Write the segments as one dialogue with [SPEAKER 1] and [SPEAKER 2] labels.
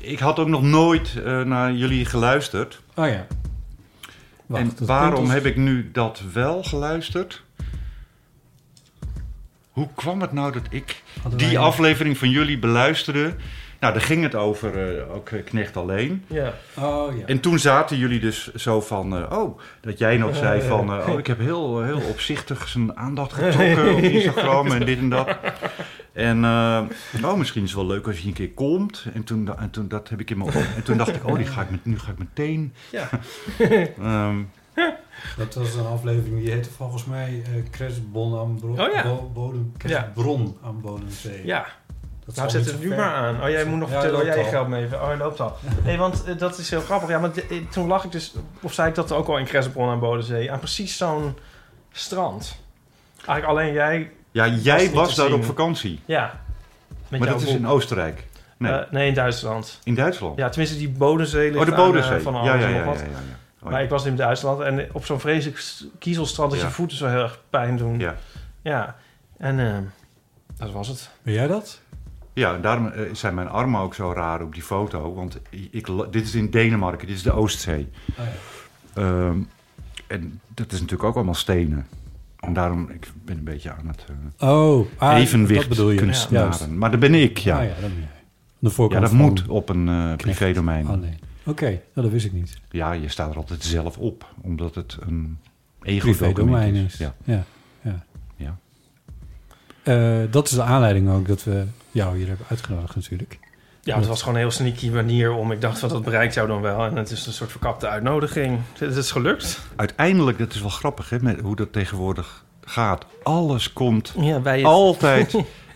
[SPEAKER 1] Ik had ook nog nooit eh, naar jullie geluisterd.
[SPEAKER 2] Oh ja. Wacht,
[SPEAKER 1] en
[SPEAKER 2] dat
[SPEAKER 1] waarom
[SPEAKER 2] punt is-
[SPEAKER 1] heb ik nu dat wel geluisterd? Hoe kwam het nou dat ik
[SPEAKER 2] Hadden
[SPEAKER 1] die
[SPEAKER 2] wij-
[SPEAKER 1] aflevering van jullie beluisterde? Nou, daar ging het over eh, ook eh, Knecht Alleen.
[SPEAKER 2] Ja. Oh ja.
[SPEAKER 1] En toen zaten jullie dus zo van, eh, oh, dat jij nog zei van, eh, oh, ik heb heel, eh, heel opzichtig zijn aandacht getrokken op Instagram en dit en dat. En eh oh, misschien is het wel leuk als je een keer komt. En toen, da- en toen, dat heb ik in mijn oor- En toen dacht ik, oh, die ga ik met, nu ga ik meteen.
[SPEAKER 2] Ja.
[SPEAKER 1] Ehm,
[SPEAKER 3] Dat was een aflevering die heette volgens mij eh Kresbon aan Bro-
[SPEAKER 2] Oh ja.
[SPEAKER 3] Bo- Bodem. Kresbron aan Bodemzee.
[SPEAKER 2] ja.
[SPEAKER 3] Dat
[SPEAKER 2] Nou,
[SPEAKER 3] zal
[SPEAKER 2] zet
[SPEAKER 3] niet
[SPEAKER 2] het
[SPEAKER 3] zo
[SPEAKER 2] nu
[SPEAKER 3] ver-
[SPEAKER 2] maar aan. Oh, jij moet nog
[SPEAKER 3] Ja,
[SPEAKER 2] vertellen waar
[SPEAKER 3] loopt
[SPEAKER 2] jij
[SPEAKER 3] al.
[SPEAKER 2] geld mee... Oh, hij loopt al. Nee, want eh, dat is heel grappig. Ja, want eh, toen lag ik dus... Of zei ik dat ook al in Kressenbron aan Bodensee? Aan precies zo'n strand. Eigenlijk alleen jij...
[SPEAKER 1] ja, jij
[SPEAKER 2] niet
[SPEAKER 1] was,
[SPEAKER 2] te
[SPEAKER 1] daar
[SPEAKER 2] zien.
[SPEAKER 1] op vakantie.
[SPEAKER 2] Ja. Met
[SPEAKER 1] Maar
[SPEAKER 2] jouw
[SPEAKER 1] dat is
[SPEAKER 2] boek.
[SPEAKER 1] in Oostenrijk. Nee,
[SPEAKER 2] Eh, nee, in Duitsland.
[SPEAKER 1] in Duitsland.
[SPEAKER 2] Ja, tenminste die Bodensee ligt
[SPEAKER 1] oh, de
[SPEAKER 2] aan, eh,
[SPEAKER 1] Bodensee.
[SPEAKER 2] van
[SPEAKER 1] ja,
[SPEAKER 2] alles
[SPEAKER 1] ja,
[SPEAKER 2] en
[SPEAKER 1] ja,
[SPEAKER 2] nog
[SPEAKER 1] ja, ja,
[SPEAKER 2] wat.
[SPEAKER 1] ja, ja. Oh,
[SPEAKER 2] Maar
[SPEAKER 1] ja.
[SPEAKER 2] ik was in Duitsland en op zo'n vreselijk s- kiezelstrand dat
[SPEAKER 1] Ja.
[SPEAKER 2] je voeten zo heel erg pijn doen.
[SPEAKER 1] Ja.
[SPEAKER 2] Ja. En ehm, dat was het.
[SPEAKER 3] Ben jij dat?
[SPEAKER 1] Ja, daarom eh, zijn mijn armen ook zo raar op die foto. Want ik, lo- dit is in Denemarken, dit is de Oostzee.
[SPEAKER 3] Oh, ja.
[SPEAKER 1] Ehm, en dat is natuurlijk ook allemaal stenen. En daarom, ik ben een beetje aan het eh,
[SPEAKER 3] Oh, ah, dat
[SPEAKER 1] evenwicht
[SPEAKER 3] bedoel je.
[SPEAKER 1] kunnen
[SPEAKER 3] Ja,
[SPEAKER 1] snaren.
[SPEAKER 3] juist.
[SPEAKER 1] Maar dat ben ik, ja.
[SPEAKER 3] Ah,
[SPEAKER 1] ja.
[SPEAKER 3] ja, dat, ben jij. de voorkant
[SPEAKER 1] dat
[SPEAKER 3] van-
[SPEAKER 1] moet op een eh privédomein.
[SPEAKER 3] Oh, nee. Oké, nou, dat wist ik niet.
[SPEAKER 1] Ja, je staat er altijd zelf op, omdat het een
[SPEAKER 3] Privé-domein
[SPEAKER 1] ego-domein
[SPEAKER 3] is.
[SPEAKER 1] Ja.
[SPEAKER 3] ja. ja.
[SPEAKER 1] Ja.
[SPEAKER 3] Eh, dat is de aanleiding ook dat we jou hier hebben uitgenodigd natuurlijk.
[SPEAKER 2] Ja, het was gewoon een heel sneaky manier om. Ik dacht, wat dat bereikt jou dan wel. En het is een soort verkapte uitnodiging. Het is gelukt.
[SPEAKER 1] Uiteindelijk, dat is wel grappig hè, met hoe dat tegenwoordig gaat. Alles komt
[SPEAKER 2] Ja, bij
[SPEAKER 1] altijd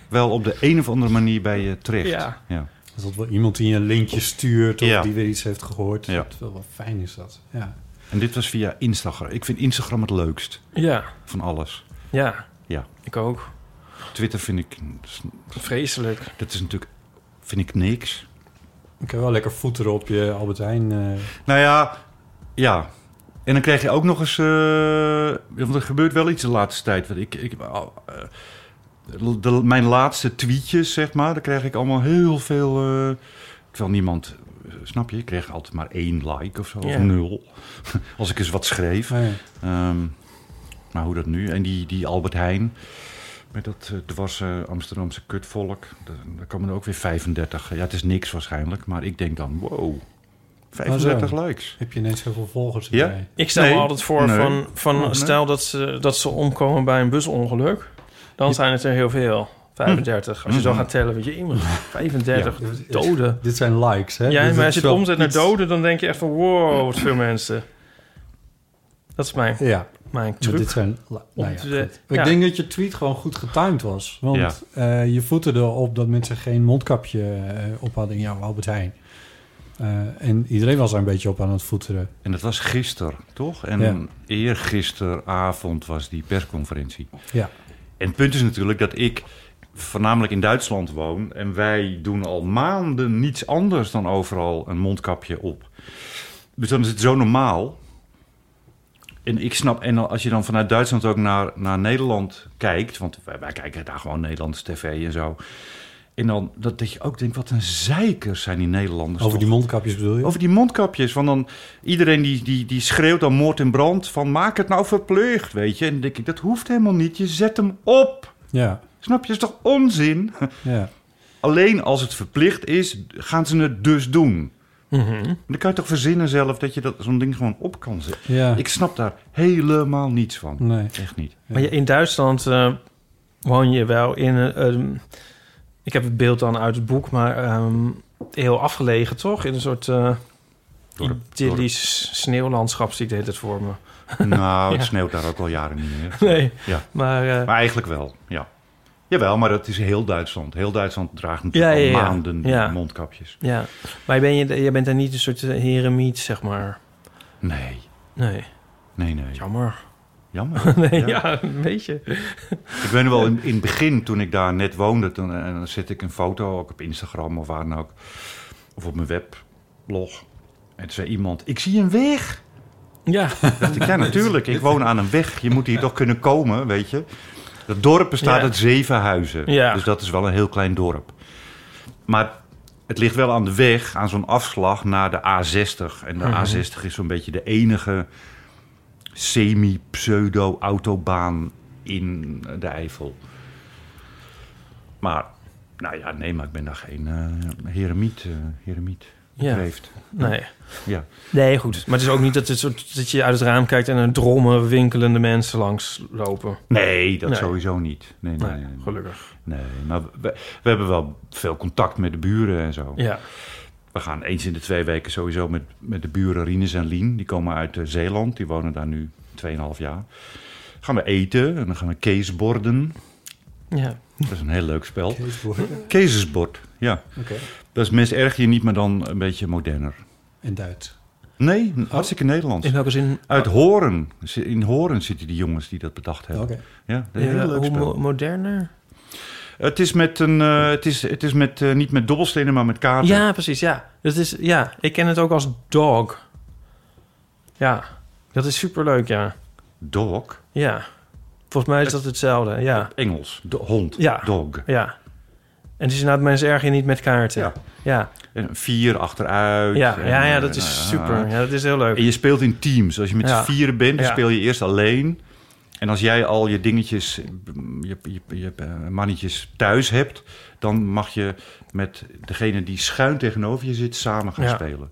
[SPEAKER 1] wel op de een of andere manier bij je terecht.
[SPEAKER 2] Ja.
[SPEAKER 1] ja.
[SPEAKER 3] Dat is altijd wel iemand die een linkje stuurt of
[SPEAKER 1] Ja.
[SPEAKER 3] die weer iets heeft gehoord.
[SPEAKER 1] Ja.
[SPEAKER 3] Dat is wel, wel fijn is dat. Ja.
[SPEAKER 1] En dit was via Instagram. Ik vind Instagram het leukst
[SPEAKER 2] Ja,
[SPEAKER 1] van alles.
[SPEAKER 2] ja.
[SPEAKER 1] Ja.
[SPEAKER 2] Ik ook.
[SPEAKER 1] Twitter vind ik,
[SPEAKER 2] Vreselijk.
[SPEAKER 1] dat is natuurlijk, vind ik niks.
[SPEAKER 3] Ik heb wel lekker voeten op je Albert Heijn. eh,
[SPEAKER 1] Nou ja, ja. En dan krijg je ook nog eens, eh, want er gebeurt wel iets de laatste tijd. Want ik, ik, oh, eh, de, mijn laatste tweetjes, zeg maar, daar krijg ik allemaal heel veel. eh, terwijl niemand, eh, snap je, ik kreeg altijd maar één like of zo,
[SPEAKER 2] Ja.
[SPEAKER 1] of nul. Als ik eens wat schreef.
[SPEAKER 3] ah ja.
[SPEAKER 1] Ehm, maar hoe dat nu? En die, die Albert Heijn. Met dat eh, dwarse Amsterdamse kutvolk. Daar daar komen er ook weer 35. Ja, het is niks waarschijnlijk. Maar ik denk dan, wow. 35 likes.
[SPEAKER 3] Heb je ineens zoveel volgers
[SPEAKER 1] Ja?
[SPEAKER 3] erbij?
[SPEAKER 2] Ik stel
[SPEAKER 1] Nee.
[SPEAKER 2] me altijd voor
[SPEAKER 1] Nee. Oh,
[SPEAKER 2] van, van
[SPEAKER 1] Nee.
[SPEAKER 2] stel dat ze, dat ze omkomen bij een busongeluk. Dan zijn het er heel veel. 35. Als je zo
[SPEAKER 1] Mhm.
[SPEAKER 2] gaat tellen, weet je, iemand 35
[SPEAKER 3] Ja, dit-
[SPEAKER 2] doden.
[SPEAKER 3] Dit zijn likes, hè?
[SPEAKER 2] Ja,
[SPEAKER 3] Dit-
[SPEAKER 2] maar als
[SPEAKER 3] dit
[SPEAKER 2] je
[SPEAKER 3] is
[SPEAKER 2] het
[SPEAKER 3] wel
[SPEAKER 2] omzet naar
[SPEAKER 3] iets-
[SPEAKER 2] doden, dan denk je echt van wow, wat veel mensen. Dat is mijn,
[SPEAKER 3] Ja,
[SPEAKER 2] mijn
[SPEAKER 3] maar
[SPEAKER 2] truc.
[SPEAKER 3] dit zijn... li- Nou ja,
[SPEAKER 2] te zeggen-
[SPEAKER 3] goed. Ik
[SPEAKER 2] ja.
[SPEAKER 3] denk dat je tweet gewoon goed getimed was. Want
[SPEAKER 1] Ja.
[SPEAKER 3] eh, je voeten erop dat mensen geen mondkapje eh, op hadden in jouw Albert Heijn. Eh, en iedereen was daar een beetje op aan het voeteren.
[SPEAKER 1] En dat was gisteren, toch? En
[SPEAKER 3] Ja.
[SPEAKER 1] eergisteravond was die persconferentie.
[SPEAKER 3] Ja.
[SPEAKER 1] En het punt is natuurlijk dat ik voornamelijk in Duitsland woon. En wij doen al maanden niets anders dan overal een mondkapje op. Dus dan is het zo normaal. En ik snap, en als je dan vanuit Duitsland ook naar, naar Nederland kijkt. Want wij, wij kijken daar gewoon Nederlandse tv en zo. En dan dat, dat je ook denkt, wat een zeikers zijn die Nederlanders.
[SPEAKER 3] Over
[SPEAKER 1] toch?
[SPEAKER 3] die mondkapjes bedoel je?
[SPEAKER 1] Over die mondkapjes. Want dan iedereen die, die, die schreeuwt dan moord en brand. Van maak het nou verplicht, weet je. En dan denk ik, dat hoeft helemaal niet. Je zet hem op.
[SPEAKER 3] Ja,
[SPEAKER 1] Snap je? is toch onzin?
[SPEAKER 3] ja.
[SPEAKER 1] Alleen als het verplicht is, gaan ze het dus doen.
[SPEAKER 2] Mhm.
[SPEAKER 1] Dan kan je toch verzinnen zelf dat je dat, zo'n ding gewoon op kan zetten.
[SPEAKER 3] Ja.
[SPEAKER 1] Ik snap daar helemaal niets van.
[SPEAKER 3] Nee.
[SPEAKER 1] Echt niet.
[SPEAKER 2] Maar je- in Duitsland eh, woon je wel in een... een- ik heb het beeld dan uit het boek, maar ehm, heel afgelegen, toch? In een soort eh idyllisch sneeuwlandschap zie ik dit het voor me.
[SPEAKER 1] Nou, het
[SPEAKER 2] Ja.
[SPEAKER 1] sneeuwt daar ook al jaren niet meer.
[SPEAKER 2] Nee,
[SPEAKER 1] Ja.
[SPEAKER 2] maar... eh,
[SPEAKER 1] Maar eigenlijk wel, ja. Jawel, maar dat is heel Duitsland. Heel Duitsland draagt natuurlijk
[SPEAKER 2] Ja, ja,
[SPEAKER 1] al
[SPEAKER 2] ja.
[SPEAKER 1] maanden
[SPEAKER 2] Ja.
[SPEAKER 1] mondkapjes.
[SPEAKER 2] ja, maar ben je, je bent daar niet een soort eh, heremiet, zeg maar.
[SPEAKER 1] Nee,
[SPEAKER 2] Nee,
[SPEAKER 1] nee, nee.
[SPEAKER 2] jammer.
[SPEAKER 1] Jammer.
[SPEAKER 2] Nee, ja.
[SPEAKER 1] Ja.
[SPEAKER 2] een beetje.
[SPEAKER 1] Ik weet nog wel, in, in het begin toen ik daar net woonde... Toen, en dan zet ik een foto, ook op Instagram of waar dan ook... of op mijn weblog. En toen zei iemand, ik zie een weg.
[SPEAKER 2] Ja.
[SPEAKER 1] dacht ik, ja natuurlijk, ik woon aan een weg. Je moet hier toch kunnen komen, weet je. Dat dorp bestaat
[SPEAKER 2] Ja.
[SPEAKER 1] uit zeven huizen.
[SPEAKER 2] Ja.
[SPEAKER 1] Dus dat is wel een heel klein dorp. Maar het ligt wel aan de weg, aan zo'n afslag naar de A60. En de
[SPEAKER 2] Mhm.
[SPEAKER 1] A60 is zo'n beetje de enige semi-pseudo-autobaan in de Eifel. Maar, nou ja, nee, maar ik ben daar geen eh heremiet, eh heremiet
[SPEAKER 2] Ja.
[SPEAKER 1] Kreeft.
[SPEAKER 2] Nee.
[SPEAKER 1] Ja.
[SPEAKER 2] Nee, goed. Maar het is ook niet dat, het soort, dat je uit het raam kijkt en er drommen, winkelende mensen langs lopen.
[SPEAKER 1] Nee, dat
[SPEAKER 2] Nee.
[SPEAKER 1] sowieso niet. Nee, nee,
[SPEAKER 2] Nee,
[SPEAKER 1] nee.
[SPEAKER 2] gelukkig.
[SPEAKER 1] Nee, maar we, we hebben wel veel contact met de buren en zo.
[SPEAKER 2] Ja.
[SPEAKER 1] We gaan eens in de twee weken sowieso met, met de buren Rines en Lien. Die komen uit eh, Zeeland. Die wonen daar nu 2,5 jaar. Gaan we eten en dan gaan we keesborden.
[SPEAKER 2] Ja.
[SPEAKER 1] Dat is een heel leuk spel.
[SPEAKER 3] Keesborden?
[SPEAKER 1] Keesbord, ja.
[SPEAKER 3] Oké.
[SPEAKER 1] Dat is mis erg hier niet, maar dan een beetje moderner.
[SPEAKER 3] En Duits.
[SPEAKER 1] Nee, hartstikke Nederlands.
[SPEAKER 2] In welke zin?
[SPEAKER 1] Uit Horen. In Horen zitten die jongens die dat bedacht hebben.
[SPEAKER 3] Oké.
[SPEAKER 1] Ja, een
[SPEAKER 2] Ja,
[SPEAKER 1] heel leuk
[SPEAKER 2] hoe
[SPEAKER 1] spel.
[SPEAKER 2] mo- moderner?
[SPEAKER 1] Het is, met een, eh, het is, het is met, eh, niet met dobbelstenen, maar met kaarten.
[SPEAKER 2] Ja, precies. Ja. Dat is, ja, ik ken het ook als dog. Ja, dat is superleuk, ja.
[SPEAKER 1] Dog?
[SPEAKER 2] Ja. Volgens mij is dat hetzelfde, ja.
[SPEAKER 1] Engels. De hond.
[SPEAKER 2] Ja.
[SPEAKER 1] Dog.
[SPEAKER 2] Ja. En het is inderdaad mensen erg niet met kaarten.
[SPEAKER 1] Ja.
[SPEAKER 2] Ja,
[SPEAKER 1] En vier achteruit.
[SPEAKER 2] ja,
[SPEAKER 1] En,
[SPEAKER 2] ja, ja,
[SPEAKER 1] eh,
[SPEAKER 2] dat is
[SPEAKER 1] nou ja.
[SPEAKER 2] super. Ja, dat is heel leuk.
[SPEAKER 1] En je speelt in teams. Als je met
[SPEAKER 2] Ja.
[SPEAKER 1] z'n vieren bent, dan
[SPEAKER 2] Ja.
[SPEAKER 1] speel je eerst alleen. En als jij al je dingetjes, mm, je, je, je eh, mannetjes thuis hebt... dan mag je met degene die schuin tegenover je zit samen gaan
[SPEAKER 2] Ja.
[SPEAKER 1] spelen.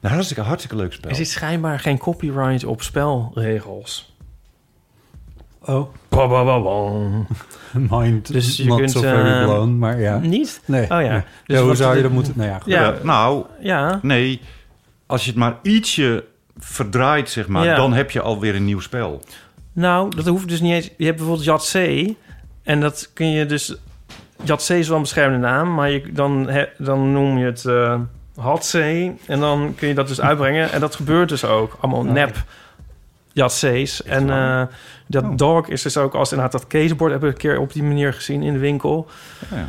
[SPEAKER 1] Nou, hartstikke, hartstikke leuk spel.
[SPEAKER 2] Er zit schijnbaar geen copyright op spelregels.
[SPEAKER 3] Oh,
[SPEAKER 2] Ba, ba, ba, bam.
[SPEAKER 3] mind
[SPEAKER 2] Dus je
[SPEAKER 3] not
[SPEAKER 2] kunt,
[SPEAKER 3] so very
[SPEAKER 2] eh,
[SPEAKER 3] blown, maar ja.
[SPEAKER 2] Niet?
[SPEAKER 3] Nee.
[SPEAKER 2] Oh ja.
[SPEAKER 3] nee.
[SPEAKER 2] Dus
[SPEAKER 3] hoe
[SPEAKER 2] wat-
[SPEAKER 3] zou je dat moeten... Nou ja, goed.
[SPEAKER 2] Ja.
[SPEAKER 1] Ja, nou,
[SPEAKER 2] Ja.
[SPEAKER 1] nee. Als je het maar ietsje verdraait, zeg maar...
[SPEAKER 2] Ja.
[SPEAKER 1] dan heb je alweer een nieuw spel.
[SPEAKER 2] Nou, dat hoeft dus niet eens. Je hebt bijvoorbeeld Jatse. En dat kun je dus. Jatse is wel een beschermde naam, maar je, dan, he- dan noem je het eh Hatse. En dan kun je dat dus uitbrengen. En dat gebeurt dus ook.
[SPEAKER 1] Oh.
[SPEAKER 2] Allemaal nep Jatse's. En eh, dat
[SPEAKER 1] Oh.
[SPEAKER 2] dog is dus ook als inderdaad dat casebord hebben we een keer op die manier gezien in de winkel.
[SPEAKER 1] Oh, Ja.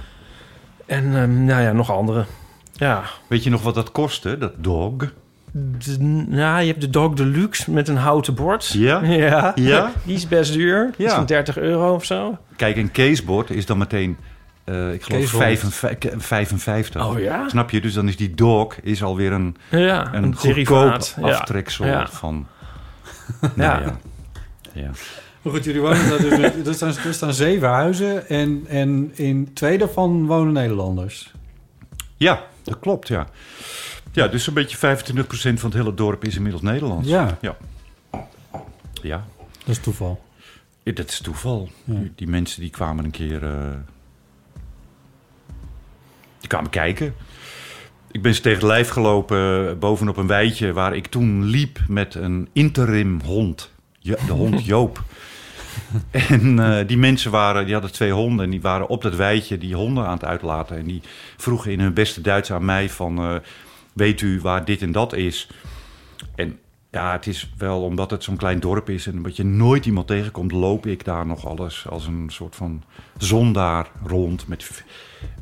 [SPEAKER 2] En ehm, nou ja, nog andere. Ja.
[SPEAKER 1] Weet je nog wat dat kostte, dat dog?
[SPEAKER 2] De, nou, je hebt de Dog Deluxe met een houten bord.
[SPEAKER 1] Ja.
[SPEAKER 2] Ja.
[SPEAKER 1] Ja.
[SPEAKER 2] Die is best duur. Die is
[SPEAKER 1] Ja.
[SPEAKER 2] van 30 euro of zo.
[SPEAKER 1] Kijk, een caseboard is dan meteen, eh, ik geloof,
[SPEAKER 3] Caseboard.
[SPEAKER 1] 55, eh, 55.
[SPEAKER 2] Oh ja?
[SPEAKER 1] Snap je? Dus dan is die dog is alweer een,
[SPEAKER 2] Ja,
[SPEAKER 1] een, goedkoop
[SPEAKER 2] derivaat. Ja.
[SPEAKER 1] aftreksel
[SPEAKER 2] Ja.
[SPEAKER 1] van...
[SPEAKER 2] Ja.
[SPEAKER 1] Nou ja. ja.
[SPEAKER 3] Maar goed, jullie wonen daar dus... met- Er staan, er staan zeven huizen en, en in twee daarvan wonen Nederlanders.
[SPEAKER 1] Ja, dat klopt, ja. Ja, dus zo'n beetje 25% van het hele dorp is inmiddels Nederlands.
[SPEAKER 3] Ja,
[SPEAKER 1] Ja. Ja.
[SPEAKER 3] dat is toeval.
[SPEAKER 1] Ja, Dat is toeval.
[SPEAKER 3] Ja.
[SPEAKER 1] Die mensen die kwamen een keer... eh, die kwamen kijken. Ik ben ze tegen het lijf gelopen eh, bovenop een weidje... waar ik toen liep met een interim hond. Ja, de hond Joop. en eh, die mensen waren, die hadden twee honden... en die waren op dat weidje die honden aan het uitlaten. En die vroegen in hun beste Duits aan mij van... eh, weet u waar dit en dat is? En ja, het is wel omdat het zo'n klein dorp is en omdat je nooit iemand tegenkomt, loop ik daar nog alles als een soort van zondaar rond met v-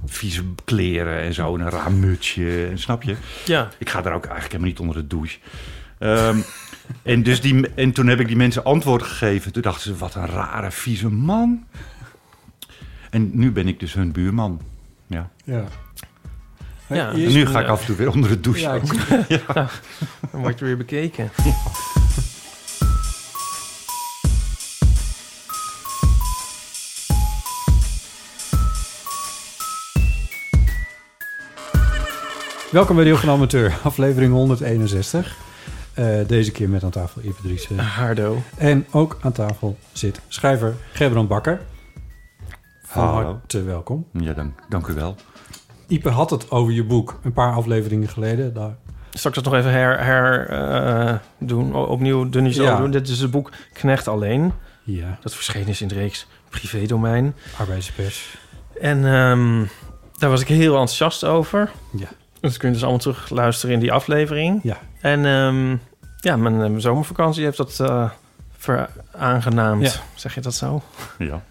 [SPEAKER 1] vieze kleren en zo en een raar mutsje. En snap je?
[SPEAKER 2] Ja.
[SPEAKER 1] Ik ga daar ook eigenlijk helemaal niet onder de douche. Ehm, en, dus die, en toen heb ik die mensen antwoord gegeven. Toen dachten ze, wat een rare, vieze man. En nu ben ik dus hun buurman. Ja.
[SPEAKER 3] Ja.
[SPEAKER 2] Ja. dus eh,
[SPEAKER 3] Hey,
[SPEAKER 1] En
[SPEAKER 3] is-
[SPEAKER 1] nu ga ik af en toe weer onder de douche.
[SPEAKER 3] Ja, ik-
[SPEAKER 2] Dan word je weer bekeken.
[SPEAKER 3] Welkom bij Deel van Amateur, aflevering 161. Eh, deze keer met aan tafel Ipe Driessen.
[SPEAKER 2] Hardo.
[SPEAKER 3] En ook aan tafel zit schrijver Gerbrand Bakker. Van
[SPEAKER 1] Hallo.
[SPEAKER 3] harte welkom.
[SPEAKER 1] Ja, dank, dank u wel.
[SPEAKER 3] Ipe had het over je boek een paar afleveringen geleden. Daar
[SPEAKER 2] Zal ik dat nog even her, her, eh, doen? O- opnieuw dunjes
[SPEAKER 3] Ja.
[SPEAKER 2] doen. Dit is het boek Knecht Alleen.
[SPEAKER 3] Ja.
[SPEAKER 2] Dat verschenen is in de reeks Privédomein.
[SPEAKER 3] Arbeidspers.
[SPEAKER 2] En ehm, daar was ik heel enthousiast over.
[SPEAKER 3] Ja.
[SPEAKER 2] Dat kun je dus allemaal terug luisteren in die aflevering.
[SPEAKER 3] Ja.
[SPEAKER 2] En ehm, ja, mijn, eh, mijn zomervakantie heeft dat eh veraangenaamd.
[SPEAKER 3] Ja.
[SPEAKER 2] Zeg je dat zo?
[SPEAKER 1] Ja.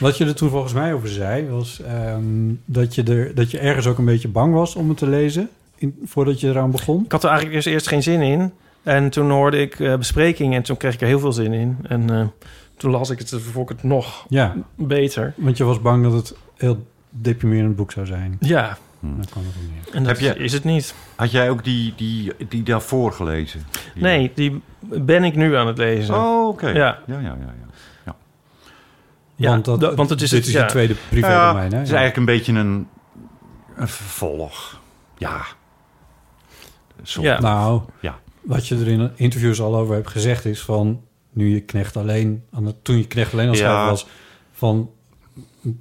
[SPEAKER 3] Wat je er toen volgens mij over zei, was ehm, dat, je er, dat je ergens ook een beetje bang was om het te lezen. In, voordat je eraan begon.
[SPEAKER 2] Ik had er eigenlijk eerst, eerst geen zin in. En toen hoorde ik eh besprekingen en toen kreeg ik er heel veel zin in. En eh, toen las ik het, toen vond ik het nog
[SPEAKER 3] Ja.
[SPEAKER 2] beter.
[SPEAKER 3] Want je was bang dat het heel deprimerend boek zou zijn.
[SPEAKER 2] Ja.
[SPEAKER 3] Daar kwam het op neer.
[SPEAKER 2] En dat is het niet.
[SPEAKER 1] Had jij ook die, die, die daarvoor gelezen? Die-
[SPEAKER 2] Nee, die ben ik nu aan het lezen.
[SPEAKER 1] Oh, oké.
[SPEAKER 2] Ja.
[SPEAKER 1] Ja, ja, ja, ja.
[SPEAKER 2] Ja,
[SPEAKER 3] want, dat,
[SPEAKER 2] da- want het is
[SPEAKER 3] dit
[SPEAKER 2] het-
[SPEAKER 3] is
[SPEAKER 2] ja.
[SPEAKER 3] je tweede privé
[SPEAKER 1] Ja,
[SPEAKER 3] domein. Hè?
[SPEAKER 1] Het is eigenlijk een beetje een, een vervolg. Ja. Sorry.
[SPEAKER 2] Ja.
[SPEAKER 3] Nou,
[SPEAKER 1] Ja.
[SPEAKER 3] wat je er in interviews al over hebt gezegd is van... nu je knecht alleen, aan het- toen je knecht alleen al
[SPEAKER 1] Ja.
[SPEAKER 3] schrijver was... van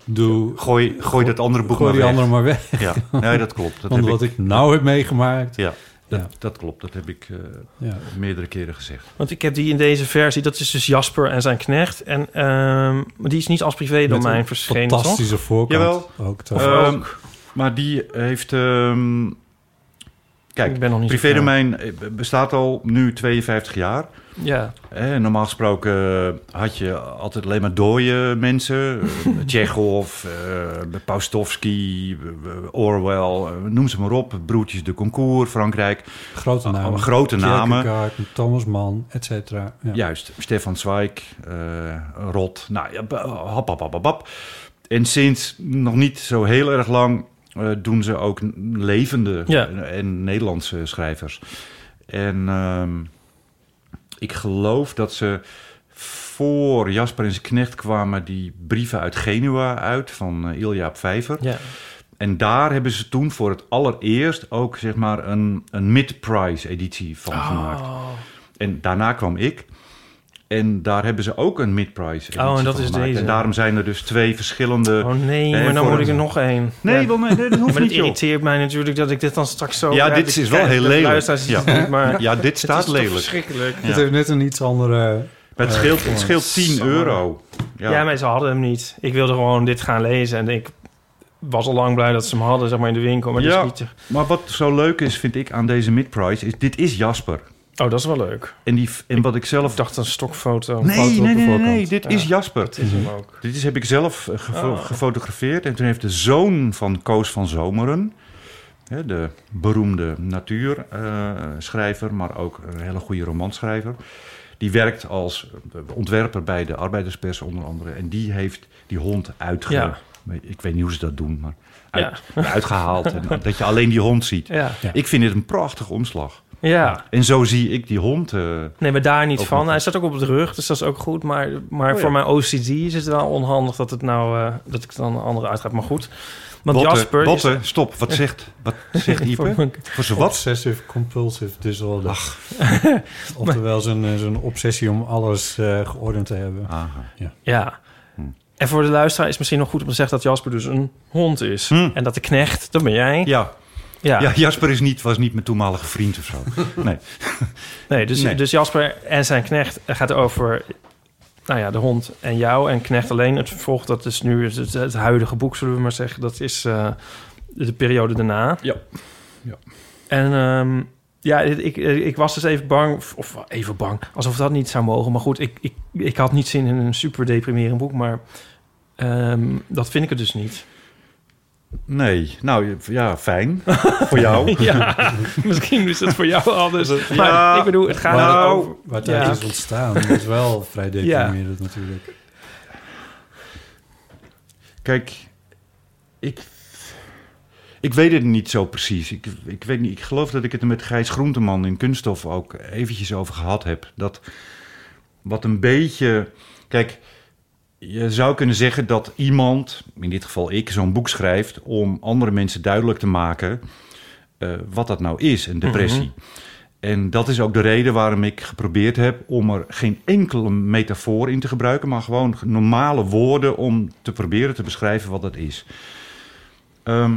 [SPEAKER 3] doe...
[SPEAKER 1] Gooi, gooi dat andere boek
[SPEAKER 3] gooi die
[SPEAKER 1] maar weg.
[SPEAKER 3] andere maar weg.
[SPEAKER 1] Ja, nee, dat klopt. Dat
[SPEAKER 3] Want
[SPEAKER 1] heb
[SPEAKER 3] wat ik... nou heb meegemaakt...
[SPEAKER 1] Ja, dat,
[SPEAKER 3] Ja.
[SPEAKER 1] dat klopt. Dat heb ik eh,
[SPEAKER 3] Ja.
[SPEAKER 1] meerdere keren gezegd.
[SPEAKER 2] Want ik heb die in deze versie, dat is dus Jasper en zijn knecht. En ehm, maar die is niet als
[SPEAKER 3] met
[SPEAKER 2] privédomein
[SPEAKER 3] een
[SPEAKER 2] verschenen, toch?
[SPEAKER 3] Fantastische voorkant.
[SPEAKER 1] Jawel.
[SPEAKER 3] Ook toch?
[SPEAKER 1] Ehm, maar die heeft... ehm, kijk,
[SPEAKER 2] Ik ben nog niet zo
[SPEAKER 1] privédomein eh, bestaat al nu 52 jaar.
[SPEAKER 2] Ja.
[SPEAKER 1] Eh, normaal gesproken eh, had je altijd alleen maar dode mensen. Eh, Tsjechov, eh Paustovsky, eh, Orwell, eh, noem ze maar op. Broertjes de Concours, Frankrijk.
[SPEAKER 3] grote namen.
[SPEAKER 1] allemaal grote namen.
[SPEAKER 3] Kierkegaard, Thomas Mann, et cetera. Ja.
[SPEAKER 1] Juist, Stefan Zweig, eh, Rot. Nou ja, b- hap, hap, hap, hap, hap. En sinds nog niet zo heel erg lang eh, doen ze ook n- levende
[SPEAKER 2] Ja.
[SPEAKER 1] en, en Nederlandse schrijvers. En ehm, ik geloof dat ze voor Jasper en zijn knecht kwamen die brieven uit Genua uit van eh, Ilja Vijver.
[SPEAKER 2] Ja.
[SPEAKER 1] En daar hebben ze toen voor het allereerst ook zeg maar een, een mid-price editie van
[SPEAKER 2] Oh.
[SPEAKER 1] gemaakt. En daarna kwam ik. En daar hebben ze ook een mid-price editie
[SPEAKER 2] Oh, en dat
[SPEAKER 1] van
[SPEAKER 2] is
[SPEAKER 1] gemaakt.
[SPEAKER 2] deze.
[SPEAKER 1] En daarom zijn er dus twee verschillende...
[SPEAKER 2] Oh nee,
[SPEAKER 1] Hè,
[SPEAKER 2] maar dan
[SPEAKER 1] voor
[SPEAKER 2] moet ik
[SPEAKER 1] een-
[SPEAKER 2] er nog één.
[SPEAKER 1] Nee,
[SPEAKER 2] ja.
[SPEAKER 1] wel, nee, nee, dat
[SPEAKER 2] maar
[SPEAKER 1] hoeft
[SPEAKER 2] het
[SPEAKER 1] niet, joh.
[SPEAKER 2] irriteert mij natuurlijk dat ik dit dan straks zo...
[SPEAKER 1] Ja, dit
[SPEAKER 2] ik
[SPEAKER 1] is wel
[SPEAKER 2] kijk,
[SPEAKER 1] heel
[SPEAKER 2] de
[SPEAKER 1] lelijk.
[SPEAKER 2] luisteraars zien het
[SPEAKER 1] Ja.
[SPEAKER 2] niet, maar
[SPEAKER 1] Ja, dit
[SPEAKER 2] het
[SPEAKER 1] staat
[SPEAKER 2] is toch
[SPEAKER 1] lelijk.
[SPEAKER 2] verschrikkelijk.
[SPEAKER 1] Ja.
[SPEAKER 3] Het heeft net een iets andere... eh,
[SPEAKER 1] Maar het scheelt, het scheelt 10 euro.
[SPEAKER 2] Ja. maar ze hadden hem niet. Ik wilde gewoon dit gaan lezen en ik was al lang blij dat ze hem hadden, zeg maar, in de winkel. Maar dat
[SPEAKER 1] Ja.
[SPEAKER 2] is niet... te-
[SPEAKER 1] Maar wat zo leuk is, vind ik, aan deze mid-price... Is, dit is Jasper.
[SPEAKER 2] Oh, dat is wel leuk.
[SPEAKER 1] En, die, en wat ik zelf...
[SPEAKER 2] Ik dacht een stokfoto.
[SPEAKER 1] nee,
[SPEAKER 2] Foto
[SPEAKER 1] nee,
[SPEAKER 2] op
[SPEAKER 1] nee,
[SPEAKER 2] de
[SPEAKER 1] nee,
[SPEAKER 2] voorkant.
[SPEAKER 1] nee, dit
[SPEAKER 2] Ja,
[SPEAKER 1] is Jasper.
[SPEAKER 2] Dat is hem ook.
[SPEAKER 1] Dit is, heb ik zelf eh, gefo-
[SPEAKER 2] Oh.
[SPEAKER 1] gefotografeerd. En toen heeft de zoon van Koos van Zomeren... Hè, de beroemde natuurschrijver, maar ook een hele goede romanschrijver... die werkt als eh, ontwerper bij de arbeiderspers onder andere. En die heeft die hond uitge...
[SPEAKER 2] Ja.
[SPEAKER 1] Ik weet niet hoe ze dat doen, maar uit-
[SPEAKER 2] Ja.
[SPEAKER 1] uitgehaald. en, dat je alleen die hond ziet.
[SPEAKER 2] Ja.
[SPEAKER 3] Ja.
[SPEAKER 1] Ik vind dit een prachtige omslag.
[SPEAKER 2] ja.
[SPEAKER 1] En zo zie ik die hond... eh,
[SPEAKER 2] Nee, maar daar niet
[SPEAKER 1] Ook
[SPEAKER 2] van.
[SPEAKER 1] nog.
[SPEAKER 2] Hij staat ook op de rug, dus dat is ook goed. Maar, maar
[SPEAKER 1] Oh, ja.
[SPEAKER 2] voor mijn OCD is het wel onhandig dat, het nou, eh, dat ik dan een andere uitgaat. Maar goed. Want
[SPEAKER 1] Botte,
[SPEAKER 2] Jasper is-
[SPEAKER 1] Botte, stop. Wat zegt, wat zegt
[SPEAKER 2] Voor
[SPEAKER 1] Ipe?
[SPEAKER 2] mijn-
[SPEAKER 1] Voor z'n wat?
[SPEAKER 3] Obsessive compulsive disorder. Oftewel zo'n eh, zo'n obsessie om alles eh, geordend te hebben.
[SPEAKER 1] Aha. Hm.
[SPEAKER 2] Ja. En voor de luisteraar is misschien nog goed om te zeggen dat Jasper dus een hond is.
[SPEAKER 1] Hm.
[SPEAKER 2] En dat de knecht, dat ben jij.
[SPEAKER 1] Ja,
[SPEAKER 2] Ja.
[SPEAKER 1] Ja, Jasper is niet, was niet mijn toenmalige vriend of zo. Nee.
[SPEAKER 2] Nee, dus,
[SPEAKER 1] Nee.
[SPEAKER 2] dus Jasper en zijn knecht gaat over nou ja, de hond en jou en knecht alleen. Het vervolg, dat is nu het, het- het huidige boek, zullen we maar zeggen. Dat is eh, de periode daarna.
[SPEAKER 1] Ja. Ja.
[SPEAKER 2] En ehm, ja, ik, ik, ik was dus even bang, of even bang, alsof dat niet zou mogen. Maar goed, ik, ik, ik had niet zin in een super deprimerend boek, maar ehm, dat vind ik het dus niet.
[SPEAKER 1] Nee, nou ja, fijn. Voor jou.
[SPEAKER 2] ja, misschien is het voor jou anders. Maar
[SPEAKER 1] Ja.
[SPEAKER 2] ik bedoel, het gaat
[SPEAKER 3] Maar-
[SPEAKER 1] nou.
[SPEAKER 2] over...
[SPEAKER 3] Waar het uit
[SPEAKER 2] Ja.
[SPEAKER 3] is ontstaan is wel vrij deprimerend natuurlijk.
[SPEAKER 1] Kijk, ik, ik weet het niet zo precies. Ik, ik, weet niet, ik geloof dat ik het er met Gijs Groenteman in Kunststof ook eventjes over gehad heb. Dat wat een beetje... Kijk, je zou kunnen zeggen dat iemand, in dit geval ik, zo'n boek schrijft... om andere mensen duidelijk te maken... eh, wat dat nou is, een depressie.
[SPEAKER 2] Mhm.
[SPEAKER 1] En dat is ook de reden waarom ik geprobeerd heb om er geen enkele metafoor in te gebruiken, maar gewoon normale woorden om te proberen te beschrijven wat dat is. Ehm,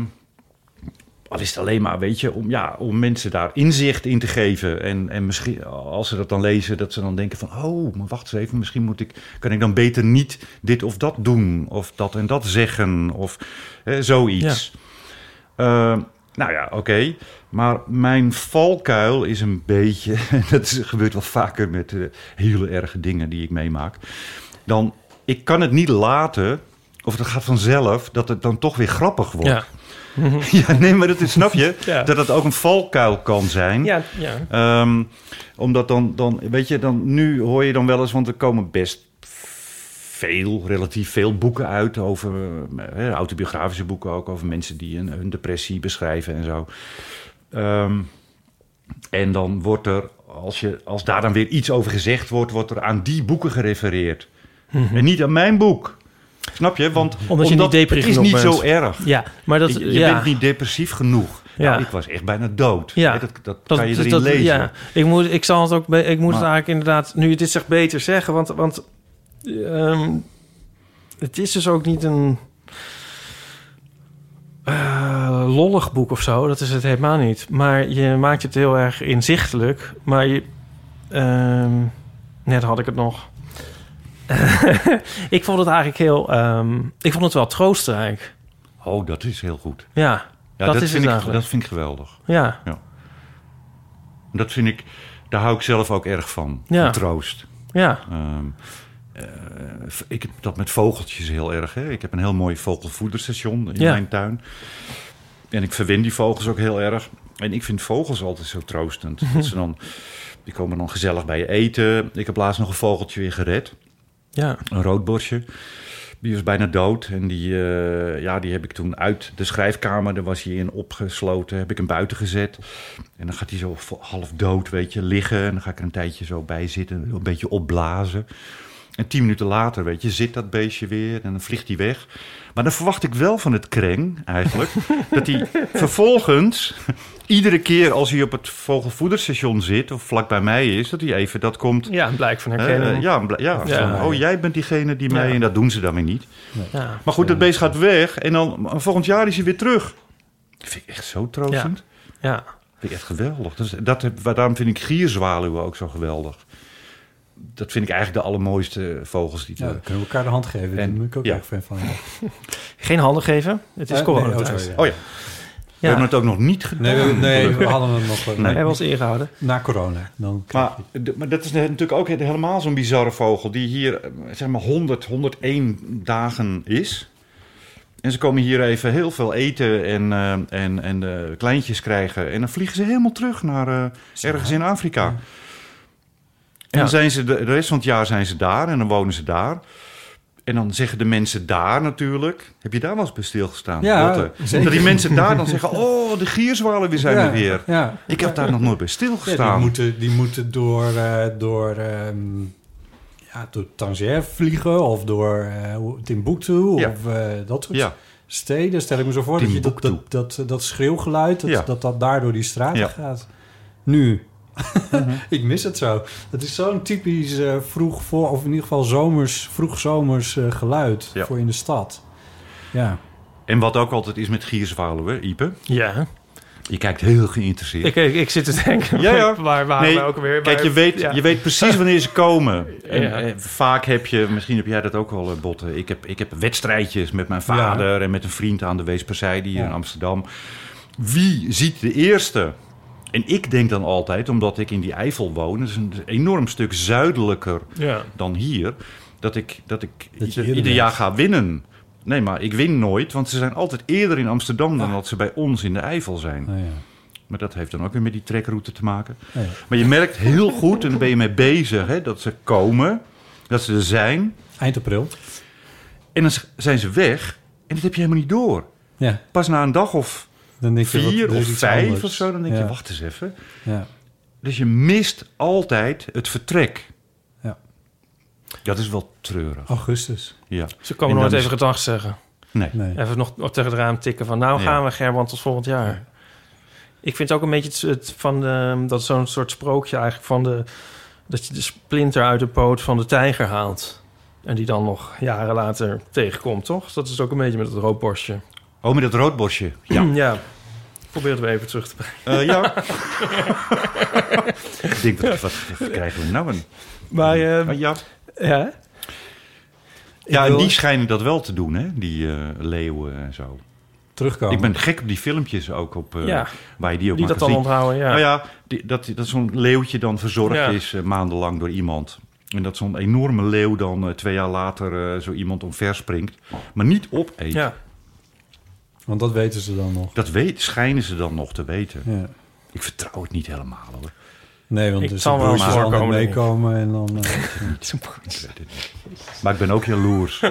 [SPEAKER 1] al is het alleen maar, weet je, om, ja, om mensen daar inzicht in te geven. En, en misschien, als ze dat dan lezen, dat ze dan denken van... oh, maar wacht eens even, misschien moet ik, kan ik dan beter niet dit of dat doen... of dat en dat zeggen, of hè, zoiets. Eh, nou ja, oké. Maar mijn valkuil is een beetje... en dat is- gebeurt wel vaker met eh, hele erge dingen die ik meemaak... dan, ik kan het niet laten, of het gaat vanzelf... dat het dan toch weer grappig wordt.
[SPEAKER 2] Ja. Mhm.
[SPEAKER 1] Ja, nee, maar dat is, snap je?
[SPEAKER 2] Ja.
[SPEAKER 1] Dat het ook een valkuil kan zijn.
[SPEAKER 2] Ja, ja.
[SPEAKER 1] Ehm, omdat dan, dan, weet je, dan, nu hoor je dan wel eens, want er komen best veel, relatief veel boeken uit over, eh, autobiografische boeken ook, over mensen die een, hun depressie beschrijven en zo. Ehm, en dan wordt er, als, je, als daar dan weer iets over gezegd wordt, wordt er aan die boeken gerefereerd.
[SPEAKER 2] Mhm.
[SPEAKER 1] En niet aan mijn boek. Snap je? Want
[SPEAKER 2] Omdat je niet depressief
[SPEAKER 1] Het is
[SPEAKER 2] genoeg
[SPEAKER 1] niet
[SPEAKER 2] bent.
[SPEAKER 1] zo erg.
[SPEAKER 2] Ja, maar dat-
[SPEAKER 1] je je
[SPEAKER 2] ja.
[SPEAKER 1] bent niet depressief genoeg.
[SPEAKER 2] Ja.
[SPEAKER 1] Nou, ik was echt bijna dood. Hè, Dat, dat, kan je
[SPEAKER 2] dus
[SPEAKER 1] erin lezen.
[SPEAKER 2] Ja, ik moet, ik zal het ook, be- ik moet het
[SPEAKER 1] Maar-
[SPEAKER 2] eigenlijk inderdaad, nu je dit zegt, beter zeggen, want, want ehm, het is dus ook niet een eh, lollig boek of zo. Dat is het helemaal niet. Maar je maakt het heel erg inzichtelijk. Maar je, ehm, net had ik het nog. ik vond het eigenlijk heel, ehm, ik vond het wel troostrijk.
[SPEAKER 1] Oh, dat is heel goed.
[SPEAKER 2] Ja,
[SPEAKER 1] Ja,
[SPEAKER 2] dat, is
[SPEAKER 1] dat vind
[SPEAKER 2] het
[SPEAKER 1] ik-
[SPEAKER 2] eigenlijk.
[SPEAKER 1] dat vind ik geweldig.
[SPEAKER 2] Ja.
[SPEAKER 1] Dat vind ik, daar hou ik zelf ook erg van.
[SPEAKER 2] Ja.
[SPEAKER 1] Van troost.
[SPEAKER 2] Ja.
[SPEAKER 1] Ehm, eh, ik heb dat met vogeltjes heel erg. Hè. Ik heb een heel mooi vogelvoederstation in
[SPEAKER 2] Ja.
[SPEAKER 1] mijn tuin. En ik verwin die vogels ook heel erg. En ik vind vogels altijd zo troostend. dat ze dan, die komen dan gezellig bij je eten. Ik heb laatst nog een vogeltje weer gered.
[SPEAKER 2] Ja.
[SPEAKER 1] Een roodborstje. Die was bijna dood. En die, eh, ja, die heb ik toen uit de schrijfkamer, daar was hij in opgesloten, heb ik hem buiten gezet. En dan gaat hij zo vo- half dood, weet je, liggen. En dan ga ik er een tijdje zo bij zitten, een beetje opblazen. En tien minuten later, weet je, zit dat beestje weer en dan vliegt hij weg. Maar dan verwacht ik wel van het kreng eigenlijk, dat hij vervolgens iedere keer als hij op het vogelvoederstation zit of vlak bij mij is, dat hij even dat komt.
[SPEAKER 2] Ja, een blijk van herkenning.
[SPEAKER 1] Eh, eh, ja, een blijk- ja,
[SPEAKER 2] Ja.
[SPEAKER 1] van, oh jij bent diegene die mij,
[SPEAKER 2] Ja.
[SPEAKER 1] en dat doen ze dan weer niet.
[SPEAKER 2] Ja.
[SPEAKER 1] Maar goed, dat beest gaat weg en dan volgend jaar is hij weer terug. Dat vind ik echt zo troostend.
[SPEAKER 2] Ja. Ja.
[SPEAKER 1] Dat vind ik echt geweldig. Dat, is- dat, heb- daarom vind ik gierzwaluwen ook zo geweldig. Dat vind ik eigenlijk de allermooiste vogels die
[SPEAKER 3] Ja, dan kunnen we elkaar de hand geven. Daar ben ik ook
[SPEAKER 1] ja.
[SPEAKER 3] erg fan van.
[SPEAKER 2] Geen handen geven. Het is
[SPEAKER 3] Eh,
[SPEAKER 2] corona.
[SPEAKER 3] nee, oh,
[SPEAKER 2] thuis.
[SPEAKER 3] sorry, ja.
[SPEAKER 1] Oh ja. We hebben het ook nog niet gedaan.
[SPEAKER 3] Nee, we, nee, we hadden hem nog...
[SPEAKER 1] Nee.
[SPEAKER 2] Hij was ingehouden.
[SPEAKER 3] Na corona. Dan
[SPEAKER 1] Maar, de- maar dat is natuurlijk ook het- helemaal zo'n bizarre vogel... die hier eh, zeg maar 100, 101 dagen is. En ze komen hier even heel veel eten en, eh, en, en eh, kleintjes krijgen. En dan vliegen ze helemaal terug naar eh, ergens in Afrika. En
[SPEAKER 2] Ja.
[SPEAKER 1] dan zijn ze de, de rest van het jaar zijn ze daar en dan wonen ze daar. En dan zeggen de mensen daar natuurlijk... Heb je daar wel eens bij stilgestaan?
[SPEAKER 3] Ja,
[SPEAKER 1] Lotte?
[SPEAKER 3] zeker.
[SPEAKER 1] Dat die mensen daar dan zeggen... Oh, de gierzwalen weer zijn
[SPEAKER 3] Ja,
[SPEAKER 1] er weer.
[SPEAKER 3] ja.
[SPEAKER 1] Ik heb daar nog nooit bij
[SPEAKER 3] Ja,
[SPEAKER 1] stilgestaan.
[SPEAKER 3] die, moeten, die moeten door, eh, door, ehm, ja, door Tangier vliegen of door eh, hoe- Timbuktu
[SPEAKER 1] Ja.
[SPEAKER 3] of eh, dat soort
[SPEAKER 1] Ja.
[SPEAKER 3] steden. Stel ik me zo voor dat, je dat, dat, dat, dat schreeuwgeluid, dat,
[SPEAKER 1] Ja.
[SPEAKER 3] dat dat daar door die straten
[SPEAKER 1] Ja.
[SPEAKER 3] gaat. Nu.
[SPEAKER 2] Mhm.
[SPEAKER 3] ik mis het zo. Het is zo'n typisch eh, vroeg voor, of in ieder geval zomers, vroeg zomers eh, geluid
[SPEAKER 1] Ja.
[SPEAKER 3] voor in de stad. Ja.
[SPEAKER 1] En wat ook altijd is met gierzwaluwen, Ipe.
[SPEAKER 2] Ja.
[SPEAKER 1] Je kijkt heel geïnteresseerd.
[SPEAKER 2] Ik, ik, ik zit te denken,
[SPEAKER 1] Ja, ja.
[SPEAKER 2] waar waren
[SPEAKER 1] Nee,
[SPEAKER 2] we ook weer?
[SPEAKER 1] Kijk, je weet, je weet precies wanneer ze komen. En,
[SPEAKER 2] Ja.
[SPEAKER 1] eh, vaak heb je, misschien heb jij dat ook wel, eh, Botte. Ik heb, ik heb wedstrijdjes met mijn vader en met een vriend aan de Weespersij hier in Amsterdam. Wie ziet de eerste? En ik denk dan altijd, omdat ik in die Eifel woon, dat is een enorm stuk zuidelijker
[SPEAKER 2] Ja.
[SPEAKER 1] dan hier, dat ik, dat ik ieder,
[SPEAKER 2] eerder
[SPEAKER 1] ieder
[SPEAKER 2] bent.
[SPEAKER 1] jaar ga winnen. Nee, maar ik win nooit, want ze zijn altijd eerder in Amsterdam dan dat ze bij ons in de Eifel zijn.
[SPEAKER 2] Oh
[SPEAKER 1] Maar dat heeft dan ook weer met die trekroute te maken.
[SPEAKER 3] Ja.
[SPEAKER 1] Maar je merkt heel goed, en daar ben je mee bezig, hè, dat ze komen, dat ze er zijn.
[SPEAKER 3] Eind april.
[SPEAKER 1] En dan zijn ze weg en dat heb je helemaal niet door.
[SPEAKER 3] Ja.
[SPEAKER 1] Pas na een dag of
[SPEAKER 3] Dan denk je, wat-
[SPEAKER 1] vier
[SPEAKER 3] er is
[SPEAKER 1] of
[SPEAKER 3] iets
[SPEAKER 1] vijf
[SPEAKER 3] anders.
[SPEAKER 1] of zo, dan denk je,
[SPEAKER 3] Ja.
[SPEAKER 1] wacht eens even.
[SPEAKER 3] Ja.
[SPEAKER 1] Dus je mist altijd het vertrek.
[SPEAKER 3] Ja. Oh.
[SPEAKER 1] Dat is wel treurig.
[SPEAKER 3] Augustus.
[SPEAKER 1] Ja.
[SPEAKER 2] Ze
[SPEAKER 1] En
[SPEAKER 2] komen nooit
[SPEAKER 1] dan
[SPEAKER 2] even
[SPEAKER 1] is-
[SPEAKER 2] gedag zeggen.
[SPEAKER 1] Nee.
[SPEAKER 2] Even nog, nog tegen het raam tikken van... nou
[SPEAKER 1] Ja.
[SPEAKER 2] gaan we Gerbrand tot volgend jaar. Ik vind het ook een beetje het, het van de, dat is zo'n soort sprookje eigenlijk van de dat je de splinter uit de poot van de tijger haalt en die dan nog jaren later tegenkomt, toch? Dat is ook een beetje met dat roodborstje.
[SPEAKER 1] Oh, met dat roodborstje.
[SPEAKER 2] Ja. ja. Probeer het weer even terug te brengen.
[SPEAKER 1] Eh, ja. Ik denk, wat, wat, wat krijgen we nou een... Oh,
[SPEAKER 2] Maar eh,
[SPEAKER 1] ja.
[SPEAKER 2] ja.
[SPEAKER 1] Ja,
[SPEAKER 2] Ik
[SPEAKER 1] en
[SPEAKER 2] wil-
[SPEAKER 1] die schijnen dat wel te doen, hè? Die eh, leeuwen en zo.
[SPEAKER 3] Terugkomen.
[SPEAKER 1] Ik ben gek op die filmpjes ook, op, eh,
[SPEAKER 2] Ja.
[SPEAKER 1] waar je die ook
[SPEAKER 2] Die
[SPEAKER 1] maar
[SPEAKER 2] dat dan
[SPEAKER 1] kan zien.
[SPEAKER 2] onthouden, ja.
[SPEAKER 1] Nou ja, die- dat, dat zo'n leeuwtje dan verzorgd
[SPEAKER 2] Ja.
[SPEAKER 1] is eh, maandenlang door iemand. En dat zo'n enorme leeuw dan eh, twee jaar later eh, zo iemand omver springt. Maar niet opeet.
[SPEAKER 2] Ja.
[SPEAKER 3] Want dat weten ze dan nog.
[SPEAKER 1] Dat weet, schijnen ze dan nog te weten.
[SPEAKER 3] Ja.
[SPEAKER 1] Ik vertrouw het niet helemaal, hoor.
[SPEAKER 3] Nee, want
[SPEAKER 1] Ik
[SPEAKER 3] dus de
[SPEAKER 1] zal wel
[SPEAKER 3] broertjes
[SPEAKER 1] maar
[SPEAKER 3] zal niet
[SPEAKER 1] voorkomen, denk ik.
[SPEAKER 3] meekomen en dan... eh,
[SPEAKER 1] Ik weet het niet. Maar ik ben ook jaloers.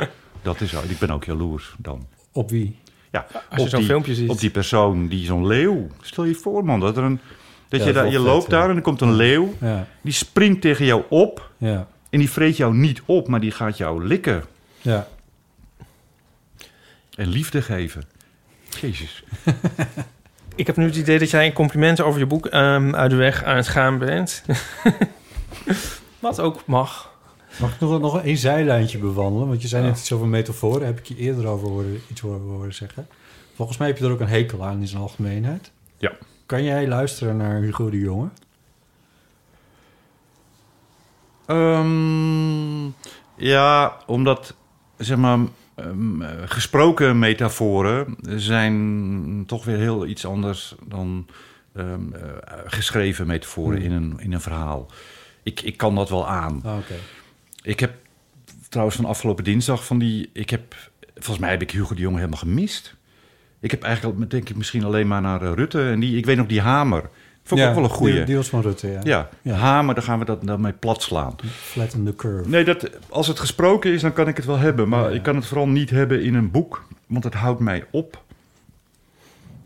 [SPEAKER 1] Dat is zo. Ik ben ook jaloers dan.
[SPEAKER 3] Op wie?
[SPEAKER 1] Ja,
[SPEAKER 2] Als je
[SPEAKER 1] op
[SPEAKER 2] zo'n
[SPEAKER 1] die-
[SPEAKER 2] filmpje ziet.
[SPEAKER 1] Op die persoon die zo'n leeuw. Stel je voor, man, dat er een. Dat
[SPEAKER 3] Ja, dat
[SPEAKER 1] je, daar,
[SPEAKER 3] is
[SPEAKER 1] je
[SPEAKER 3] wel
[SPEAKER 1] loopt
[SPEAKER 3] vet, ja.
[SPEAKER 1] daar en er komt een leeuw.
[SPEAKER 3] Ja.
[SPEAKER 1] Die springt tegen jou op.
[SPEAKER 3] Ja.
[SPEAKER 1] En die vreet jou niet op, maar die gaat jou likken.
[SPEAKER 3] Ja.
[SPEAKER 1] En liefde geven. Jezus.
[SPEAKER 2] Ik heb nu het idee dat jij een compliment over je boek ehm, uit de weg aan het gaan bent. Wat ook mag.
[SPEAKER 3] Mag ik nog, nog een zijlijntje bewandelen? Want je zei net iets over metaforen. Heb ik je eerder over horen, iets horen, horen zeggen. Volgens mij heb je er ook een hekel aan in zijn algemeenheid.
[SPEAKER 1] Ja.
[SPEAKER 3] Kan jij luisteren naar Hugo de Jonge?
[SPEAKER 1] Ehm, ja, omdat zeg maar ehm, eh, gesproken metaforen zijn toch weer heel iets anders dan ehm, eh, geschreven metaforen
[SPEAKER 3] Hmm.
[SPEAKER 1] in, een, in een verhaal. Ik, ik kan dat wel aan.
[SPEAKER 3] Ah, oké.
[SPEAKER 1] Ik heb trouwens van afgelopen dinsdag van die. Ik heb, volgens mij heb ik Hugo de Jonge helemaal gemist. Ik heb eigenlijk, al- denk ik, misschien alleen maar naar eh, Rutte. En die, ik weet nog, die hamer. Vond ik
[SPEAKER 3] Ja,
[SPEAKER 1] ook wel een goeie.
[SPEAKER 3] die- die was van Rutte, ja.
[SPEAKER 1] Ja,
[SPEAKER 3] Ja.
[SPEAKER 1] hamer, daar gaan we dat, dat mee plat slaan.
[SPEAKER 3] Flatten the curve.
[SPEAKER 1] Nee, dat, als het gesproken is, dan kan ik het wel hebben. Maar ik kan het vooral niet hebben in een boek. Want het houdt mij op.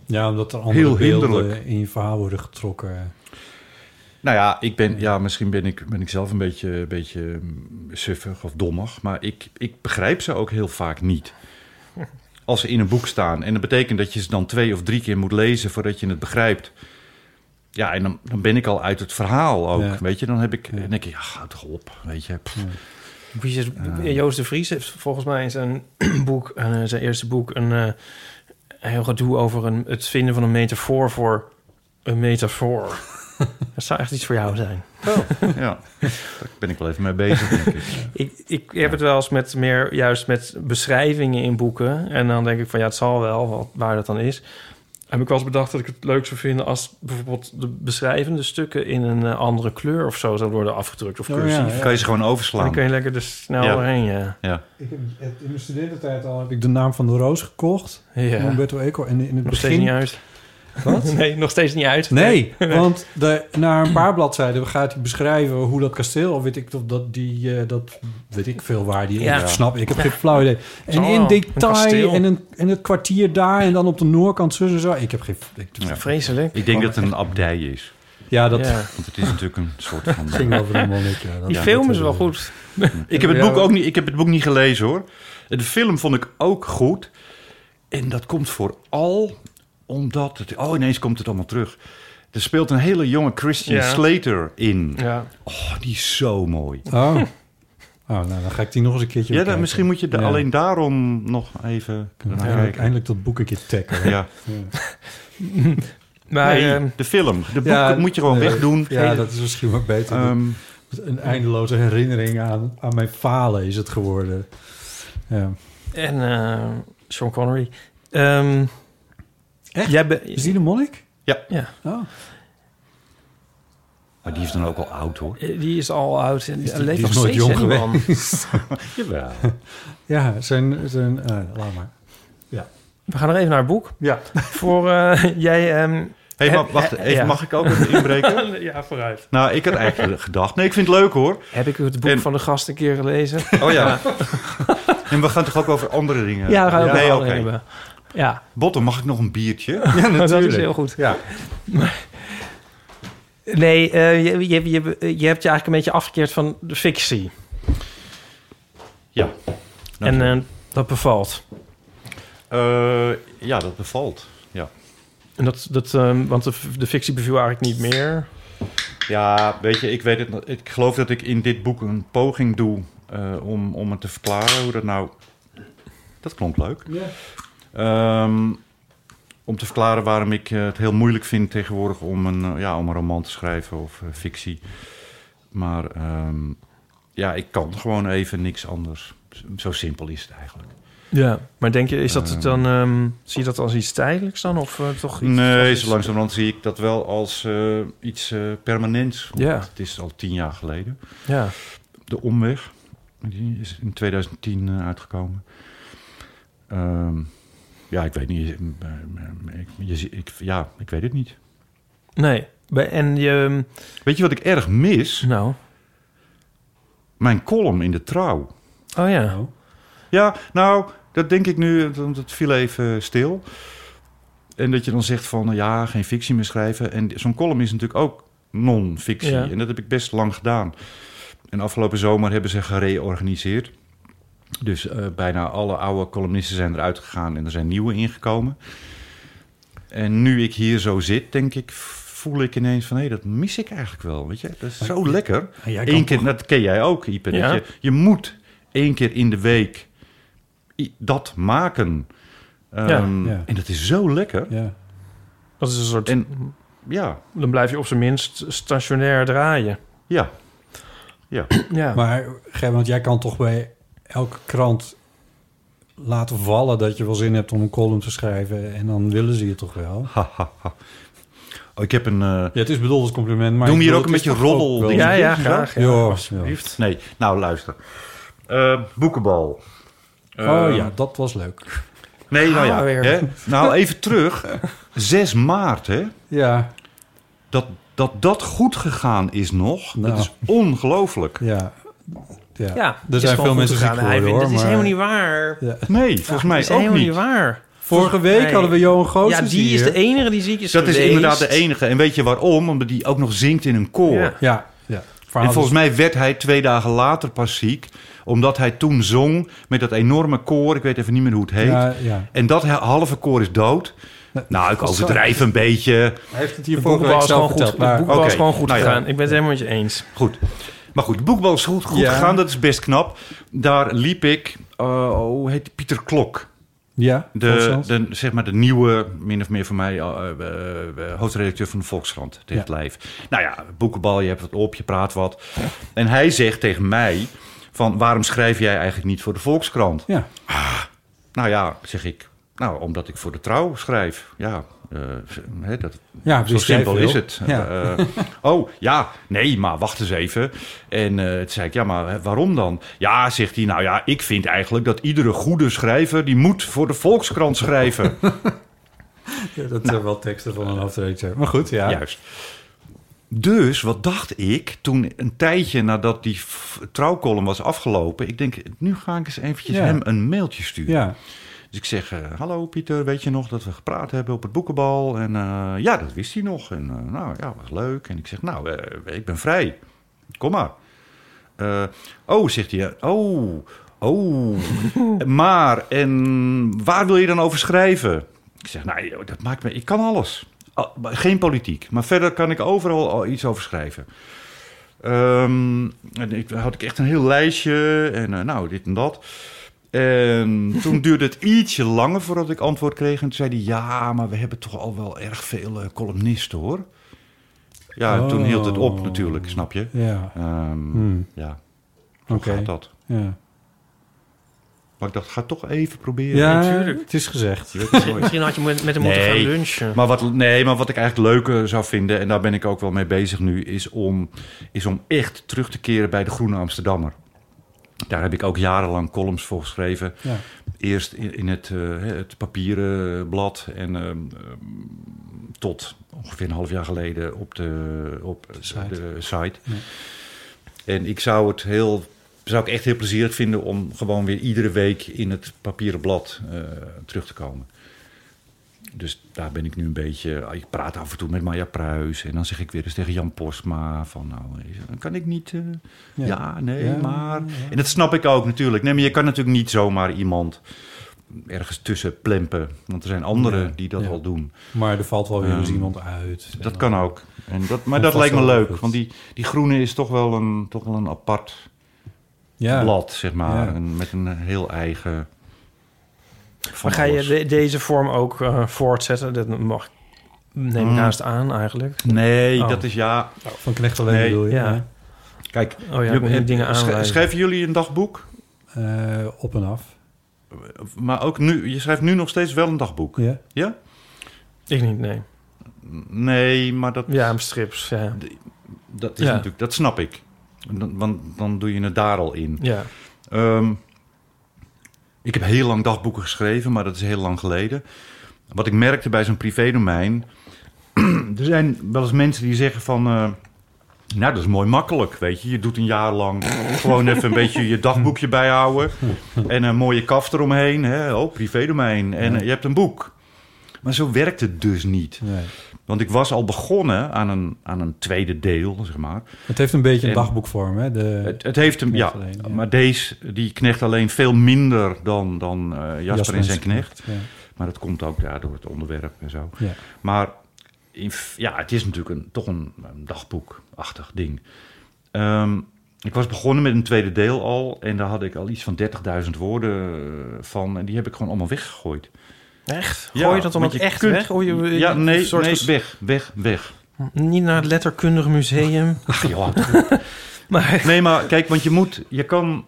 [SPEAKER 3] Ja, omdat er andere
[SPEAKER 1] Heel
[SPEAKER 3] beelden
[SPEAKER 1] hinderlijk.
[SPEAKER 3] in je verhaal worden getrokken.
[SPEAKER 1] Nou ja, ik ben, ja misschien ben ik, ben ik zelf een beetje, een beetje mm, suffig of dommig. Maar ik, ik begrijp ze ook heel vaak niet. Als ze in een boek staan. En dat betekent dat je ze dan twee of drie keer moet lezen voordat je het begrijpt. Ja, en dan, dan ben ik al uit het verhaal ook.
[SPEAKER 2] Ja.
[SPEAKER 1] Weet je, dan heb ik, dan denk ik, ja, houd toch op. Weet je, pff.
[SPEAKER 2] Wie is- Joost de Vries heeft volgens mij in zijn boek, eh, zijn eerste boek, een eh, heel gedoe over een, het vinden van een metafoor voor een metafoor. Dat zou echt iets voor jou zijn.
[SPEAKER 1] ja, daar ben ik wel even mee bezig. Denk ik.
[SPEAKER 2] Ik, ik heb het wel eens met meer juist met beschrijvingen in boeken. En dan denk ik van ja, het zal wel, wat, waar dat dan is. Heb ik wel eens bedacht dat ik het leuk zou vinden als bijvoorbeeld de beschrijvende stukken in een eh, andere kleur of zo zouden worden afgedrukt of
[SPEAKER 3] Oh,
[SPEAKER 2] cursief.
[SPEAKER 3] ja, ja.
[SPEAKER 1] Kan je ze gewoon overslaan.
[SPEAKER 2] Dan kun je lekker er snel
[SPEAKER 1] Ja.
[SPEAKER 2] doorheen, ja.
[SPEAKER 1] Ja.
[SPEAKER 3] Ik heb in mijn studententijd al heb ik de naam van de roos gekocht.
[SPEAKER 2] Ja.
[SPEAKER 3] Van Humberto Eco. En in het
[SPEAKER 2] Nog steeds
[SPEAKER 3] begin...
[SPEAKER 2] niet uit.
[SPEAKER 3] Wat?
[SPEAKER 2] Nee, nog steeds niet uit.
[SPEAKER 3] Nee, want de, na een paar bladzijden gaat hij beschrijven hoe dat kasteel, of weet ik of dat die, eh, dat weet ik veel waar die
[SPEAKER 2] Ja.
[SPEAKER 3] in snap. Ik heb
[SPEAKER 2] Ja.
[SPEAKER 3] geen flauw idee. En
[SPEAKER 2] Zo,
[SPEAKER 3] in
[SPEAKER 2] een
[SPEAKER 3] detail
[SPEAKER 2] kasteel.
[SPEAKER 3] en, een, en het kwartier daar en dan op de noordkant zo en zo. Ik heb geen. Ik,
[SPEAKER 1] Ja.
[SPEAKER 2] Vreselijk.
[SPEAKER 1] Ik denk dat het een abdij is.
[SPEAKER 3] Oh, Ja, dat-
[SPEAKER 2] Ja.
[SPEAKER 1] Want het is natuurlijk een soort van...
[SPEAKER 3] Het ging over een monnik, ja. Dat-
[SPEAKER 2] Die film is wel goed.
[SPEAKER 1] Ik heb het boek ook niet, ik heb het boek niet gelezen hoor. De film vond ik ook goed. En dat komt vooral omdat het. Oh, ineens komt het allemaal terug. Er speelt een hele jonge Christian
[SPEAKER 3] Ja.
[SPEAKER 1] Slater in.
[SPEAKER 2] Ja.
[SPEAKER 1] Oh, die is zo mooi.
[SPEAKER 3] Oh. oh, nou dan ga ik die nog eens een keertje.
[SPEAKER 1] Ja, dan,
[SPEAKER 3] bekijken.
[SPEAKER 1] misschien moet je da-
[SPEAKER 3] Ja.
[SPEAKER 1] alleen daarom nog even
[SPEAKER 3] Dan
[SPEAKER 1] naar
[SPEAKER 3] ga ik
[SPEAKER 1] kijken.
[SPEAKER 3] eindelijk dat boek een keer tackelen.
[SPEAKER 1] Ja.
[SPEAKER 2] Maar,
[SPEAKER 1] Nee,
[SPEAKER 2] ehm,
[SPEAKER 1] de film. De boek moet je gewoon
[SPEAKER 3] nee,
[SPEAKER 1] wegdoen.
[SPEAKER 3] eh, Ja, dat is misschien wel beter.
[SPEAKER 1] Ehm,
[SPEAKER 3] een eindeloze herinnering aan, aan mijn falen is het geworden. Ja.
[SPEAKER 2] En eh, Sean Connery. Ehm
[SPEAKER 3] Echt?
[SPEAKER 2] Jij be-
[SPEAKER 3] Is die de monnik?
[SPEAKER 1] Ja.
[SPEAKER 2] ja.
[SPEAKER 3] Oh.
[SPEAKER 1] Maar die is dan ook al oud hoor.
[SPEAKER 2] Eh, Die is al oud en
[SPEAKER 3] Is
[SPEAKER 2] die
[SPEAKER 3] die-
[SPEAKER 2] leeft nog
[SPEAKER 3] die is
[SPEAKER 2] steeds.
[SPEAKER 3] nooit
[SPEAKER 2] hè, die
[SPEAKER 3] jong
[SPEAKER 2] man.
[SPEAKER 3] geweest.
[SPEAKER 1] Jawel.
[SPEAKER 3] Ja, zijn... zijn eh, laat maar. Ja.
[SPEAKER 2] We gaan nog even naar het boek.
[SPEAKER 3] Ja.
[SPEAKER 2] Voor eh, jij... ehm,
[SPEAKER 1] Hé,
[SPEAKER 2] heb-
[SPEAKER 1] maar wacht
[SPEAKER 2] eh,
[SPEAKER 1] even.
[SPEAKER 2] ja.
[SPEAKER 1] Mag ik ook even inbreken?
[SPEAKER 2] ja, vooruit.
[SPEAKER 1] Nou, ik had eigenlijk gedacht. Nee, ik vind het leuk hoor.
[SPEAKER 2] Heb ik het boek van de gast een keer gelezen?
[SPEAKER 1] Oh ja. en we gaan toch ook over andere dingen?
[SPEAKER 2] Ja, we gaan het over andere
[SPEAKER 1] oké.
[SPEAKER 2] dingen hebben. Ja.
[SPEAKER 1] Botten, mag ik nog een biertje? Ja,
[SPEAKER 2] Dat is heel goed.
[SPEAKER 3] Ja.
[SPEAKER 2] Nee, eh, je, je, je, je hebt je eigenlijk een beetje afgekeerd van de fictie.
[SPEAKER 1] Ja.
[SPEAKER 2] en eh, dat bevalt.
[SPEAKER 1] Eh, ja, dat bevalt. Ja.
[SPEAKER 2] En dat, dat, ehm, want de, de fictie beviel eigenlijk niet meer.
[SPEAKER 1] Ja, weet je, ik weet het. nog- Ik geloof dat ik in dit boek een poging doe eh, om, om het te verklaren hoe dat nou. Dat klonk leuk.
[SPEAKER 3] Ja.
[SPEAKER 1] Ehm, om te verklaren waarom ik eh, het heel moeilijk vind tegenwoordig om een, eh, ja, om een roman te schrijven of eh, fictie. Maar ehm, ja, ik kan gewoon even niks anders. Zo simpel is het eigenlijk.
[SPEAKER 2] Ja, maar denk je, is dat het
[SPEAKER 1] Ehm.
[SPEAKER 2] dan, ehm, zie je dat als iets tijdelijks dan? Of eh, toch iets...
[SPEAKER 1] Nee,
[SPEAKER 2] toch
[SPEAKER 1] zo
[SPEAKER 2] iets-
[SPEAKER 1] langzamerhand zie ik dat wel als eh, iets eh, permanents. Want
[SPEAKER 2] Ja.
[SPEAKER 1] Het is al tien jaar geleden.
[SPEAKER 2] Ja.
[SPEAKER 1] De Omweg, die is in 2010 eh, uitgekomen. Ehm, ja, ik weet niet. eh, eh, Ik, je zie- ik, ja, ik weet het niet.
[SPEAKER 2] Nee. Bij- En je...
[SPEAKER 1] Weet je wat ik erg mis?
[SPEAKER 2] Nou.
[SPEAKER 1] Mijn column in de trouw.
[SPEAKER 2] Oh ja.
[SPEAKER 1] Ja, nou, dat denk ik nu, want het viel even stil. En dat je dan zegt van, nou ja, geen fictie meer schrijven. En zo'n column is natuurlijk ook non-fictie.
[SPEAKER 2] Ja.
[SPEAKER 1] En dat heb ik best lang gedaan. En afgelopen zomer hebben ze gereorganiseerd. Dus eh, bijna alle oude columnisten zijn eruit gegaan en er zijn nieuwe ingekomen. En nu ik hier zo zit, denk ik, voel ik ineens van... hé, dat mis ik eigenlijk wel, weet je. Dat is zo lekker.
[SPEAKER 3] Maar jij kan
[SPEAKER 1] Eén keer,
[SPEAKER 3] toch-
[SPEAKER 1] dat ken jij ook, Ipe.
[SPEAKER 3] Ja.
[SPEAKER 1] Dat je, je moet één keer in de week i- dat maken. Ehm,
[SPEAKER 2] Ja.
[SPEAKER 1] En dat is zo lekker.
[SPEAKER 2] Dat is een soort...
[SPEAKER 1] ja.
[SPEAKER 2] Dan blijf je op zijn minst stationair draaien.
[SPEAKER 1] Ja. Ja.
[SPEAKER 2] ja.
[SPEAKER 3] Maar Ger, want jij kan toch bij elke krant laten vallen dat je wel zin hebt om een column te schrijven. En dan willen ze je toch wel.
[SPEAKER 1] Oh, ik heb een...
[SPEAKER 3] Ja, het is bedoeld als compliment, maar...
[SPEAKER 1] Doe me
[SPEAKER 3] ik
[SPEAKER 1] hier ook
[SPEAKER 3] bedoel,
[SPEAKER 1] een beetje
[SPEAKER 3] het is toch ook
[SPEAKER 1] roddel.
[SPEAKER 3] wel-
[SPEAKER 1] dingen.
[SPEAKER 3] Ja, ja.
[SPEAKER 1] Nee, nou luister. Eh, boekenbal.
[SPEAKER 3] Oh
[SPEAKER 1] Eh,
[SPEAKER 3] ja, dat was leuk.
[SPEAKER 1] Nee, nou
[SPEAKER 3] Ah,
[SPEAKER 1] ja.
[SPEAKER 3] weer.
[SPEAKER 1] Hè? Nou, even terug. 6 maart, hè?
[SPEAKER 3] Ja.
[SPEAKER 1] Dat dat, dat goed gegaan is nog,
[SPEAKER 3] Nou.
[SPEAKER 1] dat is ongelooflijk.
[SPEAKER 3] Ja. Ja.
[SPEAKER 2] Ja,
[SPEAKER 3] er zijn veel mensen ziek geworden, hoor.
[SPEAKER 2] Dat is
[SPEAKER 3] maar-
[SPEAKER 2] helemaal niet waar.
[SPEAKER 3] Ja.
[SPEAKER 1] Nee, volgens mij
[SPEAKER 2] dat is
[SPEAKER 1] ook
[SPEAKER 2] helemaal
[SPEAKER 1] niet.
[SPEAKER 2] niet waar.
[SPEAKER 3] Vorige week
[SPEAKER 2] Nee.
[SPEAKER 3] hadden we Johan Goossens
[SPEAKER 2] Ja, die
[SPEAKER 3] hier.
[SPEAKER 2] is de enige die ziek is
[SPEAKER 1] Dat is
[SPEAKER 2] geweest.
[SPEAKER 1] inderdaad de enige. En weet je waarom? Omdat die ook nog zingt in een koor.
[SPEAKER 2] Ja.
[SPEAKER 3] Ja. ja.
[SPEAKER 1] En volgens mij werd hij twee dagen later pas ziek. Omdat hij toen zong met dat enorme koor. Ik weet even niet meer hoe het heet.
[SPEAKER 3] Ja, ja.
[SPEAKER 1] En dat he- halve koor is dood. Nou, ik
[SPEAKER 3] dat is
[SPEAKER 1] overdrijf
[SPEAKER 3] zo-
[SPEAKER 1] een beetje.
[SPEAKER 3] Hij heeft het hier
[SPEAKER 2] De
[SPEAKER 3] vorige
[SPEAKER 2] boekenbal
[SPEAKER 3] week
[SPEAKER 2] is gewoon
[SPEAKER 3] zelf
[SPEAKER 2] goed,
[SPEAKER 3] verteld.
[SPEAKER 2] de
[SPEAKER 3] maar-
[SPEAKER 2] boekenbal is
[SPEAKER 1] Oké,
[SPEAKER 2] gewoon goed
[SPEAKER 1] nou ja.
[SPEAKER 2] gegaan. Ik ben het helemaal met je eens.
[SPEAKER 1] Goed. Maar goed, de boekbal is goed, goed
[SPEAKER 3] Ja.
[SPEAKER 1] gegaan. Dat is best knap. Daar liep ik, eh, hoe heet die? Pieter Klok.
[SPEAKER 3] Ja,
[SPEAKER 1] de,
[SPEAKER 3] Volkskrant.
[SPEAKER 1] de, zeg maar de nieuwe, min of meer voor mij, eh, eh, eh, hoofdredacteur van de Volkskrant tegen het lijf. Nou ja, boekenbal, je hebt wat op, je praat wat. En hij zegt tegen mij van waarom schrijf jij eigenlijk niet voor de Volkskrant?
[SPEAKER 3] Ja.
[SPEAKER 1] Ah, nou ja, zeg ik. Nou, omdat ik voor de trouw schrijf. Ja, eh, hè, dat,
[SPEAKER 3] Ja,
[SPEAKER 1] zo
[SPEAKER 3] dus jij
[SPEAKER 1] simpel
[SPEAKER 3] veel.
[SPEAKER 1] is het.
[SPEAKER 3] Ja.
[SPEAKER 1] Eh, eh, oh, ja, nee, maar wacht eens even. En eh toen zei ik, ja, maar hè, waarom dan? Ja, zegt hij, nou ja, ik vind eigenlijk dat iedere goede schrijver... die moet voor de Volkskrant schrijven.
[SPEAKER 3] Ja, dat zijn wel teksten van een hoofdredacteur. Maar goed, ja.
[SPEAKER 1] Juist. Dus wat dacht ik toen een tijdje nadat die f- trouwcolumn was afgelopen... ik denk, nu ga ik eens eventjes
[SPEAKER 3] Ja.
[SPEAKER 1] hem een mailtje sturen.
[SPEAKER 3] Ja.
[SPEAKER 1] Dus ik zeg, eh, hallo Pieter, weet je nog dat we gepraat hebben op het boekenbal? En eh, ja, dat wist hij nog. En eh, nou ja, was leuk. En ik zeg, nou, eh, ik ben vrij. Kom maar. Eh, oh, zegt hij. eh, Oh, oh. maar, en waar wil je dan over schrijven? Ik zeg, nou, joh, dat maakt me... Ik kan alles. Al- maar geen politiek. Maar verder kan ik overal al iets over schrijven. Ehm, en ik, had ik echt een heel lijstje. En eh, nou, dit en dat. En Ehm, toen duurde het ietsje langer voordat ik antwoord kreeg. En toen zei hij, ja, maar we hebben toch al wel erg veel eh, columnisten, hoor. Ja, en toen hield het op
[SPEAKER 3] Oh.
[SPEAKER 1] natuurlijk, snap je?
[SPEAKER 3] Ja.
[SPEAKER 1] Ehm,
[SPEAKER 3] Hmm.
[SPEAKER 1] Ja. Hoe
[SPEAKER 3] Oké.
[SPEAKER 1] gaat dat?
[SPEAKER 3] Ja.
[SPEAKER 1] Maar ik dacht, ga het toch even proberen.
[SPEAKER 3] Ja, Natuurlijk. het is gezegd.
[SPEAKER 1] Je weet het nooit.
[SPEAKER 2] Misschien had je met met hem moeten gaan
[SPEAKER 1] Nee,
[SPEAKER 2] lunchen.
[SPEAKER 1] Maar wat, nee, maar wat ik eigenlijk leuker zou vinden... en daar ben ik ook wel mee bezig nu... is om, is om echt terug te keren bij de Groene Amsterdammer. Daar heb ik ook jarenlang columns voor geschreven.
[SPEAKER 3] Ja.
[SPEAKER 1] Eerst in, in het, eh, hè, het papieren blad en ehm, ehm, tot ongeveer een half jaar geleden op de, op de site. En ik zou het heel, zou ik echt heel plezierig vinden om gewoon weer iedere week in het papieren blad eh, terug te komen. Dus daar ben ik nu een beetje. ah, Ik praat af en toe met Maya Pruis. En dan zeg ik weer eens tegen Jan Postma: van nou, is- kan ik niet. eh, ja. nee,
[SPEAKER 3] Ja,
[SPEAKER 1] maar. En dat snap ik ook natuurlijk. Nee, maar je kan natuurlijk niet zomaar iemand ergens tussen plempen. Want er zijn anderen
[SPEAKER 3] Ja,
[SPEAKER 1] die dat
[SPEAKER 3] ja.
[SPEAKER 1] al doen.
[SPEAKER 3] Maar er valt wel weer
[SPEAKER 1] Ehm,
[SPEAKER 3] eens iemand uit.
[SPEAKER 1] Dat kan ook. En dat, maar
[SPEAKER 3] En
[SPEAKER 1] dat
[SPEAKER 3] vast
[SPEAKER 1] lijkt me
[SPEAKER 3] wel
[SPEAKER 1] leuk.
[SPEAKER 3] goed.
[SPEAKER 1] Want die, die groene is toch wel een, toch wel een apart
[SPEAKER 3] Ja.
[SPEAKER 1] blad, zeg maar.
[SPEAKER 3] Ja.
[SPEAKER 1] Een- met een heel eigen... van
[SPEAKER 2] Maar ga je
[SPEAKER 1] alles.
[SPEAKER 2] de- deze vorm ook eh, voortzetten? Dat mag, neem
[SPEAKER 3] Mm.
[SPEAKER 2] ik
[SPEAKER 1] Hmm.
[SPEAKER 2] naast aan eigenlijk.
[SPEAKER 1] Nee,
[SPEAKER 2] Oh.
[SPEAKER 1] dat is ja...
[SPEAKER 3] Van Knecht alleen
[SPEAKER 1] Nee.
[SPEAKER 3] bedoel je?
[SPEAKER 2] Ja.
[SPEAKER 1] Kijk,
[SPEAKER 2] Oh ja, ik moet
[SPEAKER 1] je-
[SPEAKER 2] niet dingen
[SPEAKER 1] sch-
[SPEAKER 2] aanwijzen.
[SPEAKER 1] schrijven jullie een dagboek?
[SPEAKER 3] Eh, op en af.
[SPEAKER 1] Maar ook nu, je schrijft nu nog steeds wel een dagboek.
[SPEAKER 3] Ja.
[SPEAKER 1] Ja?
[SPEAKER 2] Ik niet, nee.
[SPEAKER 1] Nee, maar dat...
[SPEAKER 2] Ja, strips, ja.
[SPEAKER 1] D- Dat, is
[SPEAKER 2] Ja.
[SPEAKER 1] natuurlijk, dat snap ik. Dan- Want dan doe je het daar al in.
[SPEAKER 2] Ja.
[SPEAKER 1] Ehm, ik heb heel lang dagboeken geschreven, maar dat is heel lang geleden. Wat ik merkte bij zo'n privédomein... er zijn wel eens mensen die zeggen van... eh, nou, dat is mooi makkelijk, weet je. Je doet een jaar lang gewoon even een beetje je dagboekje bijhouden. En een mooie kaf eromheen. Hè? Oh, privédomein. En eh, je hebt een boek. Maar zo werkt het dus niet.
[SPEAKER 3] Nee.
[SPEAKER 1] Want ik was al begonnen aan een, aan een tweede deel, zeg maar.
[SPEAKER 3] Het heeft een beetje een
[SPEAKER 1] En-
[SPEAKER 3] dagboekvorm, hè? De,
[SPEAKER 1] Het, het heeft hem, ja,
[SPEAKER 3] Knecht alleen, ja.
[SPEAKER 1] Maar deze, die knecht alleen veel minder dan, dan eh, Jasper,
[SPEAKER 3] Jasper
[SPEAKER 1] en
[SPEAKER 3] en zijn
[SPEAKER 1] zijn knecht.
[SPEAKER 3] Knecht, ja.
[SPEAKER 1] Maar dat komt ook ja, door het onderwerp en zo.
[SPEAKER 3] Ja.
[SPEAKER 1] Maar in f- ja, het is natuurlijk een, toch een, een dagboekachtig ding. Ehm, ik was begonnen met een tweede deel al. En daar had ik al iets van 30.000 woorden eh, van. En die heb ik gewoon allemaal weggegooid.
[SPEAKER 2] Echt?
[SPEAKER 1] Ja,
[SPEAKER 2] Gooi je dat dan
[SPEAKER 1] want
[SPEAKER 2] ook
[SPEAKER 1] je
[SPEAKER 2] echt
[SPEAKER 1] kunt-
[SPEAKER 2] weg? Of je-
[SPEAKER 1] ja,
[SPEAKER 2] een
[SPEAKER 1] nee,
[SPEAKER 2] soort
[SPEAKER 1] nee
[SPEAKER 2] ges-
[SPEAKER 1] weg, weg, weg.
[SPEAKER 2] Niet naar het letterkundig museum.
[SPEAKER 1] Ach, joh.
[SPEAKER 2] Maar-
[SPEAKER 1] Nee, maar kijk, want je moet, je kan,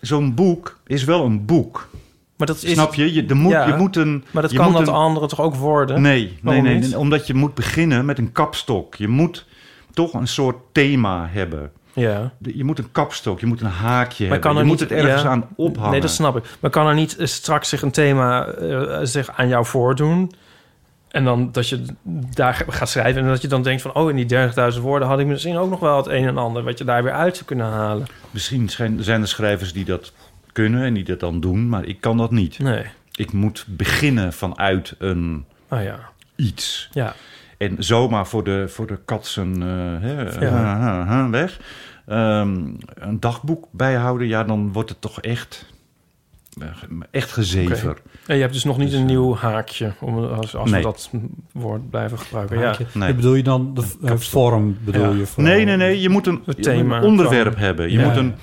[SPEAKER 1] zo'n boek is wel een boek.
[SPEAKER 2] Maar dat is-
[SPEAKER 1] Snap je? Je, er moet,
[SPEAKER 2] Ja,
[SPEAKER 1] je moet een...
[SPEAKER 2] maar dat
[SPEAKER 1] je
[SPEAKER 2] kan
[SPEAKER 1] moet
[SPEAKER 2] dat
[SPEAKER 1] een-
[SPEAKER 2] andere toch ook worden?
[SPEAKER 1] Nee, nee,
[SPEAKER 2] Waarom
[SPEAKER 1] nee,
[SPEAKER 2] niet?
[SPEAKER 1] nee, omdat je moet beginnen met een kapstok. Je moet toch een soort thema hebben.
[SPEAKER 2] Ja.
[SPEAKER 1] De- Je moet een kapstok, je moet een haakje
[SPEAKER 2] Maar
[SPEAKER 1] hebben.
[SPEAKER 2] kan
[SPEAKER 1] Je
[SPEAKER 2] er
[SPEAKER 1] moet
[SPEAKER 2] niet-
[SPEAKER 1] het ergens
[SPEAKER 2] ja.
[SPEAKER 1] aan ophangen.
[SPEAKER 2] Nee, dat snap ik. Maar kan er niet eh, straks zich een thema eh, zich aan jou voordoen? En dan dat je daar g- gaat schrijven en dat je dan denkt van... oh, in die 30.000 woorden had ik misschien ook nog wel het een en ander... wat je daar weer uit zou kunnen halen.
[SPEAKER 1] Misschien zijn, zijn er schrijvers die dat kunnen en die dat dan doen, maar ik kan dat niet.
[SPEAKER 2] Nee.
[SPEAKER 1] Ik moet beginnen vanuit een
[SPEAKER 2] Oh ja.
[SPEAKER 1] iets.
[SPEAKER 2] Ja.
[SPEAKER 1] En zomaar voor de, voor de katsen eh, hè,
[SPEAKER 2] Ja.
[SPEAKER 1] ha, ha, ha, eh, weg. Ehm, een dagboek bijhouden, ja, dan wordt het toch echt, eh, echt gezever.
[SPEAKER 2] Oké. En je hebt dus nog niet een nieuw haakje... Om, als, als
[SPEAKER 1] Nee.
[SPEAKER 2] we dat woord blijven gebruiken. Ja.
[SPEAKER 3] Haakje.
[SPEAKER 1] Nee.
[SPEAKER 3] Bedoel je dan de eh, vorm? Bedoel
[SPEAKER 2] Ja.
[SPEAKER 3] je vooral?
[SPEAKER 1] Nee, nee, nee. Je moet een,
[SPEAKER 2] Het
[SPEAKER 1] je moet een
[SPEAKER 2] thema
[SPEAKER 1] onderwerp
[SPEAKER 2] van-
[SPEAKER 1] hebben. Je
[SPEAKER 3] Ja.
[SPEAKER 1] moet een.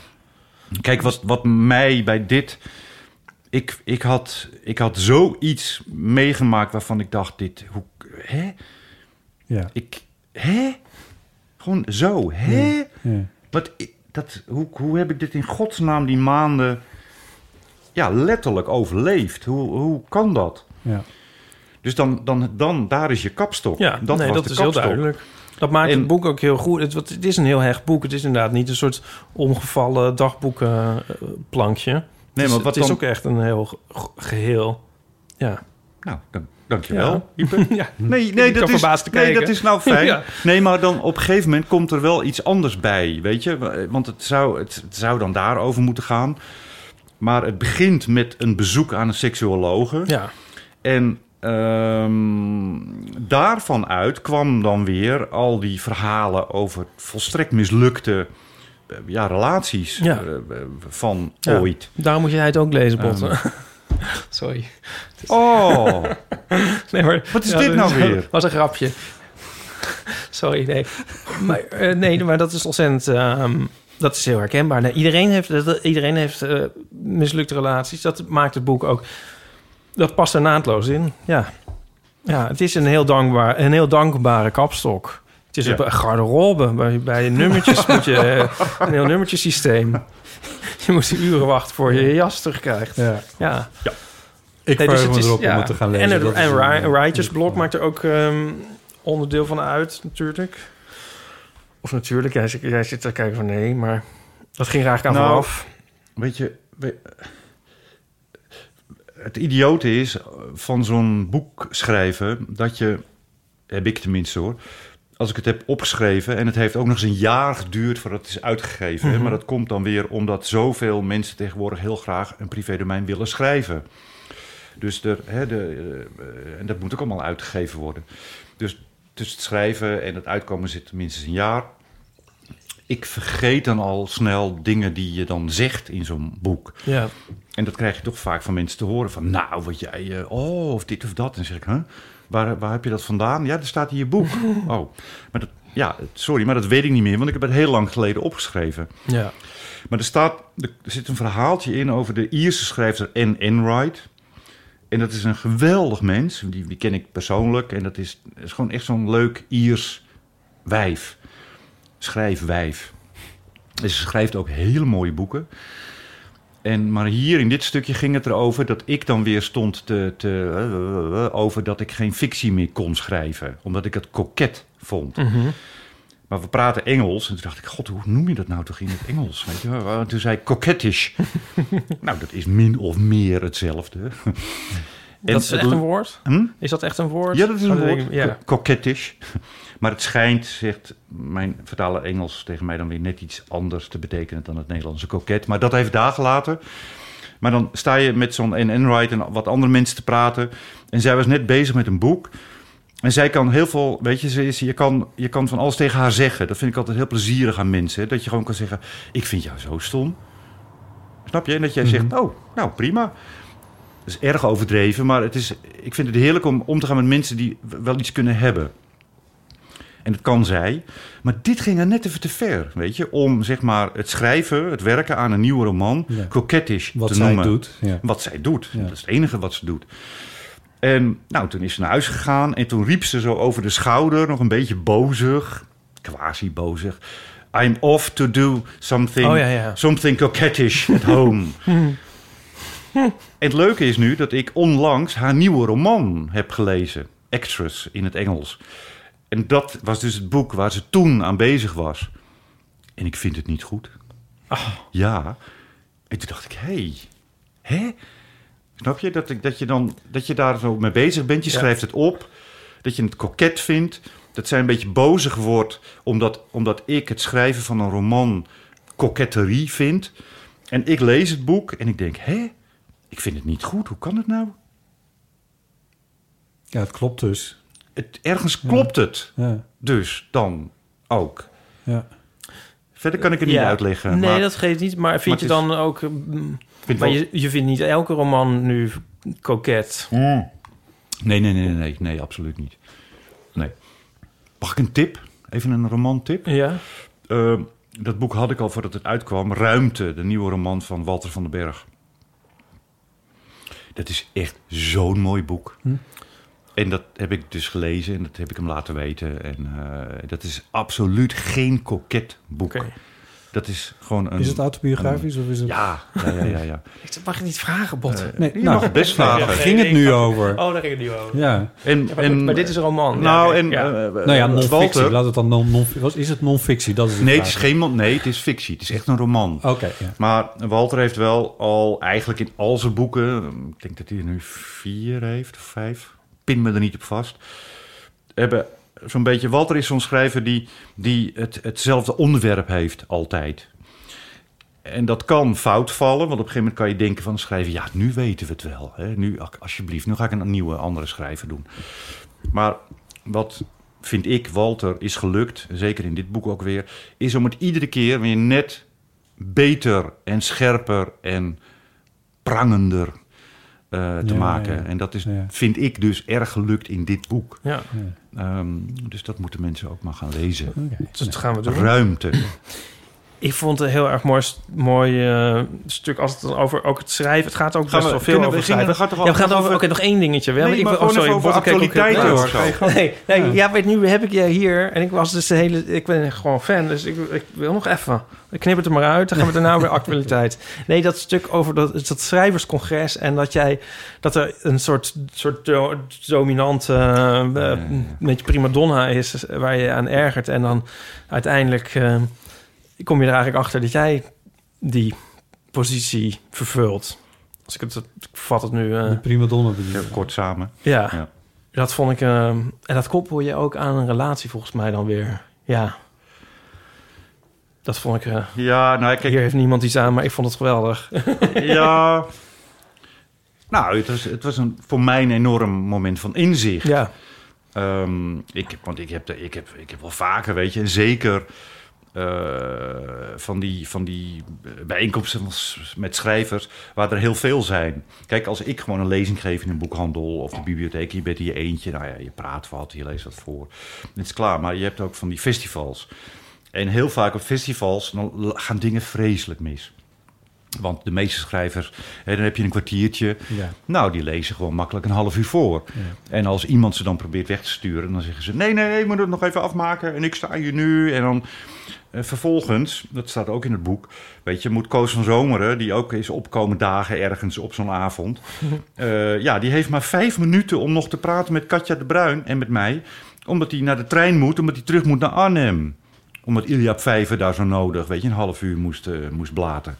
[SPEAKER 1] Kijk, wat, wat mij bij dit. Ik, ik, had, ik had zoiets meegemaakt waarvan ik dacht: dit. Hoe, hè?
[SPEAKER 3] Ja.
[SPEAKER 1] Ik. Hè? Gewoon zo. Hè?
[SPEAKER 3] Ja.
[SPEAKER 1] Wat, i- dat, hoe, hoe heb ik dit in godsnaam die maanden. Ja, letterlijk overleefd? Hoe, hoe kan dat?
[SPEAKER 3] Ja.
[SPEAKER 1] Dus dan, dan, dan, daar is je kapstok.
[SPEAKER 2] Ja,
[SPEAKER 1] dat
[SPEAKER 2] nee,
[SPEAKER 1] was
[SPEAKER 2] dat
[SPEAKER 1] de
[SPEAKER 2] is
[SPEAKER 1] kapstok.
[SPEAKER 2] heel duidelijk. Dat maakt
[SPEAKER 1] En-
[SPEAKER 2] het boek ook heel goed. Het, wat- het is een heel hecht boek. Het is inderdaad niet een soort omgevallen eh. dagboekplankje.
[SPEAKER 1] maar wat
[SPEAKER 2] het is
[SPEAKER 1] dan-
[SPEAKER 2] ook echt een heel ge- ge- geheel. Ja.
[SPEAKER 1] Nou, dan, dankjewel.
[SPEAKER 2] Ja.
[SPEAKER 1] Ieper.
[SPEAKER 2] Ja.
[SPEAKER 1] Nee,
[SPEAKER 2] Hm. Ik
[SPEAKER 1] nee,
[SPEAKER 2] zat
[SPEAKER 1] dat is,
[SPEAKER 2] verbaasd te
[SPEAKER 1] nee,
[SPEAKER 2] kijken.
[SPEAKER 1] dat is nou fijn.
[SPEAKER 2] Ja.
[SPEAKER 1] Nee, maar dan op een gegeven moment komt er wel iets anders bij, weet je. Want het zou, het, het zou dan daarover moeten gaan. Maar het begint met een bezoek aan een seksuologe.
[SPEAKER 2] Ja.
[SPEAKER 1] En ehm, daarvan uit kwam dan weer al die verhalen over volstrekt mislukte eh, ja, relaties
[SPEAKER 2] Ja.
[SPEAKER 1] eh, eh, van
[SPEAKER 2] Ja.
[SPEAKER 1] ooit.
[SPEAKER 2] Daarom moet jij het ook lezen, Botten.
[SPEAKER 1] Ehm.
[SPEAKER 2] Sorry.
[SPEAKER 1] Oh,
[SPEAKER 2] Nee, maar,
[SPEAKER 1] Wat is dit nou
[SPEAKER 2] dat
[SPEAKER 1] weer?
[SPEAKER 2] was een grapje. Sorry, nee. Maar, eh, nee, maar dat is ontzettend... ehm, dat is heel herkenbaar. Nee, iedereen heeft, dat- iedereen heeft eh, mislukte relaties. Dat maakt het boek ook... Dat past er naadloos in. Ja, ja het is een heel, dankbaar, een heel dankbare kapstok. Het is
[SPEAKER 1] Ja.
[SPEAKER 2] een garderobe. Bij, bij je nummertjes moet je... eh, Een heel nummertjesysteem. Je moet uren wachten voor je je jas terugkrijgt.
[SPEAKER 3] Ja.
[SPEAKER 2] ja.
[SPEAKER 3] Ik
[SPEAKER 2] Nee,
[SPEAKER 3] verheug
[SPEAKER 2] dus het
[SPEAKER 3] me
[SPEAKER 2] is-
[SPEAKER 3] erop
[SPEAKER 2] ja.
[SPEAKER 3] om het te gaan lezen.
[SPEAKER 2] En, het,
[SPEAKER 3] Dat is
[SPEAKER 2] en
[SPEAKER 3] een-
[SPEAKER 1] eh,
[SPEAKER 2] Ri- Writers Blok maakt er ook ehm, onderdeel van uit, natuurlijk. Of natuurlijk, jij, zit- jij zit te kijken van nee, maar dat ging er eigenlijk aan
[SPEAKER 1] Nou,
[SPEAKER 2] vooraf.
[SPEAKER 1] Weet je, we- het idiote is eh, van zo'n boek schrijven dat je, heb ik tenminste hoor, als ik het heb opgeschreven en het heeft ook nog eens een jaar geduurd voordat het is uitgegeven. hè,
[SPEAKER 2] Mhm.
[SPEAKER 1] Maar dat komt dan weer omdat zoveel mensen tegenwoordig heel graag een privédomein willen schrijven. Dus er, hè, de, eh, en dat moet ook allemaal uitgegeven worden. Dus tussen het schrijven en het uitkomen zit minstens een jaar. ik vergeet dan al snel dingen die je dan zegt in zo'n boek.
[SPEAKER 2] Ja.
[SPEAKER 1] En dat krijg je toch vaak van mensen te horen. Van nou, wat jij, eh, oh, of dit of dat. En dan zeg ik, huh? waar, waar heb je dat vandaan? Ja, dat staat in je boek. oh, maar dat, ja, sorry, maar dat weet ik niet meer. Want ik heb het heel lang geleden opgeschreven.
[SPEAKER 2] Ja.
[SPEAKER 1] Maar er, staat, er zit een verhaaltje in over de Ierse schrijfster Anne Enright. En dat is een geweldig mens. Die, die ken ik persoonlijk. En dat is, is gewoon echt zo'n leuk Iers wijf. Schrijfwijf. En ze schrijft ook hele mooie boeken. En, maar hier in dit stukje ging het erover dat ik dan weer stond te, te, eh, over dat ik geen fictie meer kon schrijven. Omdat ik het koket vond.
[SPEAKER 2] Mhm.
[SPEAKER 1] Maar we praten Engels. En toen dacht ik, god, hoe noem je dat nou toch in het Engels? Weet je? wel? En Toen zei ik coquettish. nou, dat is min of meer hetzelfde. En
[SPEAKER 2] dat is
[SPEAKER 1] het-
[SPEAKER 2] echt een woord?
[SPEAKER 1] Hm?
[SPEAKER 2] Is dat echt een woord?
[SPEAKER 1] Ja, dat is een
[SPEAKER 2] Oh,
[SPEAKER 1] woord.
[SPEAKER 2] Ja.
[SPEAKER 1] Ja. Coquettish. Maar het schijnt, zegt mijn vertaler Engels tegen mij dan weer net iets anders te betekenen dan het Nederlandse coquet. Maar dat even dagen later. Maar dan sta je met zo'n Anne Enright en wat andere mensen te praten. En zij was net bezig met een boek. En zij kan heel veel, weet je, ze is, je, kan, je kan van alles tegen haar zeggen. Dat vind ik altijd heel plezierig aan mensen. hè. Dat je gewoon kan zeggen, ik vind jou zo stom. Snap je? En dat jij zegt, oh, nou prima. Dat is erg overdreven, maar het is, ik vind het heerlijk om om te gaan met mensen die w- wel iets kunnen hebben. En dat kan zij. Maar dit ging er net even te ver, weet je. Om zeg maar het schrijven, het werken aan een nieuwe roman,
[SPEAKER 3] Ja.
[SPEAKER 1] coquettish
[SPEAKER 3] Wat
[SPEAKER 1] te
[SPEAKER 3] zij
[SPEAKER 1] noemen.
[SPEAKER 3] doet, ja.
[SPEAKER 1] Wat zij doet. Dat is het enige wat ze doet. En nou, toen is ze naar huis gegaan en toen riep ze zo over de schouder, nog een beetje bozig, quasi bozig. I'm off to do something,
[SPEAKER 2] Oh, ja, ja.
[SPEAKER 1] something coquettish at home. En het leuke is nu dat ik onlangs haar nieuwe roman heb gelezen. Actress in het Engels. En dat was dus het boek waar ze toen aan bezig was. En ik vind het niet goed.
[SPEAKER 2] Ah.
[SPEAKER 1] Ja. En toen dacht ik, hé. Hey, hè? Snap je? Dat, ik, dat, je dan, dat je daar zo mee bezig bent. Je
[SPEAKER 2] Ja.
[SPEAKER 1] schrijft het op. Dat je het koket vindt. Dat zij een beetje bozig wordt. Omdat, omdat ik het schrijven van een roman koketterie vind. En ik lees het boek en ik denk, hè? Ik vind het niet goed. Hoe kan het nou?
[SPEAKER 3] Ja, het klopt dus.
[SPEAKER 1] Het, ergens klopt het.
[SPEAKER 3] Ja.
[SPEAKER 1] Dus dan ook.
[SPEAKER 3] Ja.
[SPEAKER 1] Verder kan ik het niet
[SPEAKER 2] Ja.
[SPEAKER 1] uitleggen.
[SPEAKER 2] Nee,
[SPEAKER 1] maar-
[SPEAKER 2] dat geeft niet. Maar
[SPEAKER 1] maar
[SPEAKER 2] vind
[SPEAKER 1] het
[SPEAKER 2] je
[SPEAKER 1] is-
[SPEAKER 2] dan ook... mm,
[SPEAKER 1] Vind
[SPEAKER 2] maar
[SPEAKER 1] wel-
[SPEAKER 2] je, je vindt niet elke roman nu koket.
[SPEAKER 1] Nee, nee, nee, nee, nee, nee, absoluut niet. Nee. Mag ik een tip? Even een romantip?
[SPEAKER 2] Ja.
[SPEAKER 1] Ehm, dat boek had ik al voordat het uitkwam. Ruimte, de nieuwe roman van Walter van den Berg. Dat is echt zo'n mooi boek.
[SPEAKER 3] Hm.
[SPEAKER 1] En dat heb ik dus gelezen en dat heb ik hem laten weten. En eh, dat is absoluut geen koket boek. Dat is gewoon een...
[SPEAKER 3] Is het autobiografisch of is het-
[SPEAKER 1] Ja, ja, ja, ja. ja.
[SPEAKER 2] Ik mag het niet vragen, Bot.
[SPEAKER 1] Eh, nee, je mag het best vragen.
[SPEAKER 2] Nee, nee,
[SPEAKER 1] Ging het
[SPEAKER 2] ik
[SPEAKER 1] nu
[SPEAKER 2] dacht-
[SPEAKER 1] over?
[SPEAKER 2] Oh, daar ging het nu over.
[SPEAKER 3] Ja.
[SPEAKER 1] En,
[SPEAKER 2] maar, goed, maar dit is een roman.
[SPEAKER 1] Nou,
[SPEAKER 2] oké,
[SPEAKER 1] en,
[SPEAKER 2] ja.
[SPEAKER 1] eh, eh,
[SPEAKER 3] Nou ja, non-fictie.
[SPEAKER 1] Walter-
[SPEAKER 3] Laat het dan non non- wat Is het non-fictie? Dat is de
[SPEAKER 1] Nee, het
[SPEAKER 3] vraag.
[SPEAKER 1] is geen man. Nee, het is fictie. Het is echt een roman.
[SPEAKER 3] Oké. ja.
[SPEAKER 1] Maar Walter heeft wel al eigenlijk in al zijn boeken, ik denk dat hij er nu vier heeft of vijf, pin me er niet op vast, hebben zo'n beetje. Walter is zo'n schrijver die, die het, hetzelfde onderwerp heeft altijd. En dat kan fout vallen, want op een gegeven moment kan je denken van schrijven, ja, nu weten we het wel. Hè? Nu, ak- alsjeblieft, nu ga ik een nieuwe, andere schrijver doen. Maar wat vind ik, Walter, is gelukt, zeker in dit boek ook weer, is om het iedere keer weer net beter en scherper en prangender eh, te
[SPEAKER 3] Ja,
[SPEAKER 1] maken.
[SPEAKER 3] ja.
[SPEAKER 1] En dat is,
[SPEAKER 3] Ja.
[SPEAKER 1] vind ik dus erg gelukt in dit boek.
[SPEAKER 2] Ja.
[SPEAKER 1] Ehm, dus dat moeten mensen ook maar gaan lezen.
[SPEAKER 2] Dat gaan we doen.
[SPEAKER 1] Ruimte.
[SPEAKER 2] Ik vond het een heel erg mooi, st- mooi eh, stuk als het dan over ook het schrijven. Het gaat ook
[SPEAKER 1] Gaan
[SPEAKER 2] best
[SPEAKER 1] we-
[SPEAKER 2] wel veel
[SPEAKER 1] kunnen we-
[SPEAKER 2] over
[SPEAKER 1] gingen-
[SPEAKER 2] schrijven.
[SPEAKER 1] gaat toch
[SPEAKER 2] ja, we
[SPEAKER 1] al-
[SPEAKER 2] gaan over...
[SPEAKER 1] over-
[SPEAKER 2] Oké, nog één dingetje wel.
[SPEAKER 1] Nee, maar
[SPEAKER 2] wil-
[SPEAKER 1] gewoon even over
[SPEAKER 2] Botte, kijk,
[SPEAKER 1] actualiteiten
[SPEAKER 2] oké,
[SPEAKER 1] of
[SPEAKER 2] nou,
[SPEAKER 1] zo.
[SPEAKER 2] Nee, nee ja. weet nu heb ik je hier en ik was dus de hele... Ik ben gewoon fan, dus ik, ik wil nog even. Ik knip het er maar uit, dan gaan we daarna weer actualiteit. Nee, dat stuk over dat, dat schrijverscongres en dat jij... Dat er een soort, soort do- dominante, eh, eh, beetje primadonna is eh, waar je aan ergert. En dan uiteindelijk eh, kom je er eigenlijk achter dat jij die positie vervult. Als ik het, ik vat het nu. eh,
[SPEAKER 3] De primadonna bedoel
[SPEAKER 1] Ja, Kort samen.
[SPEAKER 2] ja.
[SPEAKER 1] Ja.
[SPEAKER 2] dat vond ik. eh, en dat koppel je ook aan een relatie volgens mij dan weer. Ja. Dat vond ik. eh,
[SPEAKER 1] Ja, nou, kijk,
[SPEAKER 2] hier heeft niemand iets aan, maar ik vond het geweldig.
[SPEAKER 1] ja. Nou, het was, het was een, voor mij een enorm moment van inzicht.
[SPEAKER 2] Ja.
[SPEAKER 1] Ehm, ik, heb- want ik heb, de- ik, heb, ik heb wel vaker, weet je, en zeker eh, van die, van die bijeenkomsten met schrijvers, waar er heel veel zijn. Kijk, als ik gewoon een lezing geef in een boekhandel of de bibliotheek, je bent hier eentje, nou ja, je praat wat, je leest wat voor. Het is klaar, maar je hebt ook van die festivals. En heel vaak op festivals dan l- gaan dingen vreselijk mis. Want de meeste schrijvers, hè, dan heb je een kwartiertje.
[SPEAKER 3] Ja.
[SPEAKER 1] Nou, die lezen gewoon makkelijk een half uur voor. En als iemand ze dan probeert weg te sturen, dan zeggen ze: Nee, nee, nee, ik moet het nog even afmaken. En ik sta hier nu. En dan eh, vervolgens, dat staat ook in het boek. Weet je, moet Koos van Zomeren, die ook is opkomen dagen ergens op zo'n avond. eh, ja, die heeft maar vijf minuten om nog te praten met Katja de Bruin en met mij. Omdat hij naar de trein moet, omdat hij terug moet naar Arnhem. Omdat Ilja Vijver daar zo nodig, weet je, een half uur moest, eh, moest blaten.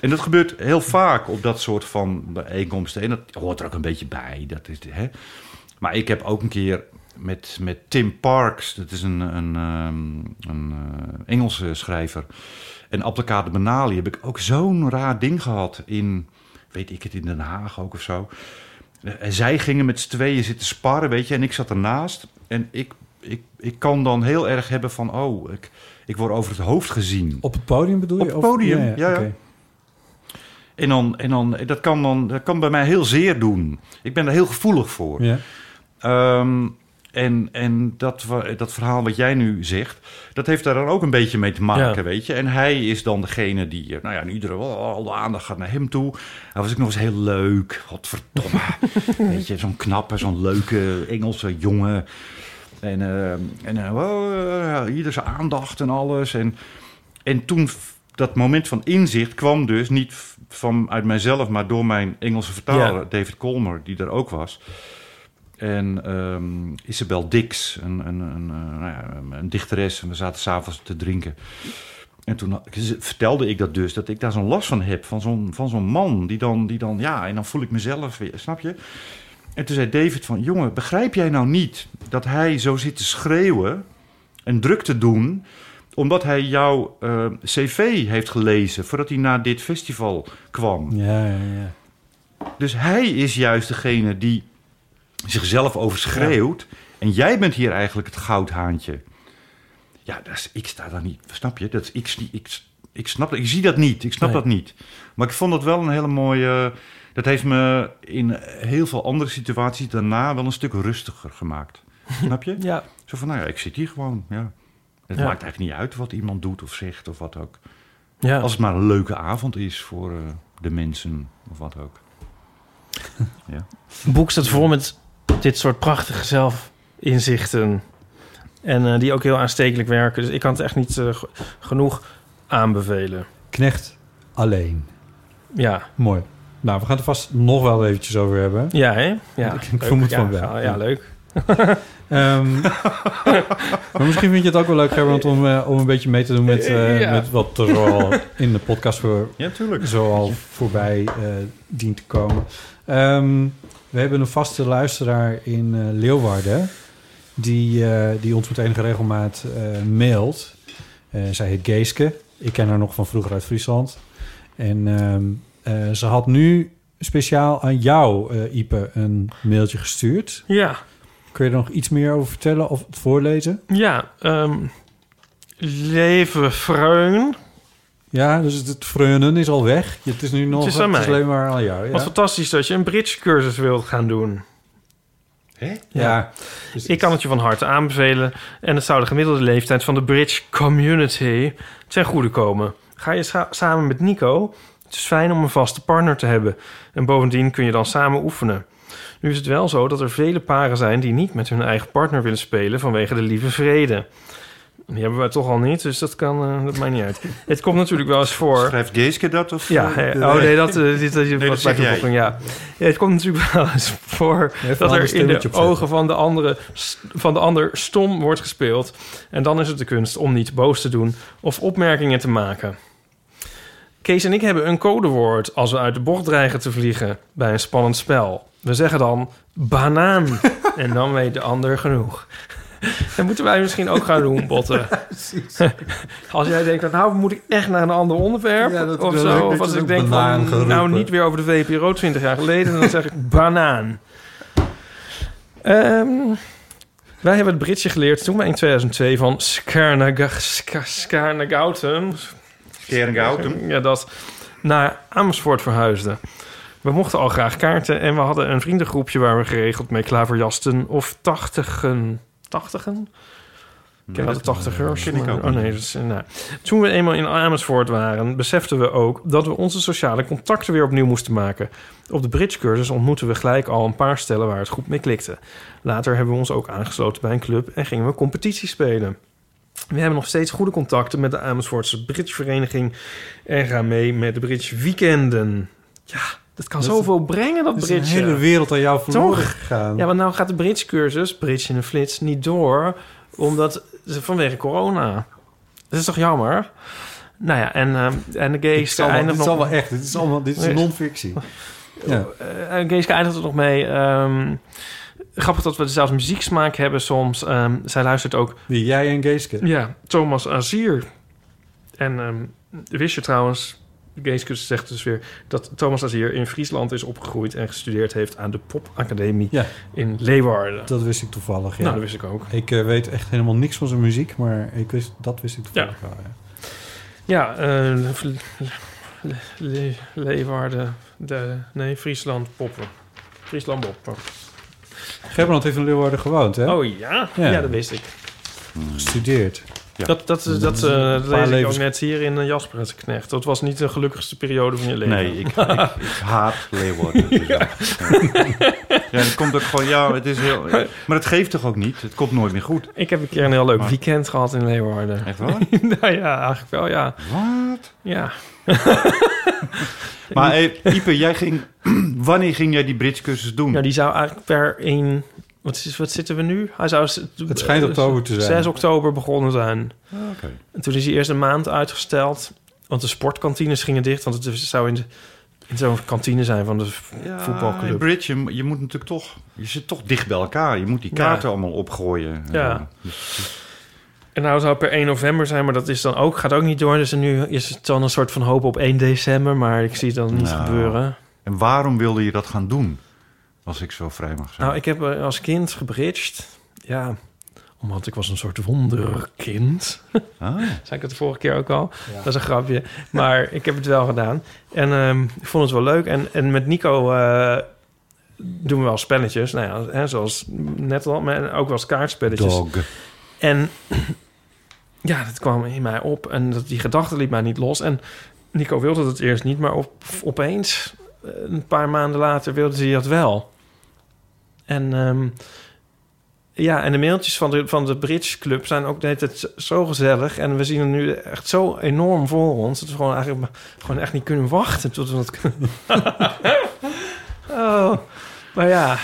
[SPEAKER 1] En dat gebeurt heel vaak op dat soort van bijeenkomsten. En dat hoort er ook een beetje bij. Dat is, hè. Maar ik heb ook een keer met, met Tim Parks, dat is een, een, ehm, een eh, Engelse schrijver, en Appelkaart de Benali, heb ik ook zo'n raar ding gehad in, weet ik het, in Den Haag ook of zo. En zij gingen met z'n tweeën zitten sparren, weet je, en ik zat ernaast. En ik, ik, ik kan dan heel erg hebben van, oh, ik, ik word over het hoofd gezien.
[SPEAKER 3] Op het podium bedoel
[SPEAKER 1] Op
[SPEAKER 3] je?
[SPEAKER 1] het
[SPEAKER 3] Of-
[SPEAKER 1] podium, ja, ja.
[SPEAKER 3] oké.
[SPEAKER 1] En, dan, en dan, dat, kan dan, dat kan bij mij heel zeer doen. Ik ben daar heel gevoelig voor.
[SPEAKER 3] Ja.
[SPEAKER 1] Ehm, en en dat, wa- dat verhaal wat jij nu zegt, dat heeft daar dan ook een beetje mee te maken,
[SPEAKER 2] Ja.
[SPEAKER 1] weet je. En hij is dan degene die, eh, nou ja, en iedereen, oh, al de aandacht gaat naar hem toe. Hij was ook nog eens heel leuk, godverdomme. weet je, zo'n knappe, zo'n leuke Engelse jongen. En, eh, en eh, wow, eh, ieder zijn aandacht en alles. En, en toen, f- dat moment van inzicht kwam dus niet f- vanuit mijzelf, maar door mijn Engelse vertaler,
[SPEAKER 2] Ja.
[SPEAKER 1] David Colmer, die er ook was. En ehm, Isabel Dix, een, een, een, eh, nou ja, een- een dichteres. En we zaten s'avonds te drinken. En toen had- ze- vertelde ik dat dus, dat ik daar zo'n last van heb. Van zo'n, van zo'n man die dan, die dan, ja, en dan voel ik mezelf weer, snap je? En toen zei David van, jongen, begrijp jij nou niet dat hij zo zit te schreeuwen en druk te doen... omdat hij jouw eh, cv heeft gelezen voordat hij naar dit festival kwam.
[SPEAKER 3] Ja, ja, ja.
[SPEAKER 1] Dus hij is juist degene die zichzelf overschreeuwt. En jij bent hier eigenlijk het goudhaantje. Ja, dat is, ik sta daar niet. Snap je? Dat is, ik, ik, ik, snap dat. Ik zie dat niet. Ik snap
[SPEAKER 3] Nee.
[SPEAKER 1] dat niet. Maar ik vond dat wel een hele mooie. Dat heeft me in heel veel andere situaties daarna wel een stuk rustiger gemaakt. Snap je?
[SPEAKER 2] Ja.
[SPEAKER 1] Zo van, nou ja, ik zit hier gewoon. Ja. Het
[SPEAKER 2] Ja.
[SPEAKER 1] maakt eigenlijk niet uit wat iemand doet of zegt of wat ook.
[SPEAKER 2] Ja.
[SPEAKER 1] Als het maar een leuke avond is voor eh, de mensen of wat ook. ja.
[SPEAKER 2] Het boek staat vol met dit soort prachtige zelfinzichten. En eh, die ook heel aanstekelijk werken. Dus ik kan het echt niet eh, g- genoeg aanbevelen.
[SPEAKER 3] Knecht alleen.
[SPEAKER 2] Ja.
[SPEAKER 3] Mooi. Nou, we gaan het er vast nog wel eventjes over hebben.
[SPEAKER 2] Ja, hè? Ja.
[SPEAKER 3] Ik, ik
[SPEAKER 2] Leuk.
[SPEAKER 3] vermoed
[SPEAKER 2] Ja,
[SPEAKER 3] van wel.
[SPEAKER 2] ja, ja, leuk.
[SPEAKER 3] Ehm, maar misschien vind je het ook wel leuk, Gerbrand, om, eh, om een beetje mee te doen met, eh,
[SPEAKER 2] Ja.
[SPEAKER 3] met wat er al in de podcast voor,
[SPEAKER 1] Ja, tuurlijk.
[SPEAKER 3] zoal voorbij eh, dient te komen. Ehm, we hebben een vaste luisteraar in eh, Leeuwarden, die, eh, die ons met enige regelmaat eh, mailt. Eh, zij heet Geeske. Ik ken haar nog van vroeger uit Friesland. En ehm, eh, ze had nu speciaal aan jou, eh, Ipe, een mailtje gestuurd.
[SPEAKER 2] Ja.
[SPEAKER 3] Kun je er nog iets meer over vertellen of het voorlezen?
[SPEAKER 2] Ja. ehm, leven vreun.
[SPEAKER 3] Ja, dus het, het freunen is al weg. Het is nu nog
[SPEAKER 2] Het is aan mij.
[SPEAKER 3] alleen maar aan jou. Ja.
[SPEAKER 2] Wat fantastisch dat je een bridge cursus wilt gaan doen.
[SPEAKER 3] ja.
[SPEAKER 2] Ik kan het je van harte aanbevelen. En het zou de gemiddelde leeftijd van de bridge community ten goede komen. Ga je sa- samen met Nico? Het is fijn om een vaste partner te hebben. En bovendien kun je dan samen oefenen. Nu is het wel zo dat er vele paren zijn die niet met hun eigen partner willen spelen vanwege de lieve vrede. Die hebben wij toch al niet, dus dat kan, eh, dat maakt niet uit. Het komt natuurlijk wel eens voor.
[SPEAKER 1] Schrijft Geeske dat? Of,
[SPEAKER 2] Ja,
[SPEAKER 1] eh,
[SPEAKER 2] hè.
[SPEAKER 1] de-
[SPEAKER 2] oh nee, dat, eh, dit, dat
[SPEAKER 1] dat
[SPEAKER 2] was bij
[SPEAKER 1] zeg
[SPEAKER 2] de
[SPEAKER 1] jij.
[SPEAKER 2] boeking, ja. ja. Het komt natuurlijk wel eens voor
[SPEAKER 3] Even
[SPEAKER 2] dat
[SPEAKER 3] een ander
[SPEAKER 2] er in
[SPEAKER 3] stemmetje
[SPEAKER 2] de
[SPEAKER 3] opzetten.
[SPEAKER 2] ogen van de, andere, s- van de ander stom wordt gespeeld. En dan is het de kunst om niet boos te doen of opmerkingen te maken. Kees en ik hebben een codewoord als we uit de bocht dreigen te vliegen bij een spannend spel. We zeggen dan banaan en dan weet de ander genoeg. Dat moeten wij misschien ook gaan doen, Botten. Als jij denkt, nou moet ik echt naar een ander onderwerp
[SPEAKER 3] Ja, dat-
[SPEAKER 2] of
[SPEAKER 3] dat- dat-
[SPEAKER 2] zo. Of
[SPEAKER 3] dat-
[SPEAKER 2] als
[SPEAKER 3] dat-
[SPEAKER 2] ik denk
[SPEAKER 3] banaan
[SPEAKER 2] van,
[SPEAKER 3] geroepen.
[SPEAKER 2] nou niet weer over de VPRO 20 jaar geleden. Dan zeg ik banaan. Ehm, Wij hebben het Britje geleerd toen wij in 2002 van Skarnag- Ska- Skarnagoutum...
[SPEAKER 1] Skarnagoutum.
[SPEAKER 2] Ja, dat naar Amersfoort verhuisden. We mochten al graag kaarten en we hadden een vriendengroepje... waar we geregeld mee klaverjasten of tachtigen... Tachtigen? Ik ken
[SPEAKER 1] Nee,
[SPEAKER 2] de
[SPEAKER 1] dat-
[SPEAKER 2] tachtigers.
[SPEAKER 1] ken ik ook
[SPEAKER 2] Oh
[SPEAKER 1] niet.
[SPEAKER 2] nee, dat is, eh, nou. Toen we eenmaal in Amersfoort waren, beseften we ook dat we onze sociale contacten weer opnieuw moesten maken. Op de bridgecursus ontmoetten we gelijk al een paar stellen waar het goed mee klikte. Later hebben we ons ook aangesloten bij een club en gingen we competitie spelen. We hebben nog steeds goede contacten met de Amersfoortse bridgevereniging en gaan mee met de bridge weekenden. Ja, dat kan
[SPEAKER 3] Dat is-
[SPEAKER 2] zoveel brengen, dat
[SPEAKER 3] dat is
[SPEAKER 2] bridge.
[SPEAKER 3] een hele wereld aan jou verloren
[SPEAKER 2] Toch?
[SPEAKER 3] gegaan.
[SPEAKER 2] Ja, maar nou gaat de Brits-cursus, Brits in de flits, niet door. Omdat ze vanwege corona. Dat is toch jammer? Nou ja, en, ehm, en de
[SPEAKER 3] Dit
[SPEAKER 2] gays
[SPEAKER 3] is allemaal, dit
[SPEAKER 2] eindigt nog-
[SPEAKER 3] is allemaal echt. Dit is allemaal dit is
[SPEAKER 2] Nee.
[SPEAKER 3] non-fictie. Ja.
[SPEAKER 2] Eh, eh, Geeske eindigt er nog mee. ehm, grappig dat we dezelfde muzieksmaak hebben soms. Ehm, zij luistert ook...
[SPEAKER 3] Wie, jij en Geeske?
[SPEAKER 2] Ja, Thomas Azier. En ehm, wist je trouwens... Geeske zegt dus weer dat Thomas Azier in Friesland is opgegroeid... en gestudeerd heeft aan de popacademie
[SPEAKER 3] Ja.
[SPEAKER 2] in Leeuwarden.
[SPEAKER 3] Dat wist ik toevallig, ja.
[SPEAKER 2] Nou, dat wist ik ook.
[SPEAKER 3] Ik eh, weet echt helemaal niks van zijn muziek, maar ik wist, dat wist ik toevallig wel, ja.
[SPEAKER 2] Ja, eh, Le- Le- Le- Leeuwarden, de, nee, Friesland poppen. Friesland poppen.
[SPEAKER 3] Gerbrand heeft in Leeuwarden gewoond, hè?
[SPEAKER 2] Oh ja? ja, dat wist ik.
[SPEAKER 3] Gestudeerd.
[SPEAKER 2] Dat, dat, dat, eh,
[SPEAKER 3] Een
[SPEAKER 2] dat
[SPEAKER 3] paar
[SPEAKER 2] lees ik ook
[SPEAKER 3] levens-
[SPEAKER 2] net hier in eh, Jasper en zijn Knecht. Dat was niet de gelukkigste periode van je leven.
[SPEAKER 1] Nee, ik, ik, ik haat Leeuwarden. dus Ja. Ja, dat komt ook gewoon, ja, het is heel... Maar het geeft toch ook niet? Het komt nooit meer goed.
[SPEAKER 2] Ik heb een keer een heel leuk
[SPEAKER 1] Maar-
[SPEAKER 2] weekend gehad in Leeuwarden.
[SPEAKER 1] Echt waar?
[SPEAKER 2] nou ja, eigenlijk wel, ja.
[SPEAKER 1] Wat?
[SPEAKER 2] Ja.
[SPEAKER 1] Maar hey, Ipe, jij ging, wanneer ging jij die bridgecursus doen?
[SPEAKER 2] Ja, Nou, die zou eigenlijk per 1... Wat, is, wat zitten we nu? Hij zou...
[SPEAKER 3] Het schijnt
[SPEAKER 2] dus-
[SPEAKER 3] oktober te zijn.
[SPEAKER 2] 6 oktober begonnen zijn.
[SPEAKER 1] Oké.
[SPEAKER 2] En toen is hij eerst een maand uitgesteld. Want de sportkantines gingen dicht. Want het zou in, de- in zo'n kantine zijn van de v-
[SPEAKER 1] Ja,
[SPEAKER 2] voetbalclub.
[SPEAKER 1] Bridge, je, je moet natuurlijk toch... Je zit toch dicht bij elkaar. Je moet die
[SPEAKER 2] Ja.
[SPEAKER 1] kaarten allemaal opgooien.
[SPEAKER 2] Ja. En nou zou het per 1 november zijn, maar dat is dan ook, gaat ook niet door. Dus nu is het dan een soort van hoop op 1 december. Maar ik zie het dan niet
[SPEAKER 1] Nou.
[SPEAKER 2] gebeuren.
[SPEAKER 1] En waarom wilde je dat gaan doen? Als ik zo vrij mag zijn.
[SPEAKER 2] Nou, ik heb eh, als kind gebridged. Ja, omdat ik was een soort wonderkind.
[SPEAKER 1] Ah.
[SPEAKER 2] Zei ik het de vorige keer ook al? Dat is een grapje. Maar ik heb het wel gedaan. En ehm, ik vond het wel leuk. En, en met Nico eh, doen we wel spelletjes. Nou ja, hè, zoals net al. Maar ook wel eens kaartspelletjes.
[SPEAKER 1] Dog.
[SPEAKER 2] En ja, dat kwam in mij op. En dat, die gedachte liet mij niet los. En Nico wilde dat eerst niet. Maar op, opeens, eh, een paar maanden later, wilde hij dat wel. En ehm, ja, en de mailtjes van de, van de Bridge Club zijn ook de hele tijd zo gezellig. En we zien er nu echt zo enorm voor ons... dat we gewoon eigenlijk gewoon echt niet kunnen wachten tot we dat kunnen. oh, maar ja...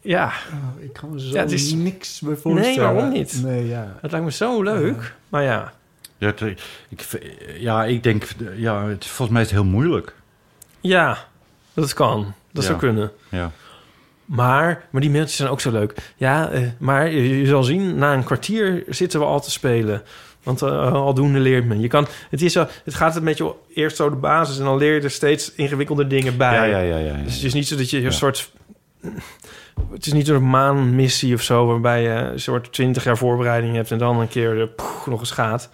[SPEAKER 2] Ja.
[SPEAKER 3] ik kan me zo
[SPEAKER 2] Ja, het is-
[SPEAKER 3] niks bij
[SPEAKER 2] Nee,
[SPEAKER 3] voorstellen.
[SPEAKER 2] waarom niet?
[SPEAKER 3] Nee, ja.
[SPEAKER 2] Het lijkt me zo leuk. Maar ja,
[SPEAKER 1] Ja, het- ik, ja, ik denk... Ja, het, volgens mij is het heel moeilijk.
[SPEAKER 2] ja, dat kan. Dat
[SPEAKER 1] Ja.
[SPEAKER 2] zou kunnen.
[SPEAKER 1] Ja.
[SPEAKER 2] Maar, maar die mailtjes zijn ook zo leuk. Ja, eh, maar je, je zal zien, na een kwartier zitten we al te spelen. Want eh, aldoende leert men. Je kan, het, is zo, het gaat een beetje eerst zo de basis... en dan leer je er steeds ingewikkelder dingen bij.
[SPEAKER 1] Ja, ja, ja, ja, ja.
[SPEAKER 2] Dus het is niet zo dat je een soort... Het is niet een maanmissie of zo... waarbij je een soort twintig jaar voorbereiding hebt... en dan een keer eh, poeh, nog eens gaat.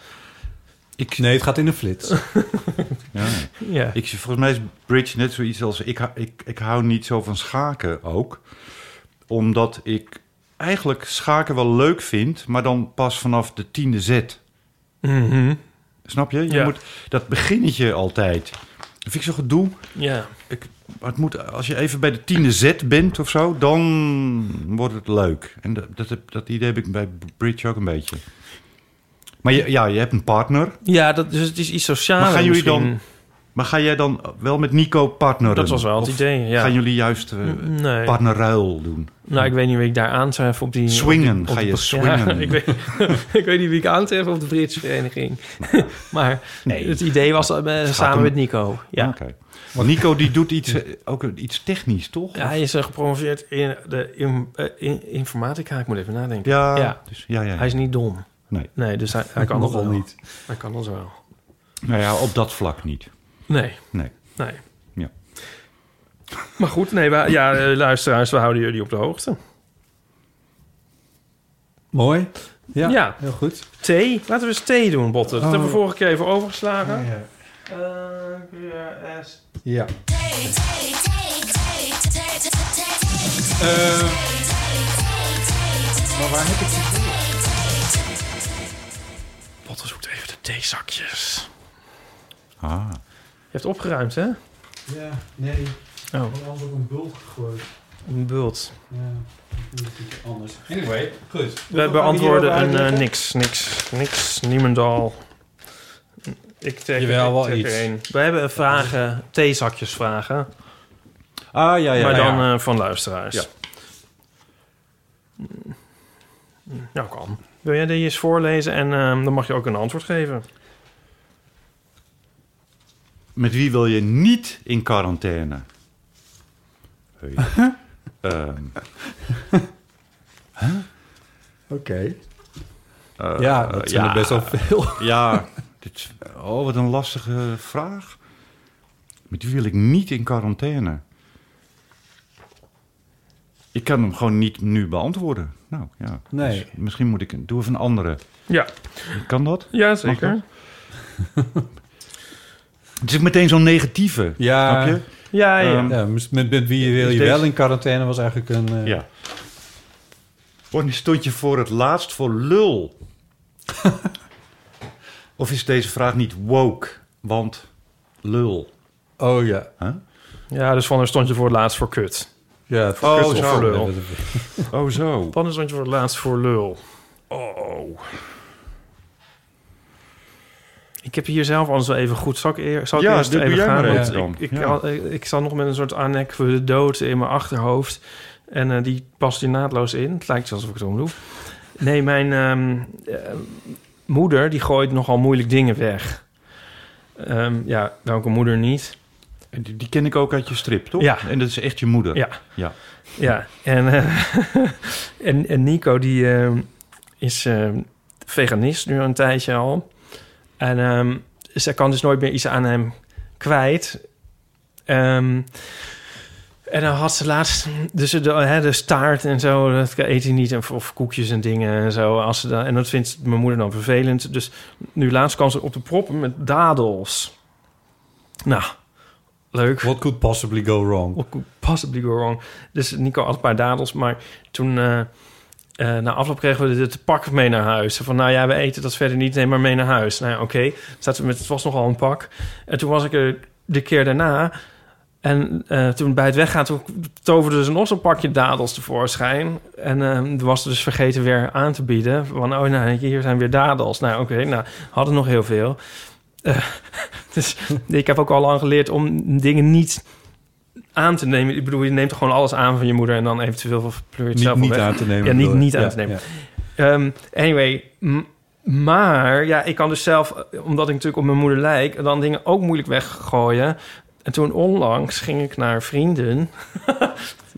[SPEAKER 1] Ik,
[SPEAKER 3] Nee, het gaat in een flits.
[SPEAKER 1] Ja.
[SPEAKER 2] Ja.
[SPEAKER 1] Ik, volgens mij is bridge net zoiets als... Ik, hou- ik, ik hou niet zo van schaken ook. Omdat ik eigenlijk schaken wel leuk vind... maar dan pas vanaf de tiende zet.
[SPEAKER 2] Mhm.
[SPEAKER 1] Snap je? Je
[SPEAKER 2] Ja.
[SPEAKER 1] moet dat beginnetje altijd. Dat vind ik zo gedoe.
[SPEAKER 2] Ja.
[SPEAKER 1] Ik, maar het moet, als je even bij de tiende zet bent of zo... dan wordt het leuk. En dat, dat, heb- dat idee heb ik bij bridge ook een beetje. Maar je, ja, je hebt een partner.
[SPEAKER 2] Ja, dat, dus het is iets socialer
[SPEAKER 1] Maar gaan jullie dan-
[SPEAKER 2] misschien.
[SPEAKER 1] Maar ga jij dan wel met Nico partneren?
[SPEAKER 2] Dat was wel het
[SPEAKER 1] Of
[SPEAKER 2] idee, ja. Mm,
[SPEAKER 1] gaan jullie juist... eh,
[SPEAKER 2] Nee.
[SPEAKER 1] partnerruil doen.
[SPEAKER 2] Nou, ik weet niet wie ik daar aantref op die...
[SPEAKER 1] Swingen,
[SPEAKER 2] op die- op
[SPEAKER 1] ga
[SPEAKER 2] die-
[SPEAKER 1] je swingen.
[SPEAKER 2] Ja, ik, weet, ik weet niet wie ik aantref op de Britse vereniging. maar
[SPEAKER 1] Nee.
[SPEAKER 2] het idee was eh, samen
[SPEAKER 1] om-
[SPEAKER 2] met Nico. Ja.
[SPEAKER 1] Oké. Want Nico die doet iets, eh, ook een- iets technisch, toch?
[SPEAKER 2] Ja, hij is eh, gepromoveerd in de in, eh, in- informatica. Ik moet even nadenken.
[SPEAKER 1] ja,
[SPEAKER 2] ja.
[SPEAKER 1] Dus, ja, ja, ja.
[SPEAKER 2] Hij is niet dom.
[SPEAKER 1] Nee.
[SPEAKER 2] Nee, dus hij, hij kan ons
[SPEAKER 3] Nogal
[SPEAKER 2] wel.
[SPEAKER 3] niet.
[SPEAKER 2] Hij kan ons wel.
[SPEAKER 1] Nou ja, op dat vlak niet.
[SPEAKER 2] Nee,
[SPEAKER 1] Nee.
[SPEAKER 2] nee.
[SPEAKER 1] Ja.
[SPEAKER 2] Maar goed, nee, we, ja, eh, luisteraars, we houden jullie op de hoogte.
[SPEAKER 3] Mooi. Ja,
[SPEAKER 2] Ja.
[SPEAKER 3] heel goed.
[SPEAKER 2] Thee? Laten we eens thee doen, Botten. Dat
[SPEAKER 3] Oh.
[SPEAKER 2] hebben we vorige keer even overgeslagen.
[SPEAKER 3] Ja, ja. Ja. maar waar heb ik
[SPEAKER 2] Botten zoekt even de theezakjes.
[SPEAKER 1] Ah.
[SPEAKER 2] Je hebt opgeruimd, hè?
[SPEAKER 3] Ja, nee.
[SPEAKER 2] Oh.
[SPEAKER 3] Ik had anders op een bult gegooid.
[SPEAKER 2] Een bult.
[SPEAKER 3] Ja, dat is iets anders. Anyway, goed.
[SPEAKER 2] We beantwoorden een eh, niks, niks, niks, niemendal. Ik trek,
[SPEAKER 3] Jawel,
[SPEAKER 2] ik
[SPEAKER 3] wel
[SPEAKER 2] trek
[SPEAKER 3] iets.
[SPEAKER 2] er één. We hebben een vragen, theezakjes vragen.
[SPEAKER 1] Ah, ja, ja.
[SPEAKER 2] maar dan
[SPEAKER 1] ja.
[SPEAKER 2] eh, van luisteraars.
[SPEAKER 1] Ja.
[SPEAKER 2] Nou, kan. Wil jij die eens voorlezen en ehm, dan mag je ook een antwoord geven.
[SPEAKER 1] Met wie wil je niet in quarantaine? Hey. Ehm,
[SPEAKER 3] Oké.
[SPEAKER 1] eh,
[SPEAKER 3] Ja, dat zijn er best wel veel.
[SPEAKER 1] Ja, dit, oh, wat een lastige vraag. Met wie wil ik niet in quarantaine? Ik kan hem gewoon niet nu beantwoorden. Nou, ja.
[SPEAKER 3] Nee.
[SPEAKER 1] Dus misschien moet ik... Doe even een andere.
[SPEAKER 2] Ja.
[SPEAKER 1] Kan dat?
[SPEAKER 2] Ja,
[SPEAKER 1] Mag
[SPEAKER 2] zeker.
[SPEAKER 1] dat? Het is meteen zo'n negatieve,
[SPEAKER 3] Ja.
[SPEAKER 1] snap je?
[SPEAKER 2] Ja, ja.
[SPEAKER 1] Ehm,
[SPEAKER 3] Ja, mis- met, met wie je wil
[SPEAKER 2] dus
[SPEAKER 1] Is
[SPEAKER 3] je
[SPEAKER 1] deze-
[SPEAKER 3] wel in quarantaine was eigenlijk een... eh,
[SPEAKER 1] Ja. Wanneer stond je voor het laatst voor lul? of is deze vraag niet woke? Want lul.
[SPEAKER 3] Oh ja.
[SPEAKER 1] Huh?
[SPEAKER 2] Ja, dus van er stond je voor het laatst voor kut.
[SPEAKER 3] Ja,
[SPEAKER 1] Oh,
[SPEAKER 3] kut of
[SPEAKER 1] zo.
[SPEAKER 3] voor lul.
[SPEAKER 1] Oh, zo.
[SPEAKER 2] Van er stond je voor het laatst voor lul. Oh. Ik heb hier zelf anders wel even goed. Zal ik, eer, zal ik
[SPEAKER 1] Ja,
[SPEAKER 2] eerst
[SPEAKER 1] dit doe
[SPEAKER 2] even
[SPEAKER 1] jij
[SPEAKER 2] gaan?
[SPEAKER 1] maar
[SPEAKER 2] Want
[SPEAKER 1] even dan.
[SPEAKER 2] ik, ik,
[SPEAKER 1] Ja.
[SPEAKER 2] al- ik, ik zat nog met een soort anek voor de dood in mijn achterhoofd. En eh, die past hier naadloos in. Het lijkt alsof ik het omdoe. Nee, mijn ehm, eh, moeder die gooit nogal moeilijk dingen weg. Ehm, ja, welke moeder niet?
[SPEAKER 1] En Die, die ken ik ook uit je strip, toch?
[SPEAKER 2] Ja.
[SPEAKER 1] En dat is echt je moeder.
[SPEAKER 2] Ja.
[SPEAKER 1] ja.
[SPEAKER 2] Ja, en, eh, en, en Nico die eh, is eh, veganist nu een tijdje al. En ehm, zij kan dus nooit meer iets aan hem kwijt. Ehm, en dan had ze laatst dus de, hè, de staart en zo, dat eet hij niet. Of, of koekjes en dingen en zo. Als ze dan, en dat vindt mijn moeder dan vervelend. Dus nu laatst kwam ze op de proppen met dadels. Nou, leuk.
[SPEAKER 3] What could possibly go wrong?
[SPEAKER 2] What could possibly go wrong? Dus Nico had een paar dadels, maar toen... eh, eh, na afloop kregen we dit pak mee naar huis. Van nou ja, we eten dat verder niet, neem maar mee naar huis. Nou ja, oké. Zaten we met Het was nogal een pak. En toen was ik eh, er de keer daarna. En eh, toen bij het weggaan, toen toverde dus nog zo'n pakje dadels tevoorschijn. En eh was er dus vergeten weer aan te bieden. Van oh, nou, hier zijn weer dadels. Nou oké, nou, hadden nog heel veel. Eh, dus ik heb ook al lang geleerd om dingen niet aan te nemen. Ik bedoel, je neemt gewoon alles aan van je moeder... en dan eventueel pleur je het
[SPEAKER 3] Niet,
[SPEAKER 2] zelf wel
[SPEAKER 3] niet
[SPEAKER 2] weg.
[SPEAKER 3] aan te nemen.
[SPEAKER 2] Ja, niet,
[SPEAKER 3] bedoel ik.
[SPEAKER 2] niet aan te nemen. Ehm, anyway, m- maar ja, ik kan dus zelf, eh, omdat ik natuurlijk op mijn moeder lijk, dan dingen ook moeilijk weggooien. En toen onlangs ging ik naar vrienden.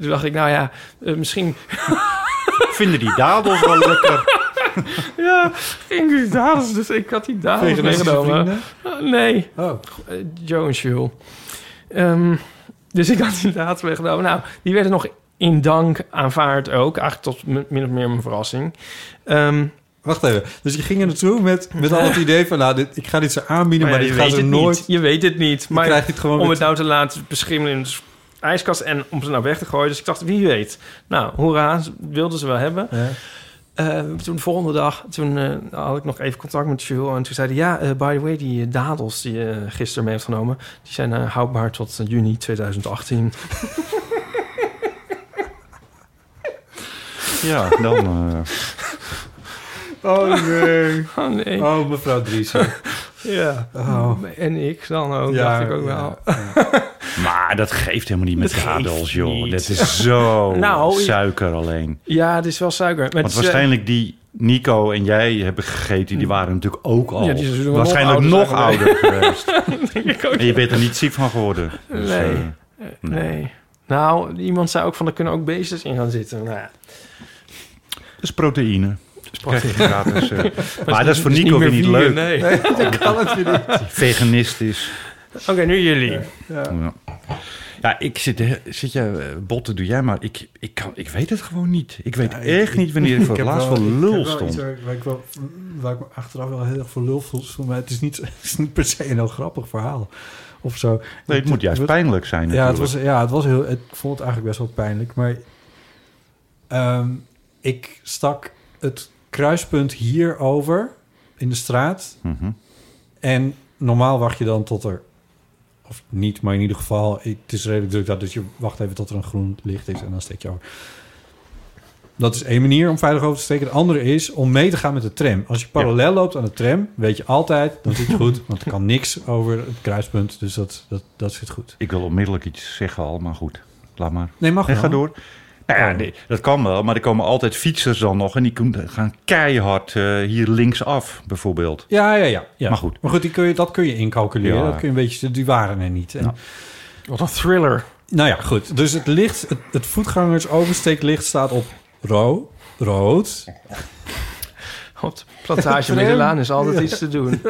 [SPEAKER 2] toen dacht ik, nou ja, eh, misschien.
[SPEAKER 1] Vinden die dadels wel lekker?
[SPEAKER 2] Ja, ging die dadels. Dus ik had die dadels
[SPEAKER 3] Veganistische
[SPEAKER 2] meegenomen.
[SPEAKER 3] vrienden?
[SPEAKER 2] Eh, nee,
[SPEAKER 3] Oh,
[SPEAKER 2] eh, Joe en Jules. Ehm, dus ik had die dadels meegenomen. Nou, die werden nog in dank aanvaard ook. Eigenlijk tot m- min of meer mijn verrassing. Ehm,
[SPEAKER 3] wacht even. Dus je ging er naartoe met, met al het idee van... Nou, dit, ik ga dit ze aanbieden, maar,
[SPEAKER 2] ja,
[SPEAKER 3] dit
[SPEAKER 2] je
[SPEAKER 3] gaat
[SPEAKER 2] weet
[SPEAKER 3] ze
[SPEAKER 2] het
[SPEAKER 3] nooit...
[SPEAKER 2] Niet. Je weet het niet. Maar
[SPEAKER 3] krijg je het gewoon
[SPEAKER 2] om
[SPEAKER 3] weer
[SPEAKER 2] het nou te laten beschimmelen in de ijskast en om ze nou weg te gooien. Dus ik dacht, wie weet. Nou, hoera, ze- wilden ze wel hebben.
[SPEAKER 3] Ja.
[SPEAKER 2] Eh, toen de volgende dag, toen eh, had ik nog even contact met Jules. En toen zei hij, ja, eh, by the way, die eh, dadels die je gisteren mee hebt genomen... die zijn eh, houdbaar tot eh, juni 2018.
[SPEAKER 1] Ja, dan... eh,
[SPEAKER 3] Oh, nee.
[SPEAKER 2] eh. Oh nee.
[SPEAKER 3] Oh, mevrouw Driessen.
[SPEAKER 2] Ja.
[SPEAKER 3] Oh.
[SPEAKER 2] En ik dan ook,
[SPEAKER 3] Ja,
[SPEAKER 2] dacht ik ook
[SPEAKER 3] ja.
[SPEAKER 2] wel.
[SPEAKER 1] Maar dat geeft helemaal niet met
[SPEAKER 2] Dat geeft
[SPEAKER 1] dadels, joh.
[SPEAKER 2] niet.
[SPEAKER 1] Dat is zo
[SPEAKER 2] Nou, je-
[SPEAKER 1] suiker alleen.
[SPEAKER 2] Ja, het is wel suiker. Maar
[SPEAKER 1] Want
[SPEAKER 2] het is, eh,
[SPEAKER 1] waarschijnlijk die Nico en jij hebben gegeten, die waren natuurlijk ook al.
[SPEAKER 2] Mm. Ja, die zullen nog
[SPEAKER 1] waarschijnlijk
[SPEAKER 2] ouder
[SPEAKER 1] nog
[SPEAKER 2] zijn
[SPEAKER 1] ouder geweest.
[SPEAKER 2] ik ook
[SPEAKER 1] En je bent er niet ziek van geworden. Dus,
[SPEAKER 2] Nee.
[SPEAKER 1] eh,
[SPEAKER 2] Nee. Nou, iemand zei ook van, er kunnen ook beestjes in gaan zitten. Nou ja.
[SPEAKER 1] dat is proteïne. Krijg je gratis. eh. maar
[SPEAKER 2] Maar
[SPEAKER 1] dat is voor Nico weer niet leuk.
[SPEAKER 2] Nee.
[SPEAKER 3] Dat kan het weer niet.
[SPEAKER 1] Veganistisch.
[SPEAKER 2] Oké, nu jullie.
[SPEAKER 1] Ja. Ja, ik zit, he- zit je, eh, botten doe jij, maar ik, ik, kan, ik weet het gewoon niet. Ik weet echt niet wanneer ik voor het
[SPEAKER 3] heb
[SPEAKER 1] laatst
[SPEAKER 3] wel-
[SPEAKER 1] van
[SPEAKER 3] ik
[SPEAKER 1] lul
[SPEAKER 3] heb wel iets
[SPEAKER 1] stond.
[SPEAKER 3] Waar, ik- waar ik wel, waar ik me achteraf wel heel erg voor lul voel. voel, Maar het is, niet, het is niet per se een heel grappig verhaal. Of zo.
[SPEAKER 1] Nee, het moet juist
[SPEAKER 3] was-
[SPEAKER 1] pijnlijk zijn
[SPEAKER 3] Ja, het was,
[SPEAKER 1] natuurlijk.
[SPEAKER 3] ja het was heel, het, ik vond het eigenlijk best wel pijnlijk. Maar ehm, ik stak het kruispunt hierover in de straat.
[SPEAKER 1] Mhm.
[SPEAKER 3] En normaal wacht je dan tot er... Of niet, maar in ieder geval... ik- Het is redelijk druk dat dus je wacht even tot er een groen licht is en dan steek je over. Dat is één manier om veilig over te steken. De andere is om mee te gaan met de tram. Als je parallel loopt aan de tram, weet je altijd... dan zit je goed, want er kan niks over het kruispunt. Dus dat, dat, dat zit goed.
[SPEAKER 1] Ik wil onmiddellijk iets zeggen al, maar goed. Laat maar.
[SPEAKER 3] Nee, mag
[SPEAKER 1] En ga
[SPEAKER 3] wel.
[SPEAKER 1] door. Nou ja, nee, dat kan wel, maar er komen altijd fietsers dan nog... en die kunnen- gaan keihard eh, hier linksaf, bijvoorbeeld.
[SPEAKER 3] Ah, Ja, ja, ja, ja.
[SPEAKER 1] Maar goed.
[SPEAKER 3] Maar goed, die kun je, dat kun je incalculeren.
[SPEAKER 1] Ja.
[SPEAKER 3] Dat kun je een beetje, die waren er niet. En,
[SPEAKER 2] Wat een thriller.
[SPEAKER 3] Nou ja, goed. Dus het licht, het, het voetgangersoversteeklicht staat op ro rood.
[SPEAKER 2] Op de plantage Middelaan is altijd
[SPEAKER 3] Ja.
[SPEAKER 2] iets te doen.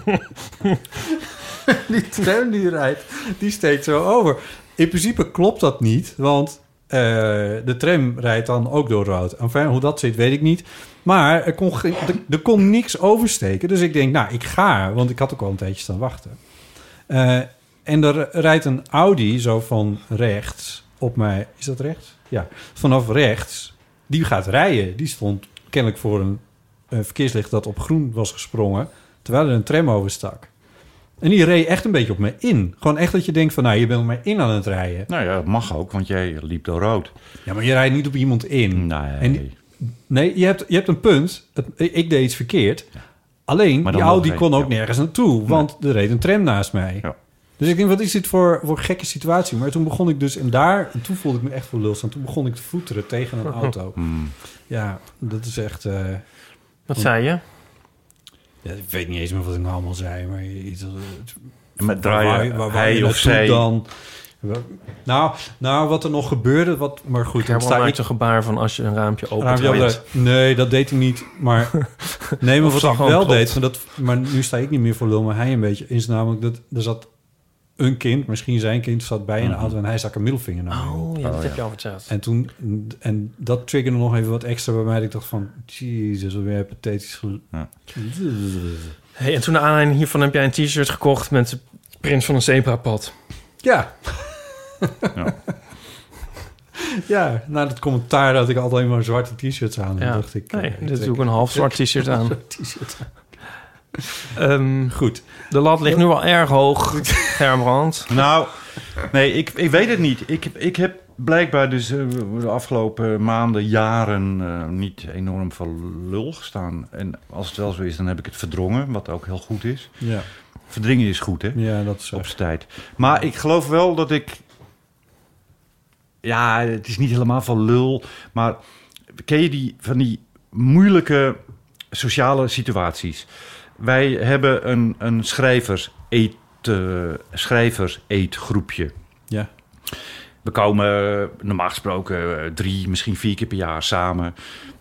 [SPEAKER 3] die tram die rijdt, die steekt zo over. In principe klopt dat niet, want eh, de tram rijdt dan ook door rood. Enfin, hoe dat zit, weet ik niet. Maar er kon, geen- er, er kon niks oversteken. Dus ik denk, nou, ik ga, want ik had ook al een tijdje staan wachten. Eh, en er rijdt een Audi zo van rechts op mij. Is dat rechts? Ja. Vanaf rechts. Die gaat rijden. Die stond kennelijk voor een, een verkeerslicht dat op groen was gesprongen. Terwijl er een tram overstak. En die reed echt een beetje op me in. Gewoon echt dat je denkt van, nou, je bent op mij in aan het rijden.
[SPEAKER 1] Nou ja, dat mag ook, want jij liep door rood.
[SPEAKER 3] Ja, maar je rijdt niet op iemand in.
[SPEAKER 1] Nee.
[SPEAKER 3] En die- nee, je hebt, je hebt een punt. Het- ik deed iets verkeerd. Alleen,
[SPEAKER 1] Maar
[SPEAKER 3] die
[SPEAKER 1] dan
[SPEAKER 3] Audi
[SPEAKER 1] nog
[SPEAKER 3] kon
[SPEAKER 1] geen,
[SPEAKER 3] ook nergens naartoe. Want er reed een tram naast mij. Dus ik denk, wat is dit voor, voor gekke situatie? Maar toen begon ik dus, en daar, en toen voelde ik me echt voor lul staan. Toen begon ik te voeteren tegen een auto.
[SPEAKER 1] Hmm.
[SPEAKER 3] Ja, dat is echt... eh,
[SPEAKER 2] Wat zei je?
[SPEAKER 3] Ja, ik weet niet eens meer wat ik nou allemaal zei, maar iets als, eh,
[SPEAKER 1] Maar draai je- hij
[SPEAKER 3] je
[SPEAKER 1] of
[SPEAKER 3] naartoe
[SPEAKER 1] zij-
[SPEAKER 3] dan? Nou, nou, wat er nog gebeurde, wat, maar goed.
[SPEAKER 2] Gerbrand
[SPEAKER 3] dat sta
[SPEAKER 2] maakt een gebaar van als je een raampje opent.
[SPEAKER 3] Raampje
[SPEAKER 2] dan-
[SPEAKER 3] opdraaien. Nee, dat deed hij niet. Maar nee, maar
[SPEAKER 2] Of
[SPEAKER 3] wat
[SPEAKER 2] ze
[SPEAKER 3] ik wel
[SPEAKER 2] gewoon klopt.
[SPEAKER 3] deed, maar, dat, maar nu sta ik niet meer voor lul, maar hij een beetje is namelijk dat er zat een kind, misschien zijn kind, zat bij een
[SPEAKER 2] Mhm.
[SPEAKER 3] auto en hij stak een middelvinger naar mij op.
[SPEAKER 2] Oh, ja, dat heb je al verteld.
[SPEAKER 3] En toen en dat triggerde nog even wat extra bij mij. dat Ik dacht van, jezus, wat ben jij pathetisch. gel-
[SPEAKER 2] Hey, en toen naar aanleiding hiervan heb jij een t-shirt gekocht met de print van een zebrapad.
[SPEAKER 3] Ja. ja, na dat commentaar dat ik altijd maar zwarte t-shirts aan,
[SPEAKER 2] Ja.
[SPEAKER 3] dacht ik.
[SPEAKER 2] Nee,
[SPEAKER 3] eh,
[SPEAKER 2] dit
[SPEAKER 3] trek-
[SPEAKER 2] doe ik een half zwart
[SPEAKER 3] trek-
[SPEAKER 2] t-shirt aan. Ehm,
[SPEAKER 3] zwart t-shirt aan.
[SPEAKER 1] Goed.
[SPEAKER 2] De lat ligt nu al erg hoog, Gerbrand.
[SPEAKER 1] Nou, nee, ik, ik weet het niet. Ik, ik heb blijkbaar dus eh, de afgelopen maanden, jaren eh, niet enorm van lul gestaan. En als het wel zo is, dan heb ik het verdrongen, wat ook heel goed is.
[SPEAKER 3] Ja.
[SPEAKER 1] Verdringen is goed, hè?
[SPEAKER 3] Ja, dat is
[SPEAKER 1] Op z'n tijd. Maar ik geloof wel dat ik... Ja, het is niet helemaal van lul, maar ken je die van die moeilijke sociale situaties? Wij hebben een, een schrijvers eet, eh, schrijvers eetgroepje.
[SPEAKER 3] Ja.
[SPEAKER 1] We komen eh, normaal gesproken eh, drie, misschien vier keer per jaar samen.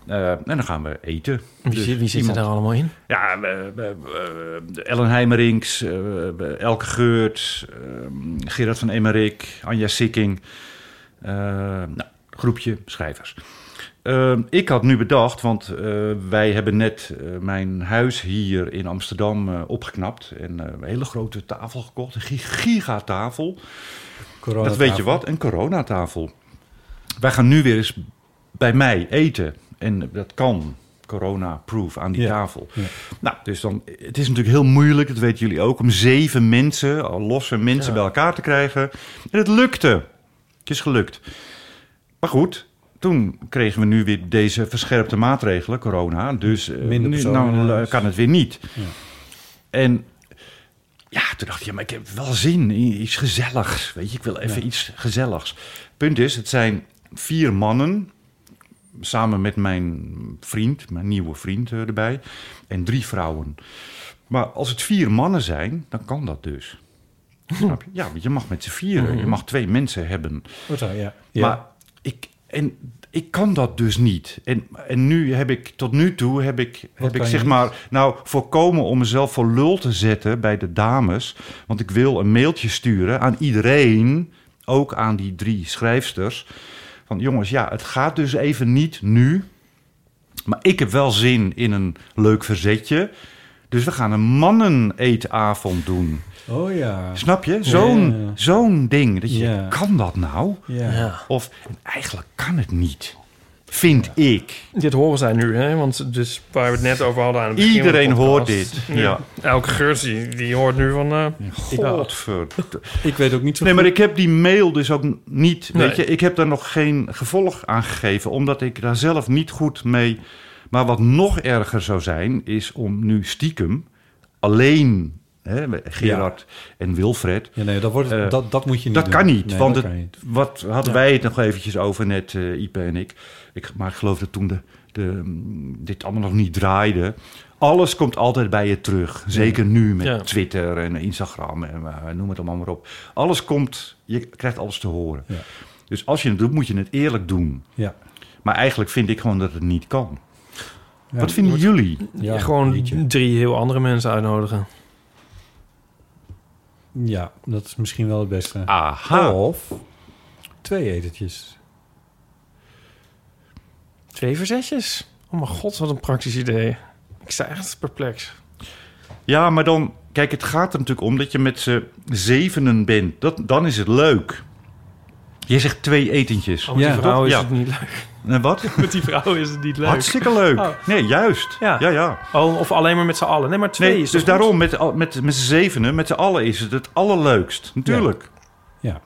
[SPEAKER 1] Eh, en dan gaan we eten. Dus
[SPEAKER 2] Wie, zit- wie zit er
[SPEAKER 1] iemand-
[SPEAKER 2] daar allemaal in?
[SPEAKER 1] ja, we- we- we- de Ellen Heimerings, eh, we- Elke Geurt, ehm, Gerard van Emmerik, Anja Sikking. Eh, nou, groepje schrijvers. Ehm, ik had nu bedacht, want eh, wij hebben net eh, mijn huis hier in Amsterdam eh, opgeknapt. En eh, een hele grote tafel gekocht, een gi- gigatafel. Dat weet je wat, een coronatafel. Wij gaan nu weer eens bij mij eten. En dat kan, corona-proof, aan die
[SPEAKER 3] Ja.
[SPEAKER 1] tafel.
[SPEAKER 3] Ja.
[SPEAKER 1] Nou, dus dan, het is natuurlijk heel moeilijk, dat weten jullie ook... om zeven mensen, al losse mensen, bij elkaar te krijgen. En het lukte. Het is gelukt. Maar goed, toen kregen we nu weer deze verscherpte maatregelen, corona. Dus eh,
[SPEAKER 3] Minder
[SPEAKER 1] nu
[SPEAKER 3] personen,
[SPEAKER 1] nou,
[SPEAKER 3] ja,
[SPEAKER 1] eh,
[SPEAKER 3] dus-
[SPEAKER 1] kan het weer niet.
[SPEAKER 3] Ja.
[SPEAKER 1] En ja, toen dacht ik, ja, maar ik heb wel zin in iets gezelligs. Weet je, ik wil even
[SPEAKER 3] Ja.
[SPEAKER 1] iets gezelligs. Punt is, het zijn vier mannen, samen met mijn vriend, mijn nieuwe vriend eh, erbij, en drie vrouwen. Maar als het vier mannen zijn, dan kan dat dus. Snap je? Ja, want je mag met z'n vieren, je mag twee mensen hebben.
[SPEAKER 3] Wat zou- ja.
[SPEAKER 1] Maar ik En ik kan dat dus niet. En, en nu heb ik, tot nu toe heb ik, heb ik
[SPEAKER 3] kan je
[SPEAKER 1] zeg
[SPEAKER 3] niet?
[SPEAKER 1] maar, nou, voorkomen om mezelf voor lul te zetten bij de dames. Want ik wil een mailtje sturen aan iedereen, ook aan die drie schrijfsters. Van jongens, ja, het gaat dus even niet nu. Maar ik heb wel zin in een leuk verzetje. Dus we gaan een mannen-eetavond doen.
[SPEAKER 3] Oh ja.
[SPEAKER 1] Snap je? Zo'n zo'n ding. Dat je,
[SPEAKER 3] Ja.
[SPEAKER 1] Kan dat nou?
[SPEAKER 3] Ja. Ja.
[SPEAKER 1] Of eigenlijk kan het niet. Vind ik.
[SPEAKER 2] Dit horen zij nu, hè? Want dus waar we het net over hadden aan het begin van de
[SPEAKER 1] Iedereen
[SPEAKER 2] podcast.
[SPEAKER 1] hoort dit, ja.
[SPEAKER 2] Elke geur die, die hoort nu van... eh
[SPEAKER 1] Godverd.
[SPEAKER 3] Ik weet ook niet zo
[SPEAKER 1] Nee, maar
[SPEAKER 3] goed.
[SPEAKER 1] ik heb die mail dus ook n- niet.
[SPEAKER 2] Nee.
[SPEAKER 1] Weet je, ik heb daar nog geen gevolg aan gegeven, omdat ik daar zelf niet goed mee. Maar wat nog erger zou zijn, is om nu stiekem alleen. Hè, Gerard en Wilfred.
[SPEAKER 3] Ja, nee, dat, wordt,
[SPEAKER 1] eh,
[SPEAKER 3] dat, dat moet je niet
[SPEAKER 1] dat
[SPEAKER 3] doen.
[SPEAKER 1] kan niet.
[SPEAKER 3] Nee,
[SPEAKER 1] want
[SPEAKER 3] dat
[SPEAKER 1] het,
[SPEAKER 3] kan niet.
[SPEAKER 1] wat hadden
[SPEAKER 3] Ja.
[SPEAKER 1] wij het nog eventjes over net, eh Ipe en ik. ik. Maar ik geloof dat toen de, de, mm, dit allemaal nog niet draaide. Alles komt altijd bij je terug. Zeker nu met
[SPEAKER 2] Ja.
[SPEAKER 1] Twitter en Instagram en eh, noem het allemaal maar op. Alles komt, je krijgt alles te horen.
[SPEAKER 3] Ja.
[SPEAKER 1] Dus als je het doet, moet je het eerlijk doen.
[SPEAKER 3] Ja.
[SPEAKER 1] Maar eigenlijk vind ik gewoon dat het niet kan.
[SPEAKER 3] Ja.
[SPEAKER 1] Wat vinden jullie?
[SPEAKER 3] Ja,
[SPEAKER 2] gewoon
[SPEAKER 3] weet je.
[SPEAKER 2] drie heel andere mensen uitnodigen.
[SPEAKER 3] Ja, dat is misschien wel het
[SPEAKER 1] Ah.
[SPEAKER 3] beste.
[SPEAKER 1] Aha.
[SPEAKER 3] Of twee
[SPEAKER 2] Oh,
[SPEAKER 3] etentjes.
[SPEAKER 2] Twee verzetjes? Oh mijn god, wat een praktisch idee. Ik sta echt perplex.
[SPEAKER 1] Ja, maar dan... Kijk, het gaat er natuurlijk om dat je met z'n zevenen bent. Dat, dan is het leuk. Je zegt twee etentjes.
[SPEAKER 2] Oh, met
[SPEAKER 3] Ja.
[SPEAKER 2] die vrouw is
[SPEAKER 1] Ja.
[SPEAKER 2] het niet leuk.
[SPEAKER 1] En wat?
[SPEAKER 2] Met die vrouw is het niet leuk.
[SPEAKER 1] Hartstikke leuk.
[SPEAKER 2] Oh.
[SPEAKER 1] Nee, juist.
[SPEAKER 2] Ja.
[SPEAKER 1] Ja, ja.
[SPEAKER 2] Oh, of alleen maar met z'n allen. Nee, maar twee
[SPEAKER 1] Nee,
[SPEAKER 2] is
[SPEAKER 1] dus
[SPEAKER 2] toch goed?
[SPEAKER 1] daarom, met, al- met, met z'n zevenen, met z'n allen is het het allerleukst. Natuurlijk.
[SPEAKER 3] Ja.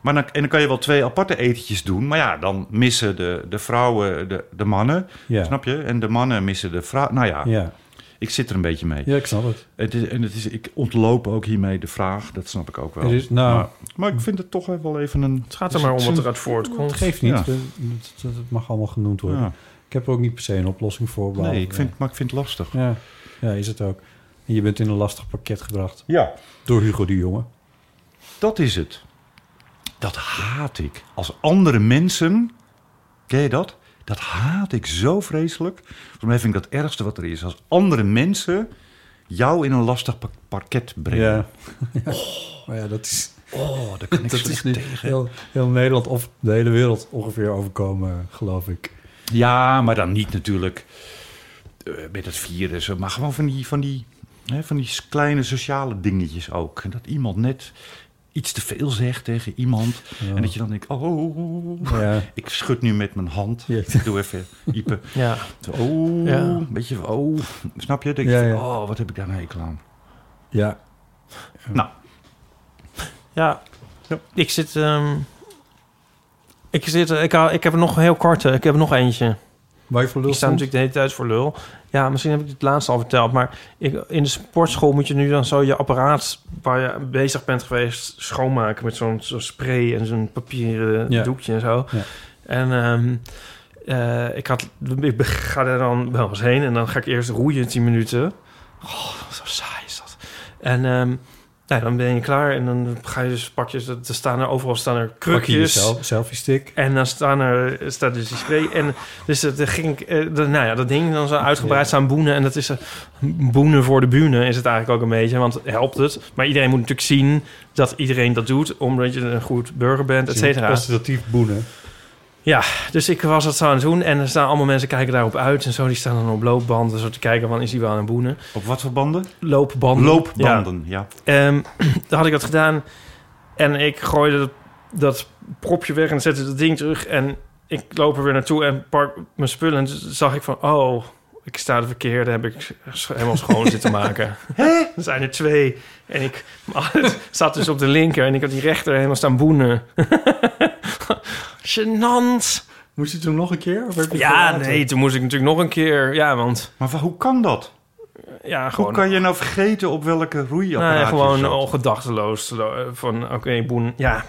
[SPEAKER 1] Maar dan, en dan kan je wel twee aparte etentjes doen. Maar ja, dan missen de, de vrouwen de, de mannen.
[SPEAKER 3] Ja.
[SPEAKER 1] Snap je? En de mannen missen de vrouwen. Nou ja,
[SPEAKER 3] Ja.
[SPEAKER 1] ik zit er een beetje mee.
[SPEAKER 3] ja, ik snap het.
[SPEAKER 1] Het is, en het is, ik ontloop ook hiermee de vraag. Dat snap ik ook wel.
[SPEAKER 3] Het is- nou-
[SPEAKER 1] maar, maar ik vind het toch wel even een...
[SPEAKER 2] Het gaat er maar om wat eruit voortkomt.
[SPEAKER 3] Het geeft niet. dus-
[SPEAKER 1] Ja.
[SPEAKER 3] We- Dat, dat- dat mag allemaal genoemd worden.
[SPEAKER 1] Ja.
[SPEAKER 3] Ik heb er ook niet per se een oplossing voor. behalve-
[SPEAKER 1] Nee, ik vind, maar ik vind het lastig.
[SPEAKER 3] Oh, Ja. ja, is het ook. En je bent in een lastig pakket gebracht
[SPEAKER 1] Ja.
[SPEAKER 3] door Hugo de Jonge.
[SPEAKER 1] Dat is het. Dat haat ik. Als andere mensen. Ken je dat? Dat haat ik zo vreselijk. Voor mij vind ik dat ergste wat er is. Als andere mensen jou in een lastig pa- parket brengen.
[SPEAKER 3] Ja. Maar ja, dat is,
[SPEAKER 1] Oh, daar kan ik
[SPEAKER 3] dat
[SPEAKER 1] slecht
[SPEAKER 3] is nu
[SPEAKER 1] tegen.
[SPEAKER 3] heel, heel Nederland of de hele wereld ongeveer overkomen, geloof ik.
[SPEAKER 1] Ja, maar dan niet natuurlijk eh, met het virus. Maar gewoon van die, van, die, hè, van die kleine sociale dingetjes ook. Dat iemand net iets te veel zegt tegen iemand. En dat je dan denkt, oh...
[SPEAKER 3] Ja.
[SPEAKER 1] Ik schud nu met mijn hand.
[SPEAKER 3] Ja.
[SPEAKER 1] Ik doe even iepen.
[SPEAKER 2] Ja.
[SPEAKER 1] Oh,
[SPEAKER 2] Ja.
[SPEAKER 1] een beetje van, oh. Snap je? Denk je
[SPEAKER 3] Ja,
[SPEAKER 1] van,
[SPEAKER 3] ja.
[SPEAKER 1] oh, wat heb ik daar een hekel aan?
[SPEAKER 3] Ja.
[SPEAKER 1] Nou,
[SPEAKER 2] Ja. Ik zit... ehm, ik, zit eh, ik, hou- ik heb er nog een heel korte. Ik heb er nog eentje.
[SPEAKER 3] Waar je voor lul
[SPEAKER 2] Ik sta
[SPEAKER 3] stond?
[SPEAKER 2] natuurlijk de hele tijd voor lul. Ja, misschien heb ik het laatste al verteld. Maar ik, in de sportschool moet je nu dan zo je apparaat... waar je bezig bent geweest schoonmaken... met zo'n zo'n spray en zo'n papieren
[SPEAKER 3] Ja.
[SPEAKER 2] doekje en zo.
[SPEAKER 3] Ja.
[SPEAKER 2] En ehm, eh, ik, had, ik be- ga daar dan wel eens heen... en dan ga ik eerst roeien 10 minuten. Oh, zo saai is dat. En... ehm, nou, dan ben je klaar en dan ga je dus pakjes. Er staan er overal staan er
[SPEAKER 3] Pak je
[SPEAKER 2] krukjes.
[SPEAKER 3] jezelf, selfie stick.
[SPEAKER 2] En dan staan er, staat dus die spray. En dus dat ging, ik, eh, dat- nou ja, dat ding dan zo uitgebreid staan boenen. En dat is eh, boenen voor de bühne is het eigenlijk ook een beetje. Want helpt het. Maar iedereen moet natuurlijk zien dat iedereen dat doet. Omdat je een goed burger bent,
[SPEAKER 3] Dus
[SPEAKER 2] et cetera.
[SPEAKER 3] Kwalitatief boenen.
[SPEAKER 2] Ja, dus ik was dat zo aan het doen. En er staan allemaal mensen kijken daarop uit. En zo, die staan dan op loopbanden. Zo te kijken, van is die wel aan het boenen?
[SPEAKER 1] op wat voor banden?
[SPEAKER 2] Loopbanden. Ja.
[SPEAKER 1] Loopbanden, ja.
[SPEAKER 2] Ehm, toen had ik dat gedaan. En ik gooide dat, dat propje weg en zette dat ding terug. En ik loop er weer naartoe en park mijn spullen. En toen zag ik van, oh, ik sta de verkeerde. Heb ik sch- helemaal schoon zitten maken. Er zijn er twee. En ik maar het zat dus op de linker. En ik had die rechter helemaal staan boenen. Genant.
[SPEAKER 3] Moest je toen nog een keer? Of heb je het
[SPEAKER 2] Ja,
[SPEAKER 3] gelaten?
[SPEAKER 2] nee, toen moest ik natuurlijk nog een keer. Ja, want
[SPEAKER 1] Maar wa- hoe kan dat?
[SPEAKER 2] ja, gewoon...
[SPEAKER 1] Hoe kan je nou vergeten op welke roeiapparaat
[SPEAKER 2] Nee,
[SPEAKER 1] je
[SPEAKER 2] gewoon
[SPEAKER 1] zat?
[SPEAKER 2] al gedachteloos. eh, Van oké, boen. Ja.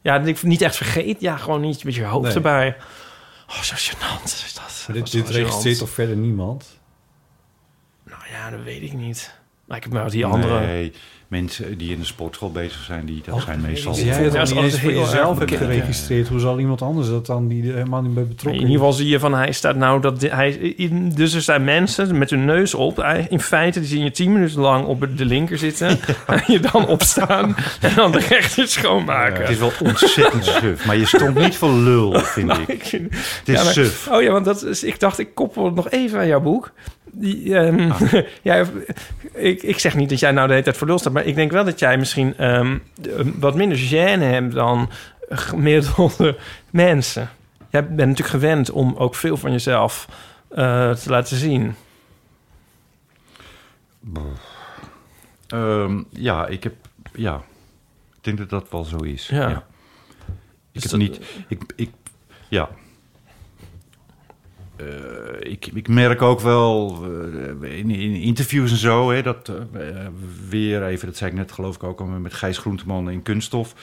[SPEAKER 2] ja, ik niet echt vergeet. Ja, gewoon niet met je hoofd
[SPEAKER 3] Nee.
[SPEAKER 2] erbij. Oh, zo gênant is dat.
[SPEAKER 3] Dit,
[SPEAKER 2] Dat was
[SPEAKER 3] dit
[SPEAKER 2] wel gênant.
[SPEAKER 3] registreert toch verder niemand?
[SPEAKER 2] Nou ja, dat weet ik niet. Maar ik heb nou die andere...
[SPEAKER 1] Nee, mensen die in de sportschool bezig zijn, die, dat zijn meestal...
[SPEAKER 3] Als jij het
[SPEAKER 1] Ja,
[SPEAKER 3] al
[SPEAKER 1] als
[SPEAKER 3] niet eens
[SPEAKER 1] het
[SPEAKER 3] voor
[SPEAKER 1] heel
[SPEAKER 3] jezelf hebt
[SPEAKER 1] erg bekend, ja.
[SPEAKER 3] geregistreerd, hoe zal iemand anders dat dan die er helemaal niet bij
[SPEAKER 2] In
[SPEAKER 3] betrokken
[SPEAKER 2] ieder geval zie je van hij staat nou dat di- hij, i- dus er zijn mensen met hun neus op. Hij- In feite die zien je tien minuten lang op de linker zitten en je dan opstaan en dan de rechter schoonmaken.
[SPEAKER 1] Het is wel ontzettend suf, maar je stond niet voor lul, vind ik. Het is
[SPEAKER 2] Nou, Ja, maar-
[SPEAKER 1] suf.
[SPEAKER 2] Oh ja, want dat is, ik dacht, ik koppel het nog even aan jouw boek. Die, ehm,
[SPEAKER 1] Ah.
[SPEAKER 2] jij- ik, ik zeg niet dat jij nou de hele tijd voor lul staat... maar ik denk wel dat jij misschien ehm, de- wat minder gêne hebt... dan gemiddelde mensen. Jij bent natuurlijk gewend om ook veel van jezelf eh, te laten zien.
[SPEAKER 1] Ehm, ja, ik heb... Ja, ik denk dat dat wel zo is.
[SPEAKER 2] Ja.
[SPEAKER 1] Ik
[SPEAKER 2] Is
[SPEAKER 1] heb
[SPEAKER 2] dat-
[SPEAKER 1] niet... Ik, ik, ja. Eh, ik, ik merk ook wel eh, in, in interviews en zo... Hè, dat eh, weer even, dat zei ik net geloof ik ook al... met Gijs Groenteman in Kunststof...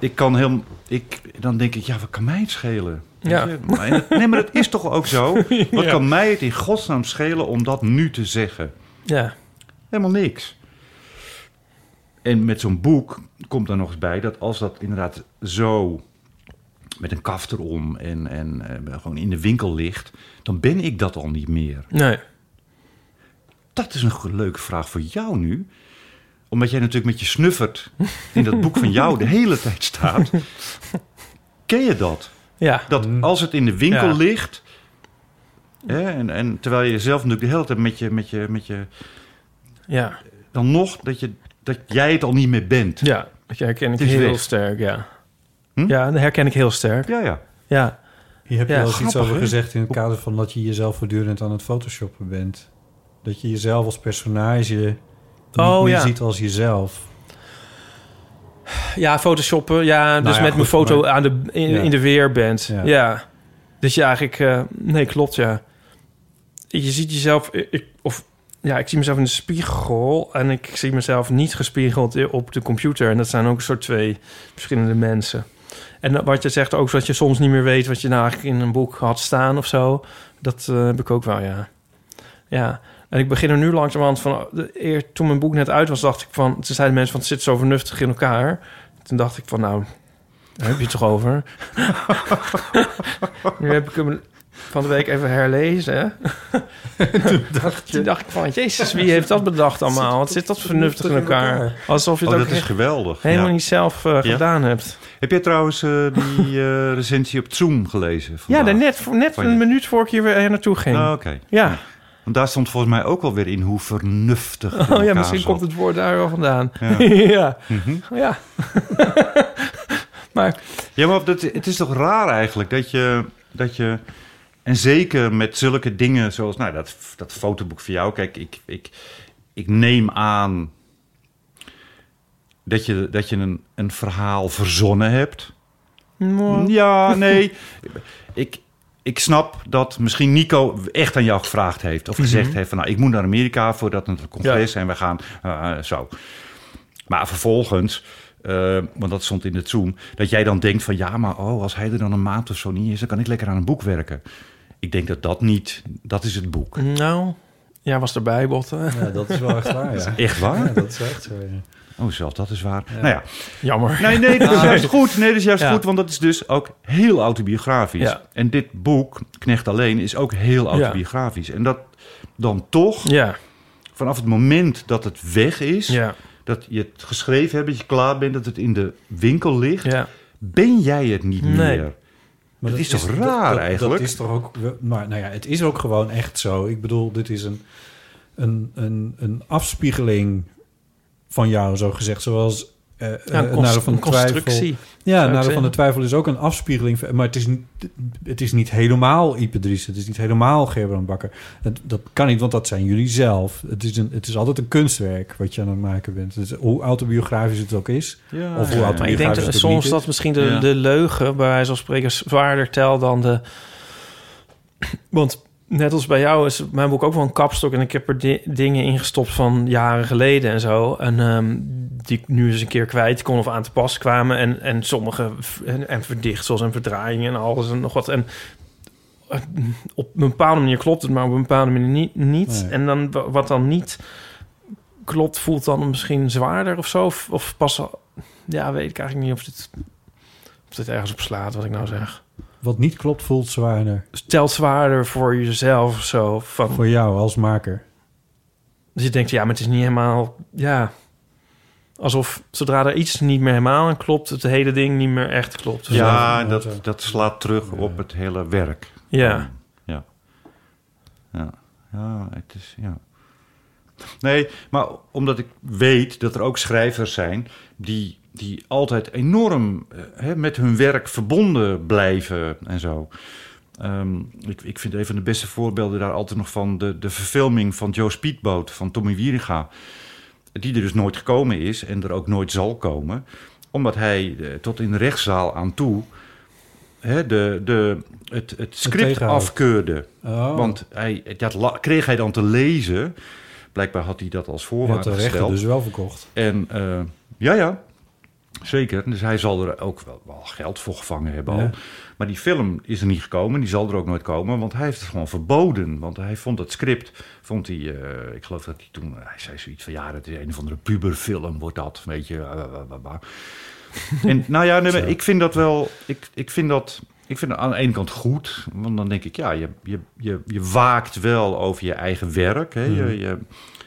[SPEAKER 1] Ik kan heel... Ik, dan denk ik, ja, wat kan mij het schelen? Weet
[SPEAKER 2] Ja.
[SPEAKER 1] je? Maar, en- nee, maar dat is toch ook zo? Wat
[SPEAKER 2] Ja.
[SPEAKER 1] kan mij het in godsnaam schelen om dat nu te zeggen?
[SPEAKER 2] Ja.
[SPEAKER 1] Helemaal niks. En met zo'n boek komt er nog eens bij dat als dat inderdaad zo met een kaft erom en, en eh, gewoon in de winkel ligt, dan ben ik dat al niet meer.
[SPEAKER 2] Nee.
[SPEAKER 1] Dat is een go- leuke vraag voor jou nu. Omdat jij natuurlijk met je snuffert in dat boek van jou de hele tijd staat. Ken je dat?
[SPEAKER 2] Ja.
[SPEAKER 1] Dat als het in de winkel
[SPEAKER 2] Ja.
[SPEAKER 1] ligt. Hè, en, en terwijl je zelf natuurlijk de hele tijd met je, met je, met je
[SPEAKER 2] Ja,
[SPEAKER 1] dan nog dat, je, dat jij het al niet meer bent.
[SPEAKER 2] ja dat herken ik
[SPEAKER 1] Het is
[SPEAKER 2] heel
[SPEAKER 1] weg. Hm?
[SPEAKER 2] sterk, ja. Ja, dat herken ik heel sterk.
[SPEAKER 1] Ja, ja.
[SPEAKER 2] Ja.
[SPEAKER 3] Hier heb je
[SPEAKER 2] Ja.
[SPEAKER 3] wel eens iets
[SPEAKER 2] Grappig,
[SPEAKER 3] over
[SPEAKER 2] hè?
[SPEAKER 3] gezegd in het kader van dat je jezelf voortdurend aan het photoshoppen bent. Dat je jezelf als personage
[SPEAKER 2] Oh,
[SPEAKER 3] niet meer
[SPEAKER 2] ja.
[SPEAKER 3] ziet als jezelf.
[SPEAKER 2] Ja, photoshoppen. Ja, dus
[SPEAKER 3] Nou
[SPEAKER 2] met
[SPEAKER 3] ja,
[SPEAKER 2] mijn
[SPEAKER 3] goed,
[SPEAKER 2] foto
[SPEAKER 3] maar-
[SPEAKER 2] aan de, in,
[SPEAKER 3] Ja.
[SPEAKER 2] in de weer bent.
[SPEAKER 3] Ja.
[SPEAKER 2] Ja. Dus ja, eigenlijk... eh, nee, klopt, ja. Je ziet jezelf... eh, Ik, of, ja, ik zie mezelf in de spiegel... en ik zie mezelf niet gespiegeld op de computer. En dat zijn ook een soort twee verschillende mensen. En dat- wat je zegt ook, dat je soms niet meer weet... wat je nou eigenlijk in een boek had staan of zo. Dat eh, heb ik ook wel, ja. Ja, en ik begin er nu langzamerhand van... de- Eer, toen mijn boek net uit was, dacht ik van... Toen zeiden mensen van, het zit zo vernuftig in elkaar. Toen dacht ik van, nou, daar heb je het toch over? nu heb ik hem van de week even herlezen. toen, dacht toen dacht ik van, jezus, wie heeft dat bedacht allemaal? Wat zit dat vernuftig in elkaar? Alsof je
[SPEAKER 1] Oh,
[SPEAKER 2] het
[SPEAKER 1] dat
[SPEAKER 2] ook
[SPEAKER 1] is
[SPEAKER 2] echt
[SPEAKER 1] geweldig.
[SPEAKER 2] helemaal
[SPEAKER 1] Ja.
[SPEAKER 2] niet zelf eh,
[SPEAKER 1] Ja.
[SPEAKER 2] gedaan hebt.
[SPEAKER 1] Heb jij trouwens eh, die eh, recensie op Zoom gelezen?
[SPEAKER 2] Ja,
[SPEAKER 1] vandaag?
[SPEAKER 2] daar net, net
[SPEAKER 1] Van je-
[SPEAKER 2] een minuut voor ik hier weer eh, naartoe ging.
[SPEAKER 1] Oh, Oké.
[SPEAKER 2] Ja.
[SPEAKER 1] Want daar stond volgens mij ook wel weer in hoe vernuftig. het in
[SPEAKER 2] Oh ja,
[SPEAKER 1] elkaar
[SPEAKER 2] misschien
[SPEAKER 1] zat.
[SPEAKER 2] komt het woord daar wel vandaan.
[SPEAKER 1] Ja.
[SPEAKER 2] Ja. ja.
[SPEAKER 1] Mhm.
[SPEAKER 2] maar
[SPEAKER 1] Ja, maar dat, het is toch raar eigenlijk dat je, dat je. En zeker met zulke dingen zoals. Nou, dat, dat fotoboek van jou. Kijk, ik, ik, ik neem aan. dat je, dat je een, een verhaal verzonnen hebt. Ja, nee. ik, ik snap dat misschien Nico echt aan jou gevraagd heeft. Of gezegd
[SPEAKER 2] Mhm.
[SPEAKER 1] heeft van nou, ik moet naar Amerika voordat het congres en we gaan eh, eh, zo. Maar vervolgens, eh, want dat stond in de Zoom, dat jij dan denkt van ja, maar oh, als hij er dan een maand of zo niet is, dan kan ik lekker aan een boek werken. Ik denk dat dat niet, dat is het boek.
[SPEAKER 2] nou, jij was erbij, Botten.
[SPEAKER 3] Ja, dat is wel echt waar. Ja.
[SPEAKER 1] Echt waar?
[SPEAKER 3] Ja, dat is echt zo. ja.
[SPEAKER 1] Oh, zelfs dat is waar. Nou ja.
[SPEAKER 2] Jammer.
[SPEAKER 1] Nee, nee, dat is
[SPEAKER 2] Ah.
[SPEAKER 1] juist goed. Nee, dat is juist
[SPEAKER 2] Ja.
[SPEAKER 1] goed, want dat is dus ook heel autobiografisch.
[SPEAKER 2] Ja.
[SPEAKER 1] En dit boek, Knecht Alleen, is ook heel autobiografisch. En dat dan toch,
[SPEAKER 2] Ja,
[SPEAKER 1] vanaf het moment dat het weg is...
[SPEAKER 2] ja,
[SPEAKER 1] dat je het geschreven hebt, dat je klaar bent... dat het in de winkel ligt,
[SPEAKER 2] ja.
[SPEAKER 1] ben jij het niet
[SPEAKER 2] Nee.
[SPEAKER 1] meer.
[SPEAKER 3] Maar
[SPEAKER 1] Het is toch raar
[SPEAKER 3] dat-
[SPEAKER 1] eigenlijk?
[SPEAKER 3] Dat is toch ook... we- Maar nou ja, het is ook gewoon echt zo. Ik bedoel, dit is een, een, een, een afspiegeling van jou, zo gezegd. Zoals eh eh,
[SPEAKER 2] Ja, een
[SPEAKER 3] het
[SPEAKER 2] cons-
[SPEAKER 3] nadeel van de
[SPEAKER 2] een constructie.
[SPEAKER 3] twijfel. Ja, het
[SPEAKER 2] ik
[SPEAKER 3] nadeel van de
[SPEAKER 2] zeggen.
[SPEAKER 3] twijfel is ook een afspiegeling. van- Maar het is, niet- het is niet helemaal Ipe Dries. Het is niet helemaal Gerbrand Bakker. Het, dat kan niet, want dat zijn jullie zelf. Het is, een, het is altijd een kunstwerk wat je aan het maken bent. Dus hoe autobiografisch het ook is.
[SPEAKER 1] Ja.
[SPEAKER 3] of hoe
[SPEAKER 1] Ja.
[SPEAKER 3] autobiografisch
[SPEAKER 2] Maar ik denk
[SPEAKER 3] het
[SPEAKER 2] dat,
[SPEAKER 3] ook
[SPEAKER 2] soms
[SPEAKER 3] niet
[SPEAKER 2] dat
[SPEAKER 3] is.
[SPEAKER 2] misschien de,
[SPEAKER 1] Ja.
[SPEAKER 2] de leugen bij wijze van spreken zwaarder tel dan de. Want net als bij jou is mijn boek ook wel een kapstok en ik heb er di- dingen ingestopt van jaren geleden en zo. En ehm, die ik nu eens een keer kwijt kon of aan te pas kwamen. En, en sommige v- en, en verdichtsels en verdraaiingen en alles en nog wat. En eh,
[SPEAKER 3] eh,
[SPEAKER 2] op een bepaalde manier klopt het, maar op een bepaalde manier niet. niet.
[SPEAKER 3] Nee.
[SPEAKER 2] En dan wa- wat dan niet klopt, voelt dan misschien zwaarder of zo. Of, of pas... al- Ja, weet ik eigenlijk niet of dit, of dit ergens op slaat, wat ik nou zeg.
[SPEAKER 3] Wat niet klopt voelt zwaarder.
[SPEAKER 2] Stelt zwaarder voor jezelf of zo. Van,
[SPEAKER 3] Voor jou als maker.
[SPEAKER 2] Dus je denkt, ja, maar het is niet helemaal... Ja, alsof zodra er iets niet meer helemaal aan klopt... het hele ding niet meer echt klopt. of
[SPEAKER 1] Ja,
[SPEAKER 2] zo.
[SPEAKER 1] dat, dat slaat terug op het hele werk.
[SPEAKER 2] Ja.
[SPEAKER 1] Ja. Ja, ja het is... Ja. Nee, maar omdat ik weet dat er ook schrijvers zijn... die, die altijd enorm eh, hè, met hun werk verbonden blijven en zo... Ehm, ik, ik vind een van de beste voorbeelden daar altijd nog van... de, de verfilming van Joe Speedboat van Tommy Wieringa die er dus nooit gekomen is en er ook nooit zal komen, omdat hij eh, tot in de rechtszaal aan toe hè, de, de, het, het script
[SPEAKER 3] tegenhoudt.
[SPEAKER 1] afkeurde.
[SPEAKER 3] Oh.
[SPEAKER 1] Want hij, dat la- kreeg hij dan te lezen. Blijkbaar had hij dat
[SPEAKER 3] Je hebt
[SPEAKER 1] als voorwaarde
[SPEAKER 3] de rechten
[SPEAKER 1] gesteld.
[SPEAKER 3] dus wel verkocht.
[SPEAKER 1] En eh, ja, ja, zeker. Dus hij zal er ook wel, wel geld voor gevangen hebben al.
[SPEAKER 3] Ja.
[SPEAKER 1] Maar die film is er niet gekomen. Die zal er ook nooit komen. Want hij heeft het gewoon verboden. Want hij vond dat script, vond hij... eh, ik geloof dat hij toen... Hij zei zoiets van, ja, dat is een of andere puberfilm, wordt dat. Weet je, eh, eh, eh, eh. En nou ja, nee, maar ik vind dat wel... Ik, ik vind dat... Ik vind het aan de ene kant goed, want dan denk ik, ja, je, je, je, je waakt wel over je eigen werk. Hè?
[SPEAKER 3] Mhm.
[SPEAKER 1] Je, je,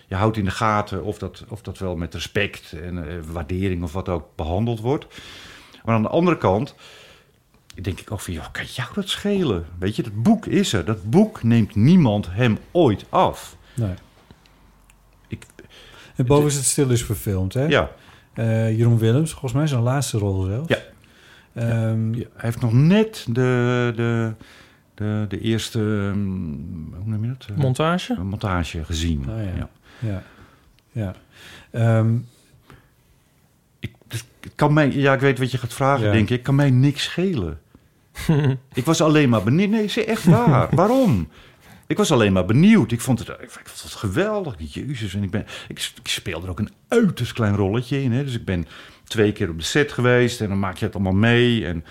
[SPEAKER 1] je houdt in de gaten of dat, of dat wel met respect en eh, waardering of wat ook behandeld wordt. Maar aan de andere kant denk ik ook van, joh, kan jou dat schelen? Weet je, dat boek is er. Dat boek neemt niemand hem ooit af.
[SPEAKER 3] Nee.
[SPEAKER 1] Ik-
[SPEAKER 3] en boven is het stil is verfilmd, hè?
[SPEAKER 1] Ja.
[SPEAKER 3] Eh, Jeroen Willems, volgens mij zijn laatste rol zelfs.
[SPEAKER 1] Ja.
[SPEAKER 3] Ehm,
[SPEAKER 1] Hij heeft nog net de, de, de, de eerste, ehm, hoe noem je dat? Eh,
[SPEAKER 2] Montage?
[SPEAKER 1] een montage gezien.
[SPEAKER 3] Ah, ja.
[SPEAKER 1] Ja.
[SPEAKER 3] ja. ja. Ehm,
[SPEAKER 1] Het Kan mij, ja, ik weet wat je gaat vragen,
[SPEAKER 3] Ja.
[SPEAKER 1] denk ik. Kan mij niks schelen. ik was alleen maar benieuwd. Nee, is echt waar. Waarom? Ik was alleen maar benieuwd. Ik vond het, ik vond het geweldig. Jezus. En ik, ben, ik, ik speel er ook een uiterst klein rolletje in. Hè. Dus ik ben twee keer op de set geweest. En dan maak je het allemaal mee. En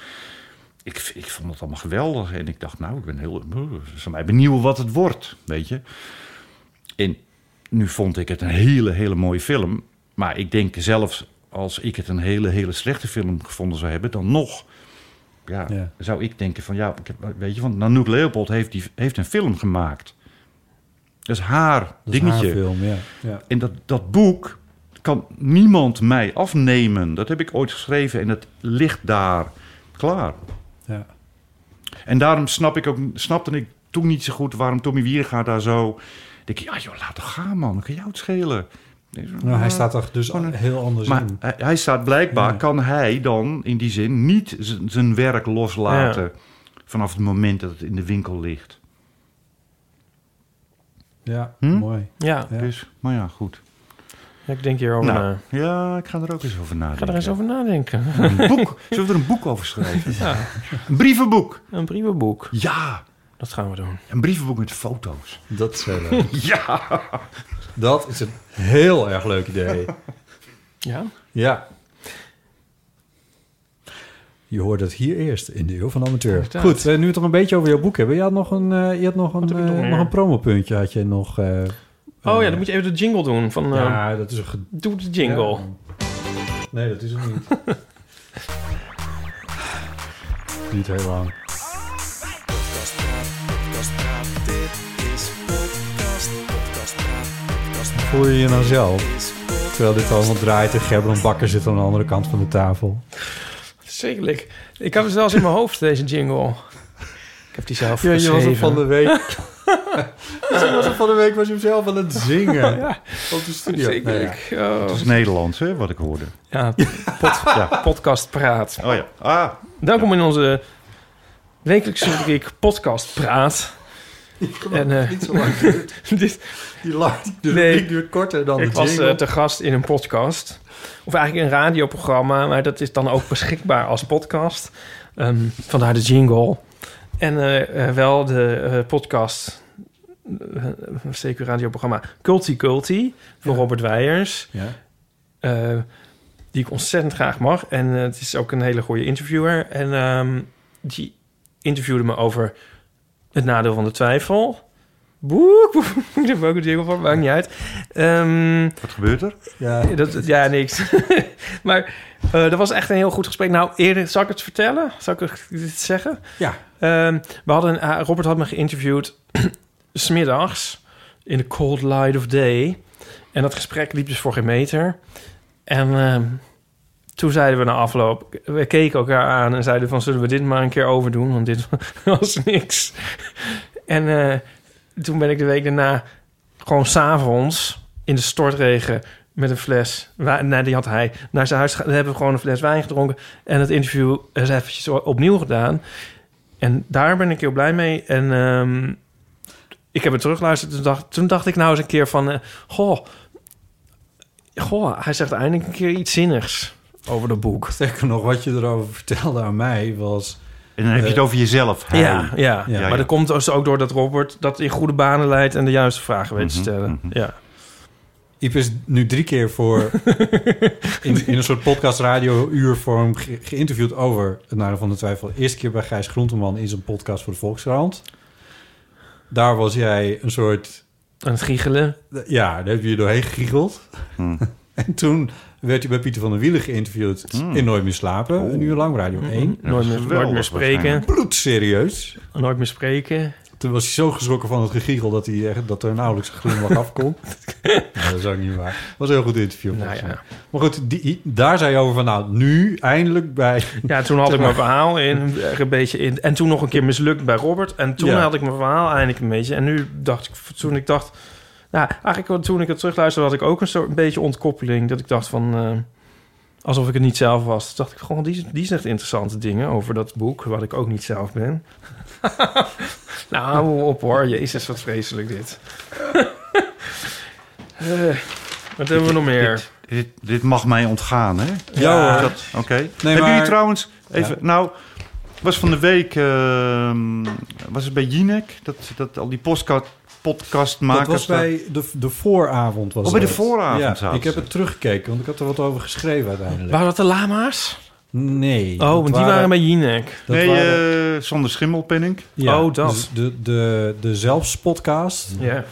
[SPEAKER 1] ik, ik vond het allemaal geweldig. En ik dacht, nou, ik ben heel... Ze zijn mij benieuwd wat het wordt, weet je. En nu vond ik het een hele, hele mooie film. Maar ik denk zelfs als ik het een hele, hele slechte film gevonden zou hebben... dan nog ja,
[SPEAKER 3] Ja.
[SPEAKER 1] zou ik denken van... ja, ik heb- weet je, want Nanook Leopold heeft, die, heeft een film gemaakt. Dat is haar
[SPEAKER 3] dat is
[SPEAKER 1] dingetje.
[SPEAKER 3] haar film, ja. ja.
[SPEAKER 1] En dat, dat boek kan niemand mij afnemen. Dat heb ik ooit geschreven en dat ligt daar klaar.
[SPEAKER 3] Ja.
[SPEAKER 1] En daarom snap ik ook, snapte ik toen niet zo goed waarom Tommy Wierga daar zo... denk ik, ja joh, laat het gaan man, kan jou het schelen.
[SPEAKER 3] Nou, hij staat er dus
[SPEAKER 1] Gewoon een-
[SPEAKER 3] heel anders
[SPEAKER 1] Oh, Maar
[SPEAKER 3] in.
[SPEAKER 1] hij, hij staat blijkbaar,
[SPEAKER 3] Ja.
[SPEAKER 1] kan hij dan in die zin niet z- zijn werk loslaten... vanaf het moment dat het in de winkel ligt.
[SPEAKER 3] Ja,
[SPEAKER 1] Hm?
[SPEAKER 3] mooi.
[SPEAKER 2] Ja,
[SPEAKER 3] Ja.
[SPEAKER 1] Dus, maar ja, goed.
[SPEAKER 2] Ja, ik denk hierover
[SPEAKER 1] Nou,
[SPEAKER 2] na.
[SPEAKER 1] ja, ik ga er ook eens over
[SPEAKER 2] Ik
[SPEAKER 1] nadenken.
[SPEAKER 2] ga er eens over nadenken.
[SPEAKER 1] Een boek. Zullen we er een boek over schrijven?
[SPEAKER 2] Ja,
[SPEAKER 1] Een brievenboek.
[SPEAKER 2] een brievenboek.
[SPEAKER 1] Ja,
[SPEAKER 2] Dat gaan we doen.
[SPEAKER 1] een brievenboek met foto's.
[SPEAKER 4] Dat is heel leuk.
[SPEAKER 1] Ja.
[SPEAKER 4] Dat is een heel erg leuk idee.
[SPEAKER 2] Ja?
[SPEAKER 4] Ja. Je hoort het hier eerst in de Eeuw van de Amateur.
[SPEAKER 2] Inderdaad.
[SPEAKER 3] Goed, eh, nu we het toch een beetje over jouw boek hebben. Je had nog een, eh, je had nog een,
[SPEAKER 2] heb ik nog
[SPEAKER 3] eh, nog
[SPEAKER 2] meer?
[SPEAKER 3] een promopuntje. Had je nog, eh,
[SPEAKER 2] Oh ja, dan moet je even de jingle doen. Van, eh,
[SPEAKER 3] ja, dat is een ged-
[SPEAKER 2] doe de jingle.
[SPEAKER 3] Ja. Nee, dat is het niet. niet heel lang. Voel je je nou zelf? Terwijl dit allemaal draait en Gerbrand Bakker zit aan de andere kant van de tafel.
[SPEAKER 2] Zekerlijk. Ik had het zelfs in mijn hoofd, deze jingle. Ik heb die zelf
[SPEAKER 4] Ja, je was
[SPEAKER 2] geschreven.
[SPEAKER 4] er van de week. Misschien was er van de week was je hem zelf aan het zingen. Op de studio.
[SPEAKER 2] Zekerlijk. Oh.
[SPEAKER 1] Het is Nederlands, hè, wat ik hoorde.
[SPEAKER 2] Ja, pod-
[SPEAKER 1] Ja.
[SPEAKER 2] podcast praat.
[SPEAKER 1] Oh ja. Ah,
[SPEAKER 2] Welkom in onze wekelijkse rubriek podcast praat. En,
[SPEAKER 4] en,
[SPEAKER 2] eh,
[SPEAKER 4] niet zo lang duurt.
[SPEAKER 2] Dit,
[SPEAKER 4] Die lang, die duurt,
[SPEAKER 2] Nee.
[SPEAKER 4] die duurt korter dan
[SPEAKER 2] ik
[SPEAKER 4] de
[SPEAKER 2] was
[SPEAKER 4] jingle.
[SPEAKER 2] eh, te gast in een podcast. Of eigenlijk een radioprogramma, maar dat is dan ook beschikbaar als podcast. Ehm, vandaar de jingle. En eh, eh, wel de eh, podcast, eh, eh, CQ radioprogramma Culti Culti van Robert Weijers.
[SPEAKER 3] Ja.
[SPEAKER 2] eh, die ik ontzettend graag mag. En eh, het is ook een hele goede interviewer. En ehm, die interviewde me over het nadeel van de twijfel. Boek, boek. Ik heb ook een jingle van, maakt niet uit.
[SPEAKER 1] Wat gebeurt er?
[SPEAKER 2] Ja, dat, ja niks. maar eh, dat was echt een heel goed gesprek. Nou, eerder, zal ik het vertellen? Zal ik het zeggen?
[SPEAKER 3] Ja.
[SPEAKER 2] Ehm, we hadden, ah, Robert had me geïnterviewd smiddags in de cold light of day. En dat gesprek liep dus voor geen meter. En ehm, toen zeiden we na afloop, we keken elkaar aan en zeiden van zullen we dit maar een keer overdoen, want dit was niks. En eh, toen ben ik de week daarna gewoon s'avonds in de stortregen met een fles. wa- Nee, die had hij. Naar zijn huis. ge- Daar hebben we gewoon een fles wijn gedronken. En het interview is eventjes o- opnieuw gedaan. En daar ben ik heel blij mee. En ehm, ik heb het teruggeluisterd. Toen dacht, toen dacht ik nou eens een keer van... eh, goh, goh, hij zegt eindelijk een keer iets zinnigs over dat boek.
[SPEAKER 3] Sterker nog, wat je erover vertelde aan mij was...
[SPEAKER 1] En dan heb
[SPEAKER 3] Eh,
[SPEAKER 1] je het over jezelf. hij.
[SPEAKER 2] Ja, ja,
[SPEAKER 1] Ja,
[SPEAKER 2] maar
[SPEAKER 1] ja.
[SPEAKER 2] dat komt dus ook door dat Robert dat in goede banen leidt... en de juiste vragen weet te
[SPEAKER 1] Mhm,
[SPEAKER 2] stellen. eh, Ja.
[SPEAKER 3] Iep is nu drie keer voor in, in een soort podcast radio uurvorm ge- geïnterviewd over het nadeel van de twijfel. Eerste keer bij Gijs Groenteman in zijn podcast voor de Volkskrant. Daar was jij een soort...
[SPEAKER 2] Aan het giechelen?
[SPEAKER 3] Ja, daar heb je je doorheen gegiegeld. en toen werd hij bij Pieter van der Wielen geïnterviewd in Nooit meer slapen. Een uur lang, Radio 1.
[SPEAKER 2] Nooit meer- Geweldig Nooit meer spreken. waarschijnlijk.
[SPEAKER 3] Bloedserieus.
[SPEAKER 2] Nooit meer spreken.
[SPEAKER 3] Toen was hij zo geschrokken van het gegiegel dat, hij, echt- dat er nauwelijks een glimlach afkomt. dat is ook niet waar. was een heel goed interview.
[SPEAKER 2] Nou
[SPEAKER 3] volgens mij. Maar goed, die, daar zei je over van nou, nu eindelijk bij...
[SPEAKER 2] Ja, toen had ik mijn verhaal in, echt een beetje in. En toen nog een keer mislukt bij Robert. En toen
[SPEAKER 3] Ja.
[SPEAKER 2] had ik mijn verhaal eindelijk een beetje. En nu dacht ik, toen ik dacht... Nou, eigenlijk wel toen ik het terugluisterde had ik ook een, soort, een beetje ontkoppeling. Dat ik dacht van... eh, alsof ik het niet zelf was. Toen dacht ik gewoon, die, die zegt interessante dingen over dat boek... wat ik ook niet zelf ben. nou, hou op hoor. Jezus, wat vreselijk dit. Eh, wat hebben we nog meer?
[SPEAKER 1] Dit, dit, dit mag mij ontgaan, hè?
[SPEAKER 2] Ja, hoor.
[SPEAKER 1] Dat- Oké.
[SPEAKER 2] Nee,
[SPEAKER 1] Hebben
[SPEAKER 2] maar-
[SPEAKER 1] jullie trouwens... Even,
[SPEAKER 2] Ja.
[SPEAKER 1] Nou, was van de week... ehm, was het bij Jinek? Dat, dat al die podcast,
[SPEAKER 3] Dat
[SPEAKER 1] podcastmakers...
[SPEAKER 3] was bij de, de vooravond. Was
[SPEAKER 1] Oh, bij de
[SPEAKER 3] dat.
[SPEAKER 1] vooravond
[SPEAKER 3] Ja,
[SPEAKER 1] zaten
[SPEAKER 3] ik heb het teruggekeken, want ik had er wat over geschreven uiteindelijk.
[SPEAKER 2] Waren dat de lama's?
[SPEAKER 3] Nee.
[SPEAKER 2] Oh, want die waren bij Jinek.
[SPEAKER 3] dat
[SPEAKER 1] Nee,
[SPEAKER 3] waren-
[SPEAKER 1] eh, zonder schimmelpenning.
[SPEAKER 3] Ja,
[SPEAKER 2] Oh, dat.
[SPEAKER 3] dus De, de, de zelfspodcast.
[SPEAKER 2] Ja.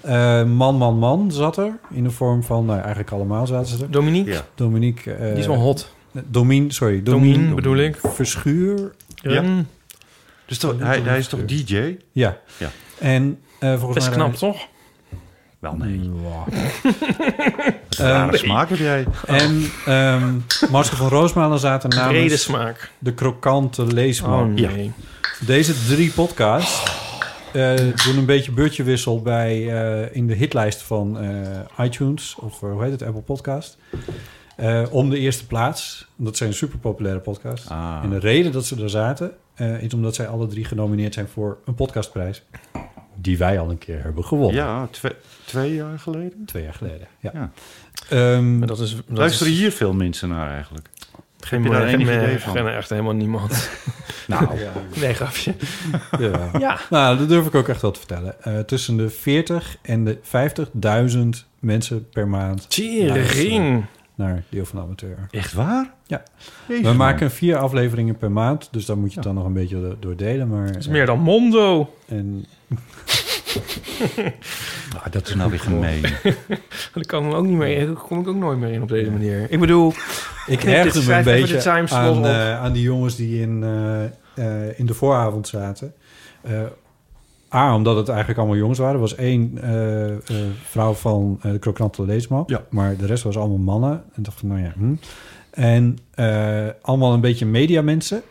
[SPEAKER 3] Eh, man, man, man zat er. In de vorm van, nou eigenlijk allemaal zaten ze er.
[SPEAKER 2] Dominique. Ja.
[SPEAKER 3] Dominique. eh,
[SPEAKER 2] Die is wel hot.
[SPEAKER 3] Domien, sorry.
[SPEAKER 2] Domien,
[SPEAKER 3] Domien,
[SPEAKER 2] bedoel ik.
[SPEAKER 3] Verschuur.
[SPEAKER 2] Ja.
[SPEAKER 1] Dus toch- hij, hij is toch DJ?
[SPEAKER 3] Ja.
[SPEAKER 1] Ja.
[SPEAKER 3] En eh volgens
[SPEAKER 2] Best
[SPEAKER 3] mij...
[SPEAKER 2] knap, toch?
[SPEAKER 1] Wel, nee.
[SPEAKER 3] Eh,
[SPEAKER 1] Rare smaak heb jij.
[SPEAKER 3] En ehm Marcel van Roosmalen zaten namens...
[SPEAKER 2] Brede smaak.
[SPEAKER 3] De krokante leesman.
[SPEAKER 2] Oh, nee. Ja.
[SPEAKER 3] Deze drie podcasts eh, doen een beetje beurtjewissel bij, eh, in de hitlijst van eh, iTunes. Of eh, hoe heet het? Apple Podcast. Eh, om de eerste plaats. Dat zijn super populaire podcasts.
[SPEAKER 1] Ah.
[SPEAKER 3] En de reden dat ze daar zaten... eh, is omdat zij alle drie genomineerd zijn voor een podcastprijs. Die wij al een keer hebben gewonnen.
[SPEAKER 1] Ja, twee, twee jaar geleden.
[SPEAKER 3] Twee jaar geleden, ja. Ehm,
[SPEAKER 2] Maar dat is, dat
[SPEAKER 1] Luisteren
[SPEAKER 2] is
[SPEAKER 1] hier veel mensen naar eigenlijk?
[SPEAKER 2] geen
[SPEAKER 1] heb je daar
[SPEAKER 2] geen-
[SPEAKER 1] enig
[SPEAKER 2] eh,
[SPEAKER 1] idee van?
[SPEAKER 2] geen- echt helemaal niemand.
[SPEAKER 1] Nou.
[SPEAKER 3] Ja.
[SPEAKER 2] Nee, grapje.
[SPEAKER 3] Ja.
[SPEAKER 2] Ja.
[SPEAKER 3] Nou, dat durf ik ook echt wel te vertellen. Eh, tussen de 40 en de 50.000 mensen per maand.
[SPEAKER 2] Tering.
[SPEAKER 3] luisteren Naar Deel van de Amateur.
[SPEAKER 1] Echt waar?
[SPEAKER 3] Ja.
[SPEAKER 1] Jezus,
[SPEAKER 3] We
[SPEAKER 1] man.
[SPEAKER 3] maken vier afleveringen per maand, dus daar moet je het dan nog een beetje do- door delen. Maar, eh,
[SPEAKER 2] Dat is meer dan Mondo.
[SPEAKER 3] En...
[SPEAKER 1] Ah, dat is nou weer gemeen.
[SPEAKER 2] Daar kom ik ook niet meer. Daar kom ik ook nooit meer in op deze manier. Ik bedoel,
[SPEAKER 3] Ik
[SPEAKER 2] knip dit,
[SPEAKER 3] ergerde me een
[SPEAKER 2] schrijf even de
[SPEAKER 3] beetje
[SPEAKER 2] timeslot
[SPEAKER 3] aan,
[SPEAKER 2] op.
[SPEAKER 3] eh, aan die jongens die in, eh, eh, in de vooravond zaten. Eh, A, omdat het eigenlijk allemaal jongens waren. Er was één eh, eh, vrouw van eh, de krokante leesman. Maar de rest was allemaal mannen. En ik dacht van, nou ja. Hm. En eh, allemaal een beetje mediamensen.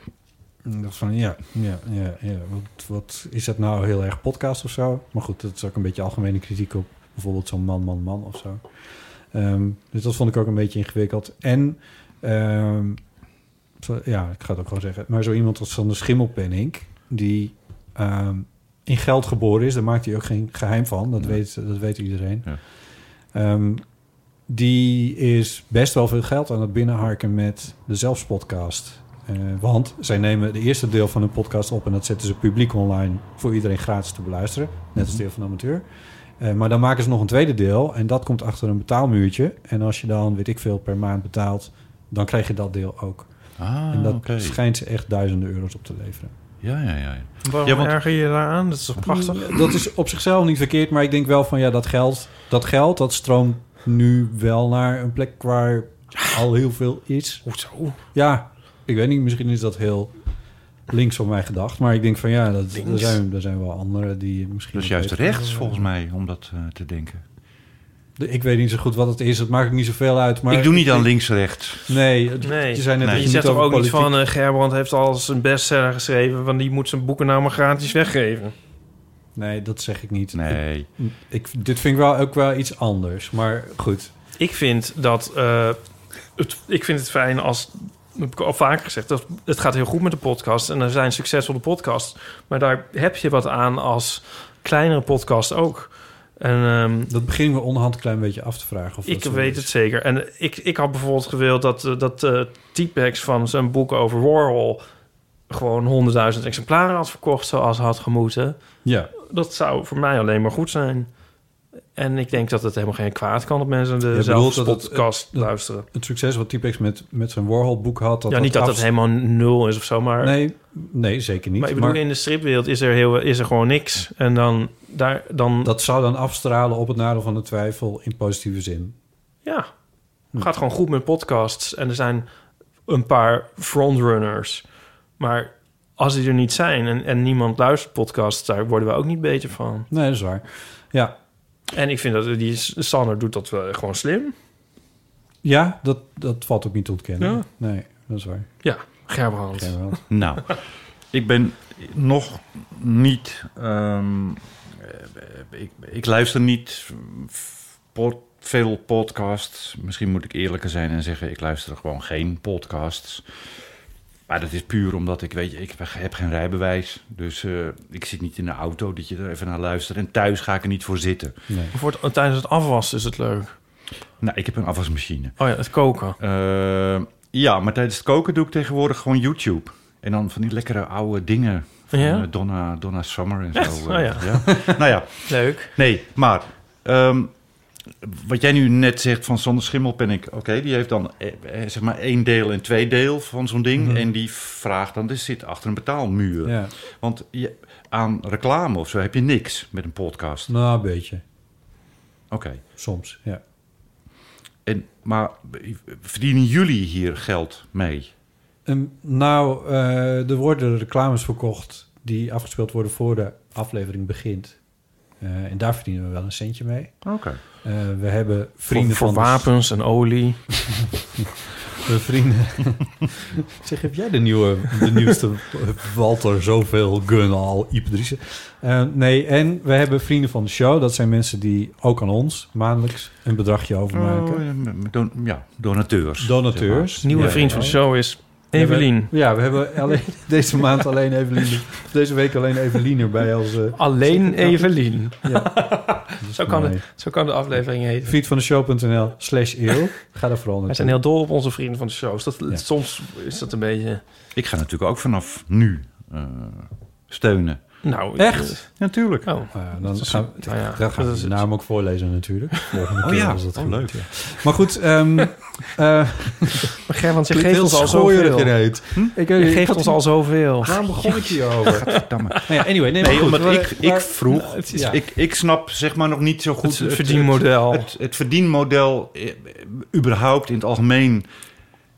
[SPEAKER 3] En ik dacht van, ja, ja, ja. ja. Wat, wat is dat nou heel erg podcast of zo? Maar goed, dat is ook een beetje algemene kritiek op bijvoorbeeld zo'n man, man, man of zo. Ehm, dus dat vond ik ook een beetje ingewikkeld. En, ehm, zo- ja, ik ga het ook gewoon zeggen. Maar zo iemand als Sander Schimmelpenning, die ehm, in geld geboren is, daar maakt hij ook geen geheim van. Dat, weet, dat weet iedereen. Ehm, die is best wel veel geld aan het binnenharken met de Zelfspodcast. Eh, want zij nemen de eerste deel van hun podcast op en dat zetten ze publiek online voor iedereen gratis te beluisteren. Net als deel van de amateur. Eh, maar dan maken ze nog een tweede deel en dat komt achter een betaalmuurtje. En als je dan, weet ik veel, per maand betaalt, dan krijg je dat deel ook.
[SPEAKER 1] Ah,
[SPEAKER 3] en dat
[SPEAKER 1] oké.
[SPEAKER 3] schijnt ze echt duizenden euro's op te leveren.
[SPEAKER 1] Ja, ja, ja.
[SPEAKER 2] Waarom
[SPEAKER 1] Ja, want-
[SPEAKER 2] erger je daaraan? Dat is toch prachtig?
[SPEAKER 3] Dat is op zichzelf niet verkeerd, maar ik denk wel van ja, dat geld, dat geld, dat stroomt nu wel naar een plek waar al heel veel is.
[SPEAKER 2] Hoezo?
[SPEAKER 3] Ja, ik weet niet, misschien is dat heel links van mij gedacht, maar ik denk van ja, dat, er,
[SPEAKER 1] Links?
[SPEAKER 3] zijn, er zijn wel anderen die misschien.
[SPEAKER 1] Dus juist
[SPEAKER 3] dat beter
[SPEAKER 1] rechts,
[SPEAKER 3] doen.
[SPEAKER 1] volgens mij, om dat eh, te denken.
[SPEAKER 3] De- Ik weet niet zo goed wat het is, het maakt niet zoveel uit. Maar
[SPEAKER 1] Ik doe niet aan
[SPEAKER 3] denk-
[SPEAKER 1] links-rechts.
[SPEAKER 3] Nee, het-
[SPEAKER 2] Nee,
[SPEAKER 3] je zei net dat
[SPEAKER 2] je
[SPEAKER 3] je
[SPEAKER 2] zegt
[SPEAKER 3] niet
[SPEAKER 2] toch
[SPEAKER 3] over
[SPEAKER 2] ook niet
[SPEAKER 3] politiek
[SPEAKER 2] van... eh, Gerbrand heeft al zijn bestseller geschreven... want die moet zijn boeken nou maar gratis weggeven.
[SPEAKER 3] Nee, dat zeg ik niet.
[SPEAKER 1] Nee.
[SPEAKER 3] Ik, ik- dit vind ik wel ook wel iets anders, maar goed.
[SPEAKER 2] Ik vind dat... eh, het, ik vind het fijn als... Dat heb ik al vaker gezegd. Dat, het gaat heel goed met de podcast. En er zijn succesvolle podcasts. Maar daar heb je wat aan als kleinere podcast ook. En,
[SPEAKER 3] dat beginnen we onderhand een klein beetje af te vragen. Of
[SPEAKER 2] ik
[SPEAKER 3] dat zo
[SPEAKER 2] weet
[SPEAKER 3] is.
[SPEAKER 2] het zeker. En eh, ik, ik had bijvoorbeeld gewild dat, eh, dat eh T-Pax van zijn boek over Warhol... gewoon honderdduizend exemplaren had verkocht zoals had gemoeten.
[SPEAKER 3] Ja.
[SPEAKER 2] Dat zou voor mij alleen maar goed zijn. En ik denk dat het helemaal geen kwaad kan dat mensen
[SPEAKER 3] Je
[SPEAKER 2] de
[SPEAKER 3] bedoelt
[SPEAKER 2] zelfs
[SPEAKER 3] dat het-
[SPEAKER 2] podcast luisteren.
[SPEAKER 3] Het succes wat Typex met, met zijn Warhol-boek had... Dat
[SPEAKER 2] ja, niet dat
[SPEAKER 3] af-
[SPEAKER 2] dat helemaal nul is of zo, maar...
[SPEAKER 3] Nee, nee zeker niet.
[SPEAKER 2] Maar ik bedoel,
[SPEAKER 3] Maar
[SPEAKER 2] in de stripwereld is er, heel, is er gewoon niks. En dan, daar, dan...
[SPEAKER 3] Dat zou dan afstralen op het nadeel van de twijfel in positieve zin. Hm.
[SPEAKER 2] Ja, het gaat gewoon goed met podcasts. En er zijn een paar frontrunners. Maar als die er niet zijn en, en niemand luistert podcasts... daar worden we ook niet beter van.
[SPEAKER 3] Nee, dat is waar. Ja,
[SPEAKER 2] En ik vind dat die Sander doet dat wel gewoon slim.
[SPEAKER 3] ja dat, dat valt ook niet te ontkennen.
[SPEAKER 2] Ja.
[SPEAKER 3] Nee, dat is waar.
[SPEAKER 2] Ja, Gerbrand.
[SPEAKER 3] Gerbrand.
[SPEAKER 1] Nou, ik ben nog niet. ehm, eh, ik, ik luister niet f- pod- veel podcasts. Misschien moet ik eerlijker zijn en zeggen: ik luister gewoon geen podcasts. Maar dat is puur omdat ik weet, ik heb geen rijbewijs. Dus eh, ik zit niet in de auto dat je er even naar luistert. En thuis ga ik er niet voor zitten.
[SPEAKER 3] Nee.
[SPEAKER 2] Of wordt- tijdens het afwassen is het leuk.
[SPEAKER 1] Nou, ik heb een afwasmachine. Eh,
[SPEAKER 2] Oh ja, het koken.
[SPEAKER 1] ja, maar tijdens het koken doe ik tegenwoordig gewoon YouTube. En dan van die lekkere oude dingen. Van
[SPEAKER 2] Ja?
[SPEAKER 1] eh, Donna, Donna Summer en
[SPEAKER 2] Echt?
[SPEAKER 1] zo.
[SPEAKER 2] Oh
[SPEAKER 1] eh,
[SPEAKER 2] ja.
[SPEAKER 1] nou ja.
[SPEAKER 2] Leuk.
[SPEAKER 1] Nee, maar ehm, wat jij nu net zegt van Sander Schimmelpenninck. Oké, die heeft dan eh, eh, zeg maar één deel en twee deel van zo'n ding.
[SPEAKER 3] Mhm.
[SPEAKER 1] En die vraagt dan, dus zit achter een betaalmuur.
[SPEAKER 3] Ja.
[SPEAKER 1] Want je, aan reclame of zo heb je niks met een podcast.
[SPEAKER 3] Nou, een beetje.
[SPEAKER 1] Oké.
[SPEAKER 3] Soms, ja.
[SPEAKER 1] En, maar verdienen jullie hier geld mee?
[SPEAKER 3] En nou, eh, er worden reclames verkocht die afgespeeld worden voor de aflevering begint. Eh, en daar verdienen we wel een centje mee.
[SPEAKER 1] Oké.
[SPEAKER 3] Eh, we hebben vrienden
[SPEAKER 2] voor,
[SPEAKER 3] van...
[SPEAKER 2] voor
[SPEAKER 3] de-
[SPEAKER 2] wapens en olie.
[SPEAKER 3] We vrienden... zeg, heb jij de nieuwe, de nieuwste eh, Walter Zoveel Gun al, Iep Driessen? Eh, nee, en we hebben vrienden van de show. Dat zijn mensen die ook aan ons maandelijks een bedragje overmaken.
[SPEAKER 1] Oh, ja, m- don- ja, donateurs.
[SPEAKER 3] Donateurs.
[SPEAKER 1] zeg maar.
[SPEAKER 2] Nieuwe
[SPEAKER 3] Ja,
[SPEAKER 2] vriend van de
[SPEAKER 3] ja.
[SPEAKER 2] show is
[SPEAKER 3] We hebben-
[SPEAKER 2] Evelien.
[SPEAKER 3] ja, we hebben alleen, deze maand alleen Evelien. er- Deze week alleen Evelien erbij als... eh,
[SPEAKER 2] Alleen Evelien.
[SPEAKER 3] Ja.
[SPEAKER 2] zo, kan de,
[SPEAKER 3] mooi.
[SPEAKER 2] zo kan de aflevering heten.
[SPEAKER 3] Vriend van de show.nl slash eeuw. Ga daar vooral
[SPEAKER 2] Wij
[SPEAKER 3] naartoe.
[SPEAKER 2] zijn heel dol op onze vrienden van de shows. Dat, Soms is dat een beetje...
[SPEAKER 1] Ik ga natuurlijk ook vanaf nu eh, steunen.
[SPEAKER 2] Nou,
[SPEAKER 3] Echt?
[SPEAKER 1] Natuurlijk.
[SPEAKER 2] Oh.
[SPEAKER 3] Ja, Eh, dan
[SPEAKER 2] Dat is-
[SPEAKER 3] gaan,
[SPEAKER 2] nou ja,
[SPEAKER 3] dan
[SPEAKER 2] dat
[SPEAKER 3] gaan we
[SPEAKER 2] is-
[SPEAKER 3] de naam ook voorlezen natuurlijk. Volgende
[SPEAKER 1] Oh
[SPEAKER 3] keer
[SPEAKER 1] ja,
[SPEAKER 3] als dat
[SPEAKER 1] oh,
[SPEAKER 3] gebeurt,
[SPEAKER 1] leuk.
[SPEAKER 3] ja. Maar goed, ehm eh
[SPEAKER 2] Maar Gerbrand, je
[SPEAKER 3] klinkt
[SPEAKER 2] geeft
[SPEAKER 3] heel
[SPEAKER 2] ons al
[SPEAKER 3] schooierig
[SPEAKER 2] zoveel.
[SPEAKER 3] ineens.
[SPEAKER 2] Hm?
[SPEAKER 3] Ik,
[SPEAKER 2] Je Ah, geeft ons al zoveel.
[SPEAKER 3] Waarom begon ik hierover?
[SPEAKER 1] Verdamme.
[SPEAKER 3] Nou ja, anyway, nee, maar
[SPEAKER 1] Nee,
[SPEAKER 3] goed,
[SPEAKER 1] omdat
[SPEAKER 3] maar-
[SPEAKER 1] ik, ik
[SPEAKER 3] maar-
[SPEAKER 1] vroeg...
[SPEAKER 3] het is-
[SPEAKER 1] ik, ik snap zeg maar nog niet zo goed...
[SPEAKER 2] Het verdienmodel.
[SPEAKER 1] Het, het, het verdienmodel eh, überhaupt in het algemeen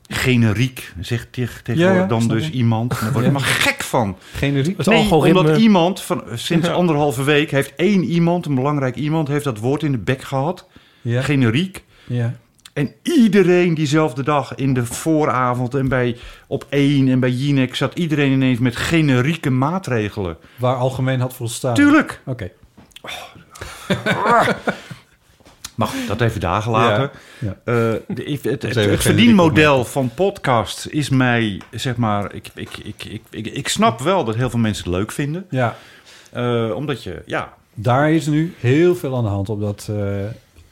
[SPEAKER 1] generiek, zegt tegen, tegenwoordig
[SPEAKER 3] Ja, ja,
[SPEAKER 1] dan
[SPEAKER 3] snap
[SPEAKER 1] dus
[SPEAKER 3] ik.
[SPEAKER 1] iemand. Daar word ik
[SPEAKER 3] Ja.
[SPEAKER 1] maar gek van.
[SPEAKER 3] Generiek?
[SPEAKER 1] Nee, omdat iemand van, sinds anderhalve week heeft één iemand, een belangrijk iemand, heeft dat woord in de bek gehad.
[SPEAKER 3] Ja.
[SPEAKER 1] Generiek.
[SPEAKER 3] Ja.
[SPEAKER 1] En iedereen diezelfde dag in de vooravond en bij op één en bij Jinek zat iedereen ineens met generieke maatregelen.
[SPEAKER 3] Waar algemeen had volstaan.
[SPEAKER 1] Tuurlijk.
[SPEAKER 3] Oké.
[SPEAKER 1] Maar goed, dat even dagen later.
[SPEAKER 3] Ja.
[SPEAKER 1] Eh, de- ik- het het,
[SPEAKER 3] even
[SPEAKER 1] het
[SPEAKER 3] generiek
[SPEAKER 1] verdienmodel van podcasts is mij, zeg maar, ik, ik, ik, ik, ik, ik snap wel dat heel veel mensen het leuk vinden.
[SPEAKER 3] Ja.
[SPEAKER 1] Eh, omdat je, ja,
[SPEAKER 3] Daar is nu heel veel aan de hand op dat... eh,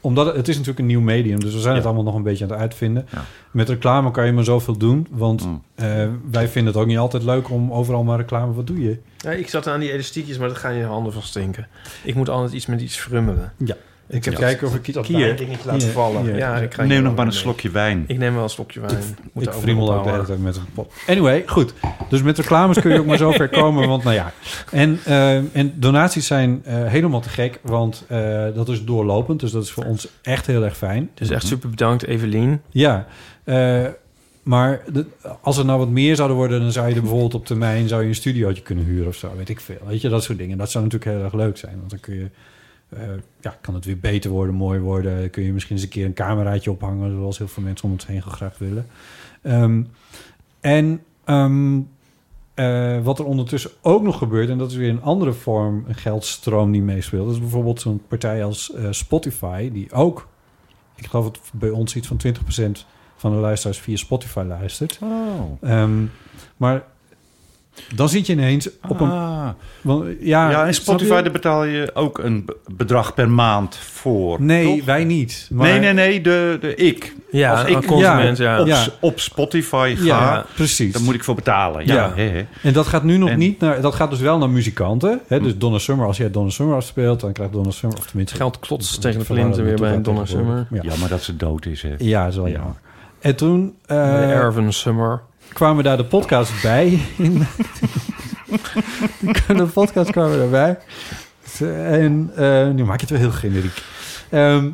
[SPEAKER 3] omdat het, het is natuurlijk een nieuw medium, dus we zijn het allemaal nog een beetje aan het uitvinden. Met reclame kan je maar zoveel doen, want eh, wij vinden het ook niet altijd leuk om overal maar reclame. Wat doe je?
[SPEAKER 2] Ja, ik zat aan die elastiekjes, maar dat gaan je handen van stinken. Ik moet altijd iets met iets frummelen.
[SPEAKER 3] Ja. Ik heb
[SPEAKER 1] Ja.
[SPEAKER 3] kijken of ik iets had
[SPEAKER 2] Kier.
[SPEAKER 3] bij-
[SPEAKER 2] dingetje laten vallen. Ja, ik ga
[SPEAKER 1] Neem
[SPEAKER 2] hier
[SPEAKER 1] nog
[SPEAKER 2] wel
[SPEAKER 1] maar een
[SPEAKER 2] mee.
[SPEAKER 1] slokje wijn.
[SPEAKER 2] Ik neem wel een slokje wijn. Moet
[SPEAKER 3] ik
[SPEAKER 2] daar ook
[SPEAKER 3] friemel
[SPEAKER 2] nog
[SPEAKER 3] ook de hele
[SPEAKER 2] ophouden.
[SPEAKER 3] tijd met een pot. Anyway, goed. Dus met reclames kun je ook maar zo ver komen. Want nou ja. En, eh, en donaties zijn eh, helemaal te gek. Want eh, dat is doorlopend. Dus dat is voor ons echt heel erg fijn.
[SPEAKER 2] Dus echt super bedankt, Evelien.
[SPEAKER 3] Ja, eh, maar de- als er nou wat meer zouden worden, dan zou je er bijvoorbeeld op termijn zou je een studiootje kunnen huren of zo, weet ik veel. Weet je, dat soort dingen. Dat zou natuurlijk heel erg leuk zijn, want dan kun je, eh, ja, kan het weer beter worden, mooi worden. Dan kun je misschien eens een keer een cameraatje ophangen, zoals heel veel mensen om ons heen graag willen. Ehm, en ehm, eh, wat er ondertussen ook nog gebeurt, en dat is weer een andere vorm, een geldstroom die meespeelt. Dat is bijvoorbeeld zo'n partij als eh, Spotify, die ook ik geloof dat bij ons iets van 20% van de luisteraars via Spotify luistert.
[SPEAKER 1] Oh.
[SPEAKER 3] Ehm, maar dan zit je ineens op een...
[SPEAKER 1] Ah.
[SPEAKER 3] Want, ja,
[SPEAKER 1] Ja, en
[SPEAKER 3] snap
[SPEAKER 1] Spotify
[SPEAKER 3] je?
[SPEAKER 1] daar betaal je ook een b- bedrag per maand voor.
[SPEAKER 3] Nee,
[SPEAKER 1] toch?
[SPEAKER 3] wij niet. Maar...
[SPEAKER 1] Nee, nee, nee, de, de ik.
[SPEAKER 3] Ja,
[SPEAKER 1] Als ik
[SPEAKER 3] een consument, ja.
[SPEAKER 1] Op,
[SPEAKER 3] Ja.
[SPEAKER 1] op Spotify ga,
[SPEAKER 3] Ja, precies.
[SPEAKER 1] dan moet ik voor betalen. Ja,
[SPEAKER 3] Ja.
[SPEAKER 1] hè, hè.
[SPEAKER 3] En dat gaat nu nog niet naar... Dat gaat dus wel naar muzikanten.
[SPEAKER 2] Hm.
[SPEAKER 3] Hè? Dus Donna Summer, als jij Donna Summer afspeelt... dan krijgt Donna Summer... Of tenminste...
[SPEAKER 2] Geld klotst tegen de
[SPEAKER 3] verwarren,
[SPEAKER 2] flinten weer bij
[SPEAKER 3] dat doet dat
[SPEAKER 2] Donna
[SPEAKER 3] tegenwoordig.
[SPEAKER 2] Summer.
[SPEAKER 3] Ja.
[SPEAKER 1] Jammer dat ze dood is, hè.
[SPEAKER 3] Ja, dat is wel
[SPEAKER 1] Ja.
[SPEAKER 3] jammer. En toen... eh,
[SPEAKER 2] Bij Erwin Summer.
[SPEAKER 3] kwamen daar de podcast bij. In, de podcast kwamen daarbij. En eh, nu maak je het wel heel generiek. Ehm,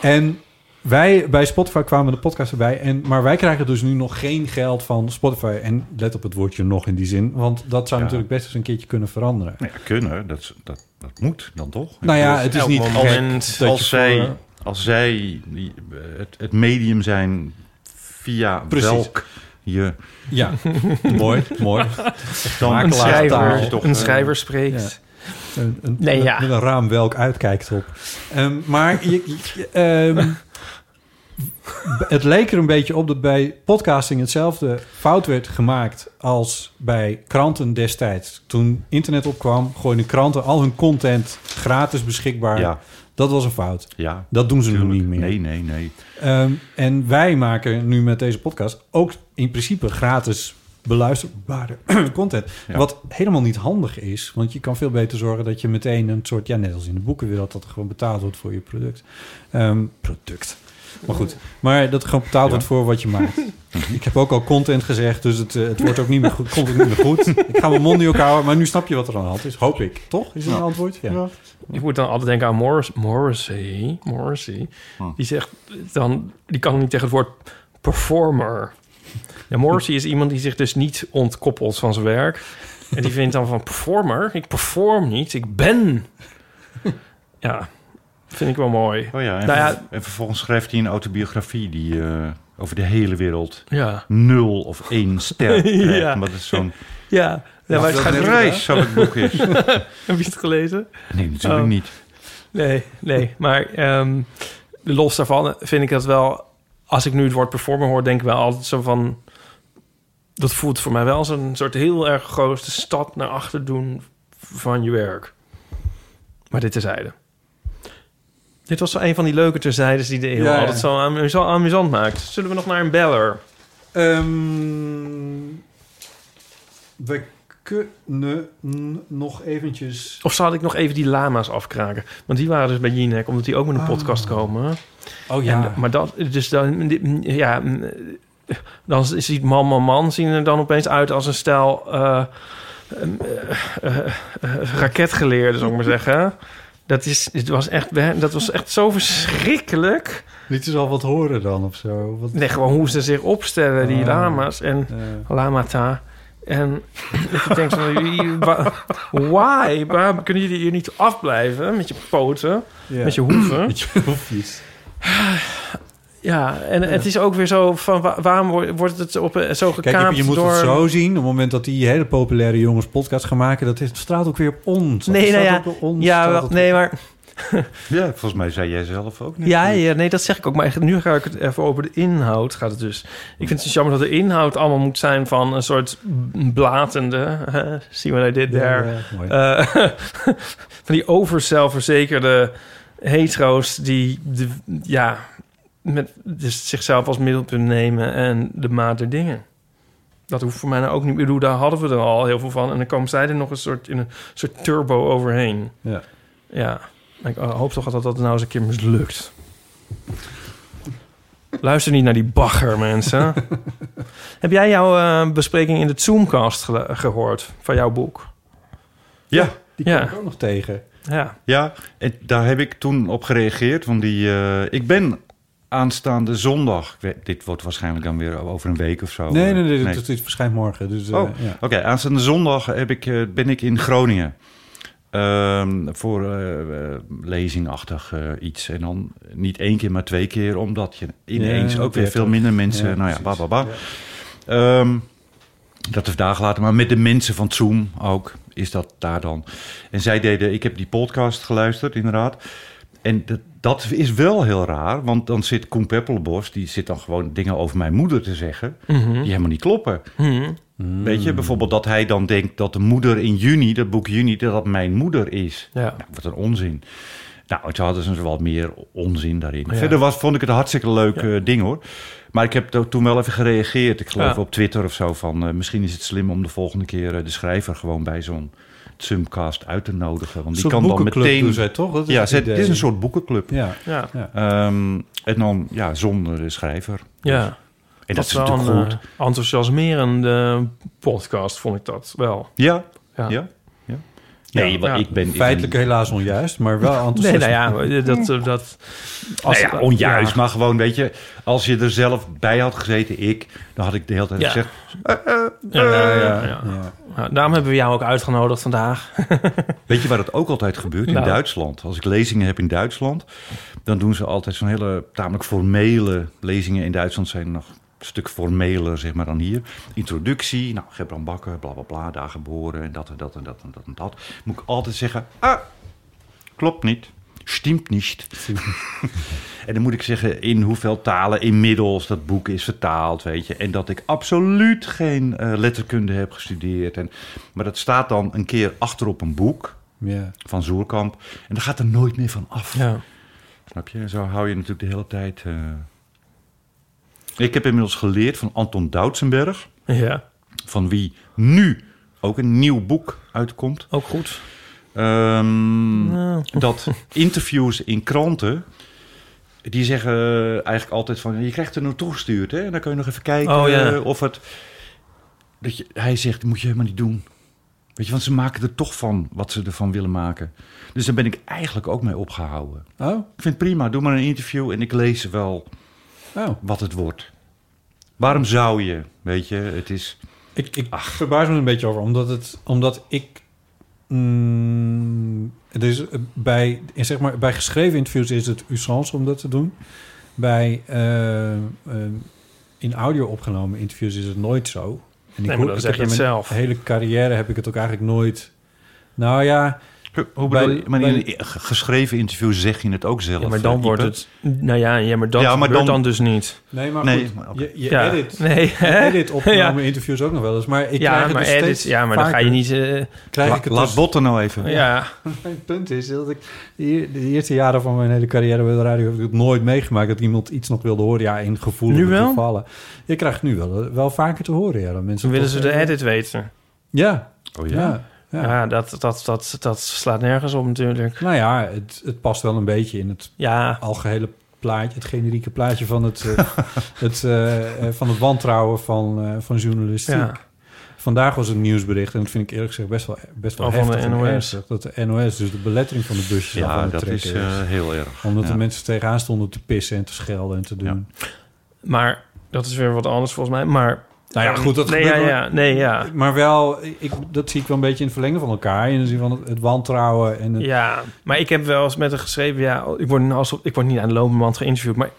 [SPEAKER 3] en wij bij Spotify kwamen de podcast erbij. En, maar wij krijgen dus nu nog geen geld van Spotify. En let op het woordje nog in die zin. Want dat zou
[SPEAKER 1] Ja.
[SPEAKER 3] natuurlijk best eens een keertje kunnen veranderen.
[SPEAKER 1] Nou ja, kunnen, dat, is- dat, dat moet dan toch?
[SPEAKER 3] Nou ja,
[SPEAKER 1] Ik bedoel,
[SPEAKER 3] het is niet
[SPEAKER 1] elk
[SPEAKER 3] gek
[SPEAKER 1] moment
[SPEAKER 3] dat je
[SPEAKER 1] als, zij,
[SPEAKER 3] voor-
[SPEAKER 1] als zij die, eh, het, het medium zijn via
[SPEAKER 3] Precies.
[SPEAKER 1] welk je...
[SPEAKER 3] Ja, mooi, mooi.
[SPEAKER 1] Dan
[SPEAKER 3] Makelaar
[SPEAKER 1] een
[SPEAKER 3] taal.
[SPEAKER 1] schrijver, toch,
[SPEAKER 2] een
[SPEAKER 1] eh,
[SPEAKER 2] schrijver spreekt.
[SPEAKER 3] Ja. Een, een,
[SPEAKER 2] Nee, ja.
[SPEAKER 3] Met een raam welk uitkijkt op. Ehm, maar je, je- ehm, het leek er een beetje op dat bij podcasting hetzelfde fout werd gemaakt als bij kranten destijds. Toen internet opkwam, gooiden kranten al hun content gratis beschikbaar.
[SPEAKER 1] Ja.
[SPEAKER 3] Dat was een fout.
[SPEAKER 1] Ja,
[SPEAKER 3] dat doen ze nu niet meer.
[SPEAKER 1] Nee, nee, nee.
[SPEAKER 3] Ehm, en wij maken nu met deze podcast ook in principe gratis beluisterbare content.
[SPEAKER 1] Ja.
[SPEAKER 3] Wat helemaal niet handig is, want je kan veel beter zorgen dat je meteen een soort, ja, net als in de boeken wil dat dat gewoon betaald wordt voor je product. Ehm, product. Maar goed, maar dat gewoon betaald wordt voor wat je maakt. Ik heb ook al content gezegd, dus het, eh, het wordt ook niet meer goed, komt ook niet meer goed. Ik ga mijn mond niet ook houden, maar nu snap je wat er aan de hand is. Hoop ik, toch? Is dat een
[SPEAKER 2] Ja.
[SPEAKER 3] antwoord? Ja.
[SPEAKER 2] Ik moet dan altijd denken aan Morris, Morrissey. Morrissey. Die zegt dan, die kan niet tegen het woord performer. Ja, Morrissey is iemand die zich dus niet ontkoppelt van zijn werk. En die vindt dan van performer. Ik perform niet, ik ben. Ja, vind ik wel mooi.
[SPEAKER 1] Oh ja, en,
[SPEAKER 2] nou ja,
[SPEAKER 1] ver- en vervolgens schrijft hij een autobiografie die eh, over de hele wereld
[SPEAKER 2] Ja.
[SPEAKER 1] nul of één ster krijgt.
[SPEAKER 2] Ja.
[SPEAKER 1] Omdat het zo'n
[SPEAKER 2] ja.
[SPEAKER 1] Ja,
[SPEAKER 2] maar
[SPEAKER 1] dat
[SPEAKER 2] gaat-
[SPEAKER 1] net reis, zo het boek is.
[SPEAKER 2] Heb je het gelezen?
[SPEAKER 1] Nee, natuurlijk
[SPEAKER 2] Oh.
[SPEAKER 1] niet.
[SPEAKER 2] Nee, nee. Maar ehm, los daarvan vind ik dat wel... Als ik nu het woord performer hoor, denk ik wel altijd zo van... Dat voelt voor mij wel zo'n soort heel erg grote stap naar achter doen van je werk. Maar dit terzijde. Dit was zo een van die leuke terzijdes die de eeuw
[SPEAKER 3] Ja, ja.
[SPEAKER 2] altijd zo amu- zo amusant maakt. Zullen we nog naar een beller?
[SPEAKER 3] Ehm, we kunnen nog eventjes...
[SPEAKER 2] Of zal ik nog even die lama's afkraken? Want die waren dus bij Jinek, omdat die ook met een
[SPEAKER 3] Ah.
[SPEAKER 2] podcast komen.
[SPEAKER 3] Oh ja.
[SPEAKER 2] En, maar dat, dus dan, dit- ja, mm, dan ziet man, man, man zien er dan opeens uit als een stel eh, ehm, eh, eh, eh, raketgeleerden, zou ik maar zeggen. Dat, is, dit was echt, we- dat was echt zo verschrikkelijk.
[SPEAKER 3] Liet ze al wat horen dan of zo? Wat...
[SPEAKER 2] Nee, gewoon hoe ze zich opstellen, die
[SPEAKER 3] Ah.
[SPEAKER 2] lama's en lamata. En ik denk van, wie- wa- why? Waarom kunnen jullie hier niet afblijven met je poten,
[SPEAKER 3] Ja.
[SPEAKER 2] met je hoeven?
[SPEAKER 3] Met je hoefjes.
[SPEAKER 2] Ja, en
[SPEAKER 3] Ja.
[SPEAKER 2] het is ook weer zo van wa- waarom wo- wordt het op, eh, zo gekaapt
[SPEAKER 3] Kijk, je- je moet
[SPEAKER 2] door...
[SPEAKER 3] het zo zien. Op het moment dat die hele populaire jongens podcast gaan maken... dat is, het straalt ook weer op ons.
[SPEAKER 2] Nee,
[SPEAKER 3] Het
[SPEAKER 2] nou
[SPEAKER 3] straalt
[SPEAKER 2] ja,
[SPEAKER 3] ook op ons,
[SPEAKER 2] ja,
[SPEAKER 3] straalt
[SPEAKER 2] wel,
[SPEAKER 3] op-
[SPEAKER 2] nee, maar
[SPEAKER 1] Ja, volgens mij zei jij zelf ook niet.
[SPEAKER 2] ja, ja, nee, dat zeg ik ook. Maar nu ga ik het even over de inhoud. Gaat het dus. Ik vind het dus jammer dat de inhoud allemaal moet zijn van een soort b- blatende. hè, See what I did
[SPEAKER 3] Ja,
[SPEAKER 2] there.
[SPEAKER 3] ja, mooi.
[SPEAKER 2] Eh, van die overzelfverzekerde hetero's die de, ja, met, dus zichzelf als middelpunt nemen en de maat der dingen. Dat hoeft voor mij nou ook niet. Ik bedoel, daar hadden we er al heel veel van. En dan komen zij er nog een soort, in een soort turbo overheen.
[SPEAKER 3] Ja.
[SPEAKER 2] Ja. Ik eh, hoop toch dat dat nou eens een keer mislukt. Luister niet naar die bagger, mensen. Heb jij jouw eh, bespreking in de Zoomcast gele- gehoord van jouw boek?
[SPEAKER 1] Ja.
[SPEAKER 3] Die
[SPEAKER 2] Ja.
[SPEAKER 3] kwam ik ook nog tegen.
[SPEAKER 2] Ja.
[SPEAKER 1] Ja, en daar heb ik toen op gereageerd. Want die, eh, ik ben aanstaande zondag. ik weet- Dit wordt waarschijnlijk dan weer over een week of zo.
[SPEAKER 3] Nee,
[SPEAKER 1] Eh,
[SPEAKER 3] nee, nee, dit- dit verschijnt morgen, dus, eh,
[SPEAKER 1] oh,
[SPEAKER 3] ja.
[SPEAKER 1] oké. aanstaande zondag heb ik, eh, ben ik in Groningen. Ehm, voor eh, eh, lezingachtig eh, iets. En dan niet één keer, maar twee keer. Omdat je ineens
[SPEAKER 3] Ja,
[SPEAKER 1] ook weer veel
[SPEAKER 3] dertig.
[SPEAKER 1] minder mensen...
[SPEAKER 3] Ja,
[SPEAKER 1] nou ja,
[SPEAKER 3] precies.
[SPEAKER 1] ba, ba, ba. Ehm, dat is vandaag later, maar met de mensen van Zoom ook, is dat daar dan. En zij deden, ik heb die podcast geluisterd, inderdaad. En dat, dat is wel heel raar, want dan zit Koen Peppelbos, die zit dan gewoon dingen over mijn moeder te zeggen,
[SPEAKER 2] Mhm.
[SPEAKER 3] Hm?
[SPEAKER 1] die helemaal niet kloppen. Weet je, bijvoorbeeld dat hij dan denkt dat de moeder in juni, dat boek juni, dat dat mijn moeder is.
[SPEAKER 2] Ja.
[SPEAKER 1] Nou, wat een onzin. Nou, toen hadden ze wat meer onzin daarin.
[SPEAKER 2] Ja.
[SPEAKER 1] Verder was, vond ik het een hartstikke leuk eh, ding hoor. Maar ik heb to- toen wel even gereageerd. Ik geloof
[SPEAKER 2] Ja.
[SPEAKER 1] op Twitter of zo van... eh, misschien is het slim om de volgende keer eh, de schrijver gewoon bij zo'n Zoomcast uit te nodigen. Want die
[SPEAKER 3] soort
[SPEAKER 1] kan dan
[SPEAKER 3] boekenclub
[SPEAKER 1] meteen...
[SPEAKER 3] doen zij toch? Dat is
[SPEAKER 1] ja,
[SPEAKER 3] het
[SPEAKER 1] zij-
[SPEAKER 3] idee.
[SPEAKER 1] het is een soort boekenclub.
[SPEAKER 3] Ja.
[SPEAKER 2] Ja.
[SPEAKER 1] Ehm, en dan ja, zonder de schrijver. Dus-
[SPEAKER 2] Ja.
[SPEAKER 1] En dat, is
[SPEAKER 2] wel
[SPEAKER 1] natuurlijk
[SPEAKER 2] een
[SPEAKER 1] goed.
[SPEAKER 2] eh, enthousiasmerende podcast, vond ik dat wel.
[SPEAKER 1] Ja, ja, ja. Nee, want ik ben... ik
[SPEAKER 3] Feitelijk
[SPEAKER 1] ben-
[SPEAKER 3] helaas onjuist, maar wel enthousiast.
[SPEAKER 2] Nee, nou ja, dat... eh, dat
[SPEAKER 1] Als,
[SPEAKER 2] nou
[SPEAKER 1] ja, onjuist,
[SPEAKER 2] ja.
[SPEAKER 1] maar gewoon, weet je... Als je er zelf bij had gezeten, ik... Dan had ik de hele tijd
[SPEAKER 2] Ja.
[SPEAKER 1] gezegd... eh,
[SPEAKER 2] Ja, ja, ja, ja. Nou, daarom hebben we jou ook uitgenodigd vandaag.
[SPEAKER 1] Weet je waar dat ook altijd gebeurt? In
[SPEAKER 2] Nou.
[SPEAKER 1] Duitsland. Als ik lezingen heb in Duitsland, dan doen ze altijd zo'n hele tamelijk formele lezingen. In Duitsland zijn nog een stuk formeler, zeg maar, dan hier. Introductie, nou, Gebran Bakker, bla bla bla, daar geboren en dat en dat en dat en dat en dat. Moet ik altijd zeggen, ah, klopt niet. Stimmt niet. en dan moet ik zeggen in hoeveel talen inmiddels dat boek is vertaald, weet je. En dat ik absoluut geen eh, letterkunde heb gestudeerd. En, maar dat staat dan een keer achter op een boek
[SPEAKER 3] Ja.
[SPEAKER 1] van Zoerkamp. En daar gaat er nooit meer van af.
[SPEAKER 2] Ja.
[SPEAKER 1] Snap je? En zo hou je natuurlijk de hele tijd... eh. Ik heb inmiddels geleerd van Anton Doutsenberg.
[SPEAKER 2] Ja.
[SPEAKER 1] Van wie nu ook een nieuw boek uitkomt. Ehm,
[SPEAKER 2] Ook goed. Nou.
[SPEAKER 1] Dat interviews in kranten... Die zeggen eigenlijk altijd van... Je krijgt er naartoe gestuurd, hè? En dan kun je nog even kijken
[SPEAKER 2] Oh, ja.
[SPEAKER 1] eh, of het... Dat je, hij zegt, dat moet je helemaal niet doen. Weet je, want ze maken er toch van wat ze ervan willen maken. Dus daar ben ik eigenlijk ook mee opgehouden.
[SPEAKER 3] Oh.
[SPEAKER 1] Ik vind het prima, doe maar een interview en ik lees wel
[SPEAKER 3] Oh.
[SPEAKER 1] wat het wordt. Waarom zou je, weet je, het is...
[SPEAKER 3] Ik, ik verbaas me een beetje over, omdat, het, omdat ik... mm, het is eh, bij, eh, zeg maar, bij geschreven interviews is het usance om dat te doen. Bij eh, eh, in audio opgenomen interviews is het nooit zo.
[SPEAKER 2] Nee, maar
[SPEAKER 3] hoor-
[SPEAKER 2] dan
[SPEAKER 3] ik
[SPEAKER 2] zeg
[SPEAKER 3] heb
[SPEAKER 2] je het
[SPEAKER 3] in mijn
[SPEAKER 2] zelf.
[SPEAKER 3] hele carrière heb ik het ook eigenlijk nooit... Nou ja...
[SPEAKER 1] Hoe
[SPEAKER 3] bij-
[SPEAKER 1] bedoel je? maar
[SPEAKER 3] bij-
[SPEAKER 1] in een ge- geschreven interview zeg je het ook zelf.
[SPEAKER 2] Ja, maar dan
[SPEAKER 1] eh,
[SPEAKER 2] wordt
[SPEAKER 1] Ipe.
[SPEAKER 2] het... Nou ja, ja maar dat
[SPEAKER 1] Ja, maar
[SPEAKER 2] gebeurt
[SPEAKER 1] dan-
[SPEAKER 2] dan, dus niet.
[SPEAKER 3] Nee, maar
[SPEAKER 1] Nee,
[SPEAKER 3] goed,
[SPEAKER 1] maar oké.
[SPEAKER 3] je, je
[SPEAKER 2] Ja.
[SPEAKER 3] edit,
[SPEAKER 2] Nee,
[SPEAKER 3] je
[SPEAKER 2] hè?
[SPEAKER 3] edit
[SPEAKER 2] Ja.
[SPEAKER 3] opgenomen interviews ook nog wel eens. Maar ik
[SPEAKER 2] ja,
[SPEAKER 3] krijg het
[SPEAKER 2] maar
[SPEAKER 3] dus steeds
[SPEAKER 2] edit, ja, maar dan ga je
[SPEAKER 3] vaker.
[SPEAKER 2] niet... eh,
[SPEAKER 3] Krijg
[SPEAKER 1] La-
[SPEAKER 3] ik het
[SPEAKER 1] laat
[SPEAKER 3] dus-
[SPEAKER 1] botten nou even.
[SPEAKER 2] ja.
[SPEAKER 3] Mijn punt is dat ik de, de eerste jaren van mijn hele carrière bij de radio heb ik het nooit meegemaakt dat iemand iets nog wilde horen. Ja, in gevoelens
[SPEAKER 2] Nu wel?
[SPEAKER 3] gevallen. Je krijgt nu wel, eh, wel vaker te horen. Ja, dat mensen
[SPEAKER 2] Dan willen ze
[SPEAKER 3] toch-
[SPEAKER 2] de edit weten.
[SPEAKER 3] Ja.
[SPEAKER 1] Oh
[SPEAKER 3] ja. ja.
[SPEAKER 2] Ja, dat, dat, dat, dat slaat nergens op natuurlijk.
[SPEAKER 3] Nou ja, het, het past wel een beetje in het
[SPEAKER 2] Ja.
[SPEAKER 3] algehele plaatje, het generieke plaatje van het, eh, het, eh, eh, van het wantrouwen van, eh, van journalistiek.
[SPEAKER 2] Ja.
[SPEAKER 3] Vandaag was het nieuwsbericht en dat vind ik eerlijk gezegd best wel, best wel
[SPEAKER 2] Oh, van de
[SPEAKER 3] heftig en
[SPEAKER 2] NOS.
[SPEAKER 3] ernstig. Dat de NOS, dus de belettering van de busjes
[SPEAKER 1] Ja,
[SPEAKER 3] af aan het
[SPEAKER 1] dat
[SPEAKER 3] trekken
[SPEAKER 1] is, eh, heel erg.
[SPEAKER 3] Omdat
[SPEAKER 1] Ja.
[SPEAKER 3] de mensen tegenaan stonden te pissen en te schelden en te doen.
[SPEAKER 2] Maar dat is weer wat anders volgens mij. Maar,
[SPEAKER 3] Nou ja, goed, dat
[SPEAKER 2] nee, ja,
[SPEAKER 3] gebeurt wel.
[SPEAKER 2] ja, nee, ja.
[SPEAKER 3] Maar wel, ik, dat zie ik wel een beetje in het verlengen van elkaar. In de zin van het, het wantrouwen en het...
[SPEAKER 2] Ja, maar ik heb wel eens met haar geschreven... Ja, ik word, nou alsof, ik word niet aan de lopende band geïnterviewd, maar...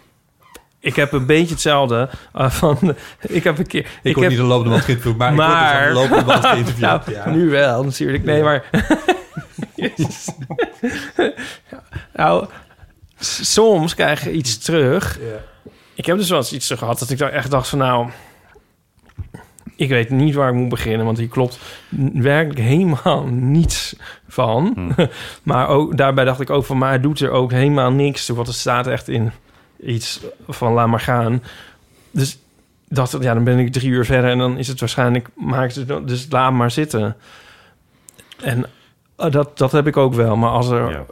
[SPEAKER 2] Ik heb een beetje hetzelfde eh, van... Ik heb een keer... Ik,
[SPEAKER 3] word
[SPEAKER 2] heb,
[SPEAKER 3] niet aan de lopende band geïnterviewd, maar ik word dus aan de lopende band geïnterviewd,
[SPEAKER 2] Nou,
[SPEAKER 3] ja.
[SPEAKER 2] Nu wel, natuurlijk. Nee, maar... Jezus. nou, s- soms krijg je iets terug. Ik heb dus wel eens iets gehad dat ik dan echt dacht van... Nou, ik weet niet waar ik moet beginnen, want hier klopt n- werkelijk helemaal niets van.
[SPEAKER 1] Hm.
[SPEAKER 2] maar ook, daarbij dacht ik ook van, maar het doet er ook helemaal niks toe, want er staat echt in iets van laat maar gaan. Dus dacht ik, ja, dan ben ik drie uur verder en dan is het waarschijnlijk, maakt het dan- dus laat maar zitten. En eh, dat, dat heb ik ook wel, maar als er Maar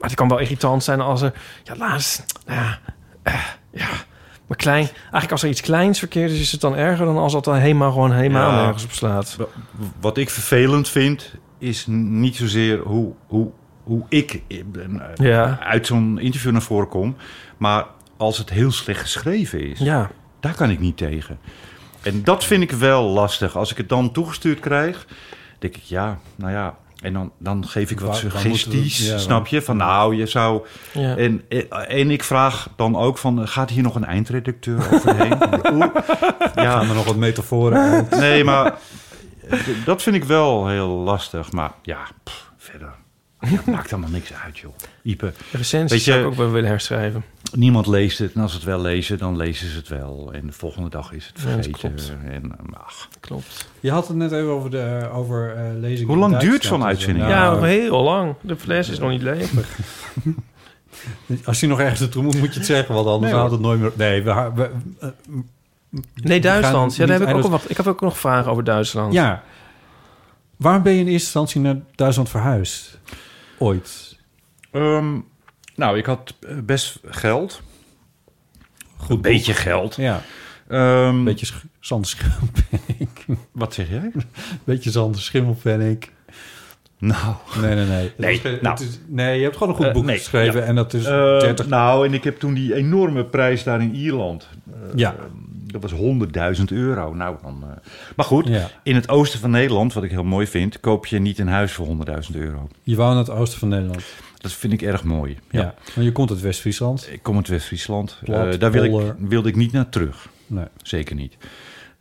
[SPEAKER 2] het kan wel irritant zijn als er... Ja, laatst... Nou ja, eh, ja, maar klein... Eigenlijk als er iets kleins verkeerd is, is het dan erger... dan als dat dan helemaal gewoon helemaal
[SPEAKER 1] Ja.
[SPEAKER 2] nergens op slaat.
[SPEAKER 1] Wat ik vervelend vind, is n- niet zozeer hoe, hoe, hoe ik eh, eh,
[SPEAKER 2] Ja.
[SPEAKER 1] uit zo'n interview naar voren kom, maar als het heel slecht geschreven is.
[SPEAKER 2] Ja.
[SPEAKER 1] Daar kan ik niet tegen. En dat vind ik wel lastig. Als ik het dan toegestuurd krijg, denk ik ja, nou ja. En dan, dan geef ik wat
[SPEAKER 4] Waar- waar
[SPEAKER 1] suggesties,
[SPEAKER 4] moeten we- ja,
[SPEAKER 1] snap je? Van nou, je zou...
[SPEAKER 4] Ja.
[SPEAKER 1] En, eh, en ik vraag dan ook van, gaat hier nog een eindredacteur overheen? Oeh.
[SPEAKER 4] Ja, maar nog wat metaforen uit.
[SPEAKER 1] Nee, maar d- dat vind ik wel heel lastig. Maar ja, pff, verder. Ja, maakt allemaal niks uit, joh. Ipe.
[SPEAKER 2] Recensies
[SPEAKER 1] Weet je,
[SPEAKER 2] zou ik ook wel willen herschrijven.
[SPEAKER 1] Niemand leest het. En als ze het wel lezen, dan lezen ze het wel. En de volgende dag is het
[SPEAKER 2] Ja, dat
[SPEAKER 1] vergeten.
[SPEAKER 2] klopt.
[SPEAKER 1] En, eh, ach.
[SPEAKER 2] Klopt.
[SPEAKER 3] Je had het net even over, de, over eh, lezingen.
[SPEAKER 1] Hoe
[SPEAKER 3] in
[SPEAKER 1] lang
[SPEAKER 3] Duitsland
[SPEAKER 1] duurt zo'n
[SPEAKER 3] en zo.
[SPEAKER 1] uitzending?
[SPEAKER 3] Nou,
[SPEAKER 2] ja, heel lang. De fles is nog niet leeg.
[SPEAKER 3] Als je nog ergens naartoe moet, moet je het zeggen. Want anders
[SPEAKER 2] Nee,
[SPEAKER 3] houdt het nooit meer... Nee, we, ha- we, eh,
[SPEAKER 2] Nee, Duitsland.
[SPEAKER 3] gaan
[SPEAKER 2] Ja, daar heb
[SPEAKER 3] niet
[SPEAKER 2] ik, ook
[SPEAKER 3] eindig-
[SPEAKER 2] nog, ik heb ook nog vragen over Duitsland.
[SPEAKER 3] Ja. Waarom ben je in eerste instantie naar Duitsland verhuisd? Ooit.
[SPEAKER 1] Ehm, nou, ik had eh, best geld. Goed beetje geld.
[SPEAKER 3] Ja.
[SPEAKER 1] Ehm,
[SPEAKER 3] Beetje sch- zanderschimmelpennink.
[SPEAKER 1] Wat zeg jij?
[SPEAKER 3] Beetje zanderschimmelpennink.
[SPEAKER 1] Nou.
[SPEAKER 3] Nee, nee, nee. Het
[SPEAKER 1] Nee,
[SPEAKER 3] is geen-
[SPEAKER 1] nou.
[SPEAKER 3] het is- nee, je hebt gewoon een goed
[SPEAKER 1] Eh,
[SPEAKER 3] boek
[SPEAKER 1] nee,
[SPEAKER 3] geschreven.
[SPEAKER 1] ja.
[SPEAKER 3] En dat is
[SPEAKER 1] Eh,
[SPEAKER 3] 30...
[SPEAKER 1] Nou, en ik heb toen die enorme prijs daar in Ierland. eh,
[SPEAKER 3] Ja.
[SPEAKER 1] Dat was 100.000 euro. Nou, dan, eh, Maar goed,
[SPEAKER 3] Ja.
[SPEAKER 1] in het oosten van Nederland, wat ik heel mooi vind, koop je niet een huis voor 100.000 euro.
[SPEAKER 3] Je wou naar het oosten van Nederland.
[SPEAKER 1] Dat vind ik erg mooi.
[SPEAKER 3] Ja. Maar je komt uit West-Friesland.
[SPEAKER 1] Ik kom uit West-Friesland.
[SPEAKER 3] Plat,
[SPEAKER 1] Eh, daar wil ik,
[SPEAKER 3] Polder.
[SPEAKER 1] wilde ik niet naar terug.
[SPEAKER 3] Nee.
[SPEAKER 1] Zeker niet.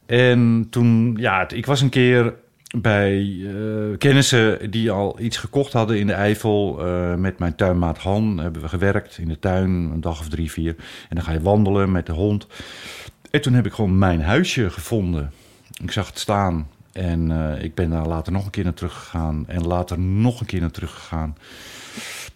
[SPEAKER 1] En toen, ja, het- ik was een keer bij eh, kennissen die al iets gekocht hadden in de Eifel. Eh, met mijn tuinmaat Han hebben we gewerkt in de tuin, een dag of drie, vier. En dan ga je wandelen met de hond. En toen heb ik gewoon mijn huisje gevonden. Ik zag het staan en eh, ik ben daar later nog een keer naar teruggegaan. En later nog een keer naar teruggegaan.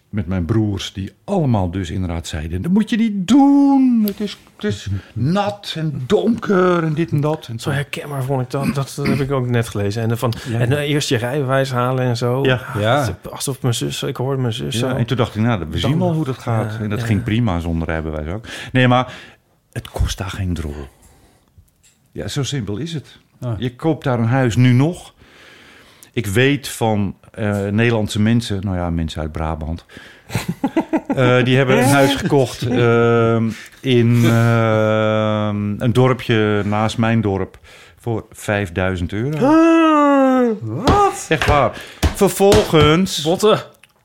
[SPEAKER 1] Met mijn broers, die allemaal dus inderdaad zeiden... dat moet je niet doen, het is, het is nat en donker en dit en dat. En
[SPEAKER 2] Zo herkenbaar vond ik dat. Dat heb ik ook net gelezen. En, dan van, en dan eerst je rijbewijs halen en zo. Ah,
[SPEAKER 1] Ja. Ja.
[SPEAKER 2] Alsof mijn zus... Ik hoorde mijn zus
[SPEAKER 1] Ja,
[SPEAKER 2] zo.
[SPEAKER 1] en toen dacht ik, nou, we zien
[SPEAKER 2] Dan-
[SPEAKER 1] wel hoe dat gaat.
[SPEAKER 2] Ja,
[SPEAKER 1] en dat
[SPEAKER 2] ja.
[SPEAKER 1] ging prima zonder rijbewijs ook. Nee, maar het kost daar geen drol. Ja, zo simpel is het. Je koopt daar een huis nu nog. Ik weet van eh, Nederlandse mensen, nou ja, mensen uit Brabant. eh, die hebben een huis gekocht ehm, in ehm, een dorpje naast mijn dorp voor 5000 euro.
[SPEAKER 2] Ah, Wat?
[SPEAKER 1] Echt waar. Vervolgens...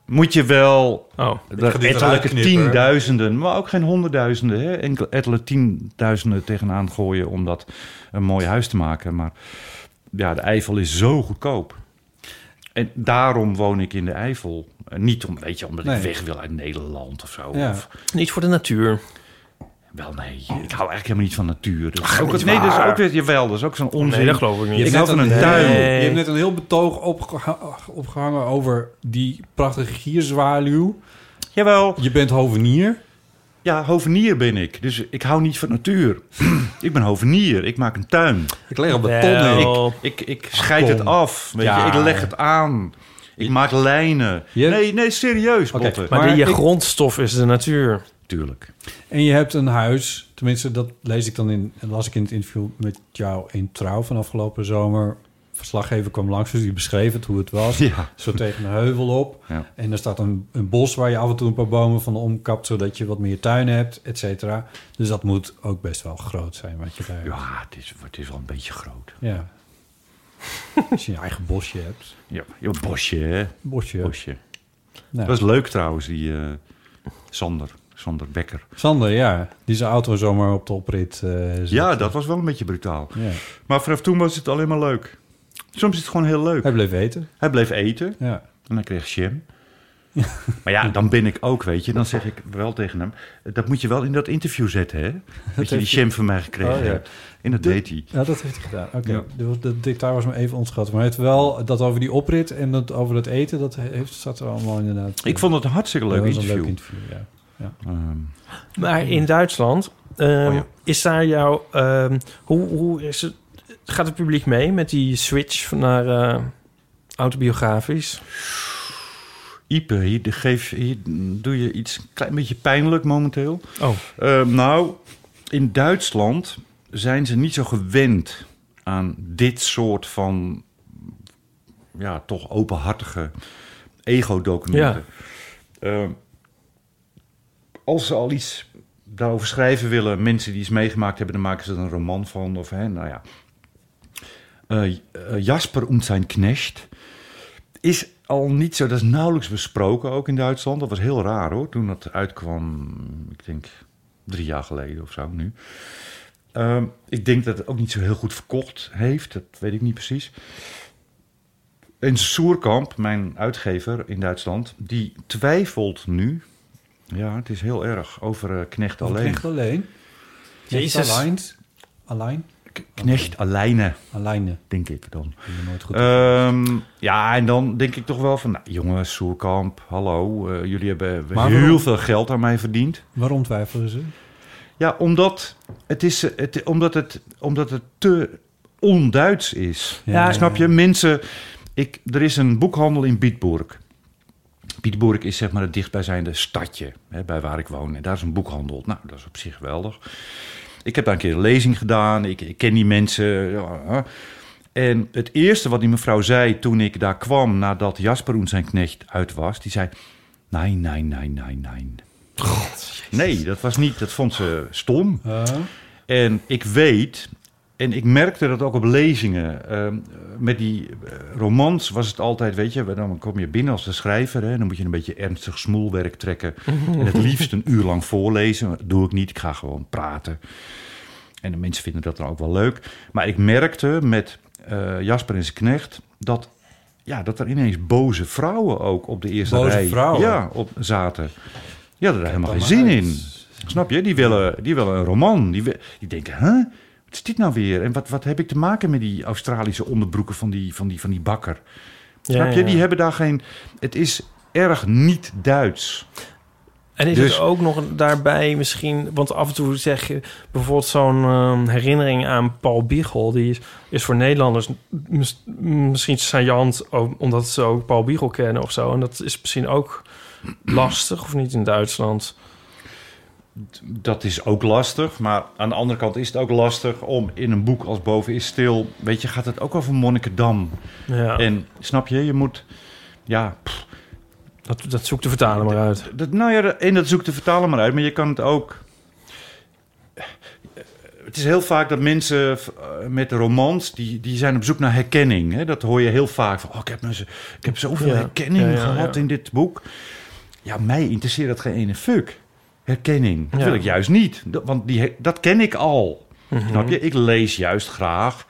[SPEAKER 1] Moet je wel oh,
[SPEAKER 4] ga dit eruit
[SPEAKER 1] ettelijke
[SPEAKER 4] knippen.
[SPEAKER 1] tienduizenden, maar ook geen honderdduizenden... Hè? Enkel ettelijke tienduizenden tegenaan gooien om dat een mooi huis te maken. Maar ja, de Eifel is zo goedkoop. En daarom woon ik in de Eifel. En niet om, weet je, omdat
[SPEAKER 2] Nee.
[SPEAKER 1] ik weg wil uit Nederland of zo.
[SPEAKER 2] Ja.
[SPEAKER 1] Of,
[SPEAKER 2] Niet voor de natuur.
[SPEAKER 1] wel nee, ik hou eigenlijk helemaal niet van natuur. Dus
[SPEAKER 2] Ach,
[SPEAKER 1] ook,
[SPEAKER 2] niet
[SPEAKER 1] nee, dat is
[SPEAKER 2] waar.
[SPEAKER 1] ook weer, jawel, dat is ook zo'n onzin.
[SPEAKER 2] Nee, dat geloof ik niet.
[SPEAKER 1] Ik hou van een
[SPEAKER 3] net
[SPEAKER 1] tuin.
[SPEAKER 3] heel- je hebt net een heel betoog opgeha- opgehangen over die prachtige gierzwaluw.
[SPEAKER 1] Jawel.
[SPEAKER 3] Je bent hovenier.
[SPEAKER 1] Ja, hovenier ben ik. Dus ik hou niet van natuur. ik ben hovenier. Ik maak een tuin.
[SPEAKER 3] Ik leg er beton in.
[SPEAKER 1] Ik, ik, ik scheid het
[SPEAKER 3] Kom.
[SPEAKER 1] af. Weet
[SPEAKER 3] Ja.
[SPEAKER 1] je? Ik leg het aan. Ik maak lijnen. Nee, nee, serieus, Botte.
[SPEAKER 2] Maar, die je grondstof is de natuur.
[SPEAKER 1] Tuurlijk.
[SPEAKER 3] En je hebt een huis, tenminste dat lees ik dan in, en las ik in het interview met jou in Trouw van afgelopen zomer. Verslaggever kwam langs, dus die beschreef het hoe het was.
[SPEAKER 1] Ja.
[SPEAKER 3] Zo tegen een heuvel op.
[SPEAKER 1] Ja.
[SPEAKER 3] En er staat een, een bos waar je af en toe een paar bomen van omkapt, zodat je wat meer tuin hebt, et cetera. Dus dat moet ook best wel groot zijn wat je daar hebt.
[SPEAKER 1] Ja, het is, het is wel een beetje groot.
[SPEAKER 3] Ja. Als je een eigen bosje hebt.
[SPEAKER 1] Ja, je bosje, hè?
[SPEAKER 3] Bosje.
[SPEAKER 1] Bosje.
[SPEAKER 3] Nou.
[SPEAKER 1] Dat is leuk trouwens, die eh, Sander. Sander Becker.
[SPEAKER 3] Sander, ja, die zijn auto zomaar op de oprit eh, zette.
[SPEAKER 1] Ja, dat was wel een beetje brutaal.
[SPEAKER 3] Ja.
[SPEAKER 1] Maar vanaf toen was het alleen maar leuk. Soms is het gewoon heel leuk.
[SPEAKER 3] Hij bleef eten.
[SPEAKER 1] Hij bleef eten.
[SPEAKER 3] Ja.
[SPEAKER 1] En dan kreeg Jim. maar ja, dan ben ik ook, weet je. Dan zeg ik wel tegen hem... Dat moet je wel in dat interview zetten, hè? Dat je die
[SPEAKER 3] heeft hij-
[SPEAKER 1] Jim van mij gekregen
[SPEAKER 3] Oh, ja.
[SPEAKER 1] hebt. En dat
[SPEAKER 3] Dit-
[SPEAKER 1] deed hij.
[SPEAKER 3] Ja, dat heeft hij gedaan. Oké,
[SPEAKER 1] Ja.
[SPEAKER 3] de, de detail was me even ontschat. Maar hij heeft wel dat over die oprit en dat over dat eten, dat heeft, zat er allemaal inderdaad.
[SPEAKER 1] Ik vond het een hartstikke leuk
[SPEAKER 3] Ja, dat was
[SPEAKER 1] interview. Ehm,
[SPEAKER 3] Een leuk interview ja. Ja.
[SPEAKER 2] Maar
[SPEAKER 1] Hm.
[SPEAKER 2] in Duitsland,
[SPEAKER 1] Oh
[SPEAKER 2] ehm, is daar jouw... ehm, hoe, hoe is het... Gaat het publiek mee met die switch van naar eh, autobiografisch?
[SPEAKER 1] Ipe, hier, de- geef, hier doe je iets een klein beetje pijnlijk momenteel.
[SPEAKER 2] Oh.
[SPEAKER 1] Eh, nou, in Duitsland zijn ze niet zo gewend aan dit soort van... ja, toch openhartige ego-documenten. Eh, als ze al iets daarover schrijven willen... mensen die iets meegemaakt hebben, dan maken ze er een roman van. Of, hè, nou ja. Eh, eh, Jasper und zijn Knecht is al niet zo, dat is nauwelijks besproken ook in Duitsland. Dat was heel raar hoor, toen dat uitkwam, ik denk drie jaar geleden of zo nu. Ehm, ik denk dat het ook niet zo heel goed verkocht heeft, dat weet ik niet precies. En Soerkamp, mijn uitgever in Duitsland, die twijfelt nu, ja het is heel erg, over eh, Knecht
[SPEAKER 3] Over
[SPEAKER 1] alleen.
[SPEAKER 3] Knecht alleen?
[SPEAKER 1] Jezus.
[SPEAKER 3] Alleen? Alleen?
[SPEAKER 1] Knecht Alleine.
[SPEAKER 3] Alleine.
[SPEAKER 1] Denk ik dan.
[SPEAKER 3] Nooit goed.
[SPEAKER 1] Ehm, ja, en dan denk ik toch wel van... Nou, jongens, Soerkamp, hallo. eh, jullie hebben
[SPEAKER 3] Maar
[SPEAKER 1] heel
[SPEAKER 3] waarom?
[SPEAKER 1] veel geld aan mij verdiend.
[SPEAKER 3] Waarom twijfelen ze?
[SPEAKER 1] Ja, omdat het, is, eh, het, omdat het, omdat het te onduits is.
[SPEAKER 3] Ja.
[SPEAKER 1] Snap je? Mensen... Ik, er is een boekhandel in Bietburg. Bietburg is zeg maar het dichtbijzijnde stadje hè, bij waar ik woon. En daar is een boekhandel. Nou, dat is op zich geweldig. Ik heb daar een keer een lezing gedaan. Ik, ik ken die mensen. ja. En het eerste wat die mevrouw zei toen ik daar kwam... nadat Jasper en zijn knecht uit was... die zei... Nee, nee, nee, nee, nee. nee, dat was niet... Dat vond ze stom. En ik weet... En ik merkte dat ook op lezingen. ehm, met die eh, romans was het altijd, weet je, dan kom je binnen als de schrijver. Hè, dan moet je een beetje ernstig smoelwerk trekken. en het liefst een uur lang voorlezen. Dat doe ik niet. Ik ga gewoon praten. En de mensen vinden dat dan ook wel leuk. Maar ik merkte met eh, Jasper en zijn knecht dat, ja, dat er ineens boze vrouwen ook op de eerste
[SPEAKER 3] Boze
[SPEAKER 1] rij
[SPEAKER 3] vrouwen?
[SPEAKER 1] Ja, op, zaten. Die hadden er helemaal geen zin in. Snap je? Die willen, die willen een roman. Die, wi- die denken, hè? Wat is dit nou weer? En wat, wat heb ik te maken met die Australische onderbroeken van die, van die, van die bakker?
[SPEAKER 2] Ja,
[SPEAKER 1] Snap je?
[SPEAKER 2] ja, ja.
[SPEAKER 1] Die hebben daar geen... Het is erg niet Duits.
[SPEAKER 2] En is
[SPEAKER 1] Dus-
[SPEAKER 2] het ook nog daarbij misschien... Want af en toe zeg je bijvoorbeeld zo'n ehm, herinnering aan Paul Biegel... die is, is voor Nederlanders mis- misschien saillant... ook omdat ze ook Paul Biegel kennen of zo. En dat is misschien ook lastig, of niet, in Duitsland.
[SPEAKER 1] dat is ook lastig. Maar aan de andere kant is het ook lastig om in een boek als Boven is Stil... Weet je, gaat het ook over Monnikendam.
[SPEAKER 2] Ja.
[SPEAKER 1] En snap je, je moet... Ja, pff,
[SPEAKER 2] Dat, dat zoekt de vertaler maar uit.
[SPEAKER 1] dat, nou ja, dat- en dat zoekt de vertaler maar uit. Maar je kan het ook... Het is heel vaak dat mensen v- eh, met romans, die, die zijn op zoek naar herkenning. Hè? Dat hoor je heel vaak. Van, oh, ik, heb me, zo- ik heb zoveel
[SPEAKER 2] Ja.
[SPEAKER 1] herkenning
[SPEAKER 2] Ja, ja,
[SPEAKER 1] gehad
[SPEAKER 2] ja.
[SPEAKER 1] in dit boek. Ja, mij interesseert dat geen ene fuck. Herkenning. Dat
[SPEAKER 2] Ja.
[SPEAKER 1] wil ik juist niet. Dat- want die, he- dat ken ik al.
[SPEAKER 2] Mhm.
[SPEAKER 1] Snap je? Ik lees juist graag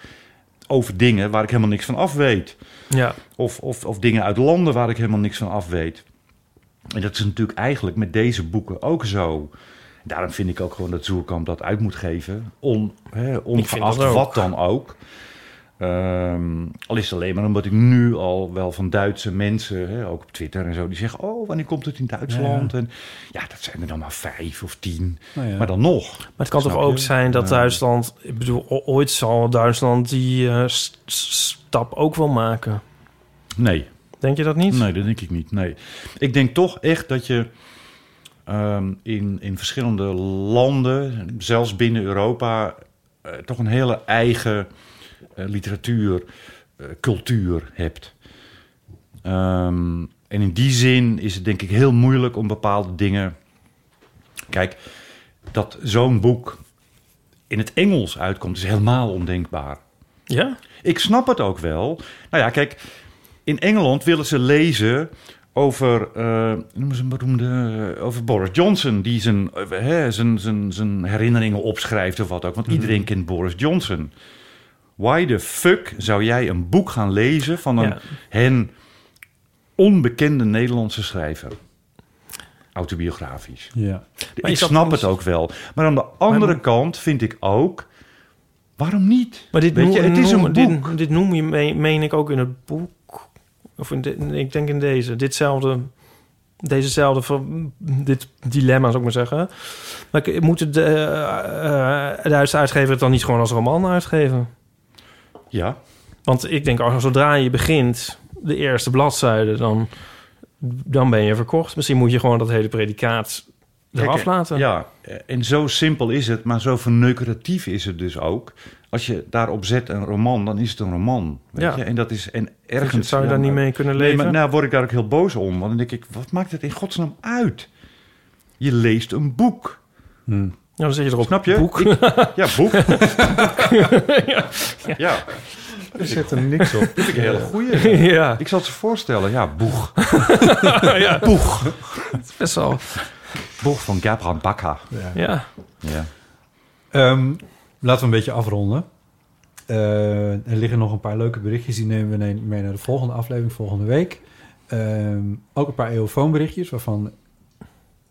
[SPEAKER 1] over dingen waar ik helemaal niks van af weet.
[SPEAKER 2] Ja.
[SPEAKER 1] Of, of, of dingen uit landen waar ik helemaal niks van af weet. En dat is natuurlijk eigenlijk met deze boeken ook zo. Daarom vind ik ook gewoon dat Zoerkamp dat uit moet geven. On, hè, ongeacht
[SPEAKER 2] dat ook.
[SPEAKER 1] wat dan ook. Ehm, al is het alleen maar omdat ik nu al wel van Duitse mensen, hè, ook op Twitter en zo, die zeggen: Oh, wanneer komt het in Duitsland? En ja, dat zijn er dan maar vijf of tien.
[SPEAKER 2] Nou ja.
[SPEAKER 1] Maar dan nog.
[SPEAKER 2] Maar het kan
[SPEAKER 1] Snap
[SPEAKER 2] toch
[SPEAKER 1] je?
[SPEAKER 2] ook zijn dat
[SPEAKER 1] Ja.
[SPEAKER 2] Duitsland... Ik bedoel, o- ooit zal Duitsland die eh, s- s- stap ook wel maken.
[SPEAKER 1] Nee.
[SPEAKER 2] Denk je dat niet?
[SPEAKER 1] Nee, dat denk ik niet. Nee. Ik denk toch echt dat je ehm, in, in verschillende landen, zelfs binnen Europa, eh, toch een hele eigen eh, literatuur, eh, cultuur hebt. Ehm, en in die zin is het denk ik heel moeilijk om bepaalde dingen. Kijk, dat zo'n boek in het Engels uitkomt, is helemaal ondenkbaar.
[SPEAKER 2] Ja?
[SPEAKER 1] Ik snap het ook wel. Nou ja, kijk, in Engeland willen ze lezen over, eh noemen ze een beroemde, eh, over Boris Johnson, die zijn, eh, hè, zijn, zijn, zijn herinneringen opschrijft of wat ook. Want iedereen kent Boris Johnson. Why the fuck zou jij een boek gaan lezen van een
[SPEAKER 2] Ja.
[SPEAKER 1] hen onbekende Nederlandse schrijver? Autobiografisch.
[SPEAKER 3] Ja.
[SPEAKER 2] Maar
[SPEAKER 1] ik
[SPEAKER 2] is dat
[SPEAKER 1] snap het ook wel. Maar aan de andere kant vind ik ook... Waarom niet?
[SPEAKER 2] Maar dit,
[SPEAKER 1] Weet
[SPEAKER 2] noem,
[SPEAKER 1] je, het is
[SPEAKER 2] noem-
[SPEAKER 1] een boek.
[SPEAKER 2] Dit, dit noem je, me- meen ik ook in het boek. Of in de- ik denk in deze. Ditzelfde, dezezelfde, ver- dit dilemma zou ik maar zeggen. Maar ik- moet de, eh, eh, Duitse uitgever het dan niet gewoon als roman uitgeven?
[SPEAKER 1] Ja.
[SPEAKER 2] Want ik denk, als zodra je begint, de eerste bladzijde, dan dan ben je verkocht. Misschien moet je gewoon dat hele predicaat eraf
[SPEAKER 1] Kijk,
[SPEAKER 2] laten.
[SPEAKER 1] Ja, en zo simpel is het, maar zo verneukeratief is het dus ook. Als je daarop zet een roman, dan is het een roman. Weet
[SPEAKER 2] Ja.
[SPEAKER 1] je? En dat is en
[SPEAKER 2] Dus
[SPEAKER 1] ergens.
[SPEAKER 2] zou je
[SPEAKER 1] ja,
[SPEAKER 2] daar niet
[SPEAKER 1] maar-
[SPEAKER 2] mee kunnen
[SPEAKER 1] Nee, maar
[SPEAKER 2] leven?
[SPEAKER 1] nou word ik daar ook heel boos om. Want dan denk ik, wat maakt het in godsnaam uit? Je leest een boek. Hmm.
[SPEAKER 2] Ja, dan zit je erop.
[SPEAKER 1] Snap je?
[SPEAKER 2] Boek.
[SPEAKER 1] Ik- ja, boek.
[SPEAKER 2] ja.
[SPEAKER 1] ja.
[SPEAKER 2] Er
[SPEAKER 1] zit er niks op. Dat vind ik een hele goeie.
[SPEAKER 2] Ja.
[SPEAKER 1] Ik zal het ze voorstellen. Ja, boeg.
[SPEAKER 2] ja.
[SPEAKER 1] Boeg.
[SPEAKER 2] Het is best wel...
[SPEAKER 1] Boeg van Gabran Bakka.
[SPEAKER 2] Ja.
[SPEAKER 1] ja.
[SPEAKER 3] Ehm, laten we een beetje afronden. Eh, er liggen nog een paar leuke berichtjes. Die nemen we mee naar de volgende aflevering volgende week. Ehm, ook een paar eeuwfoonberichtjes waarvan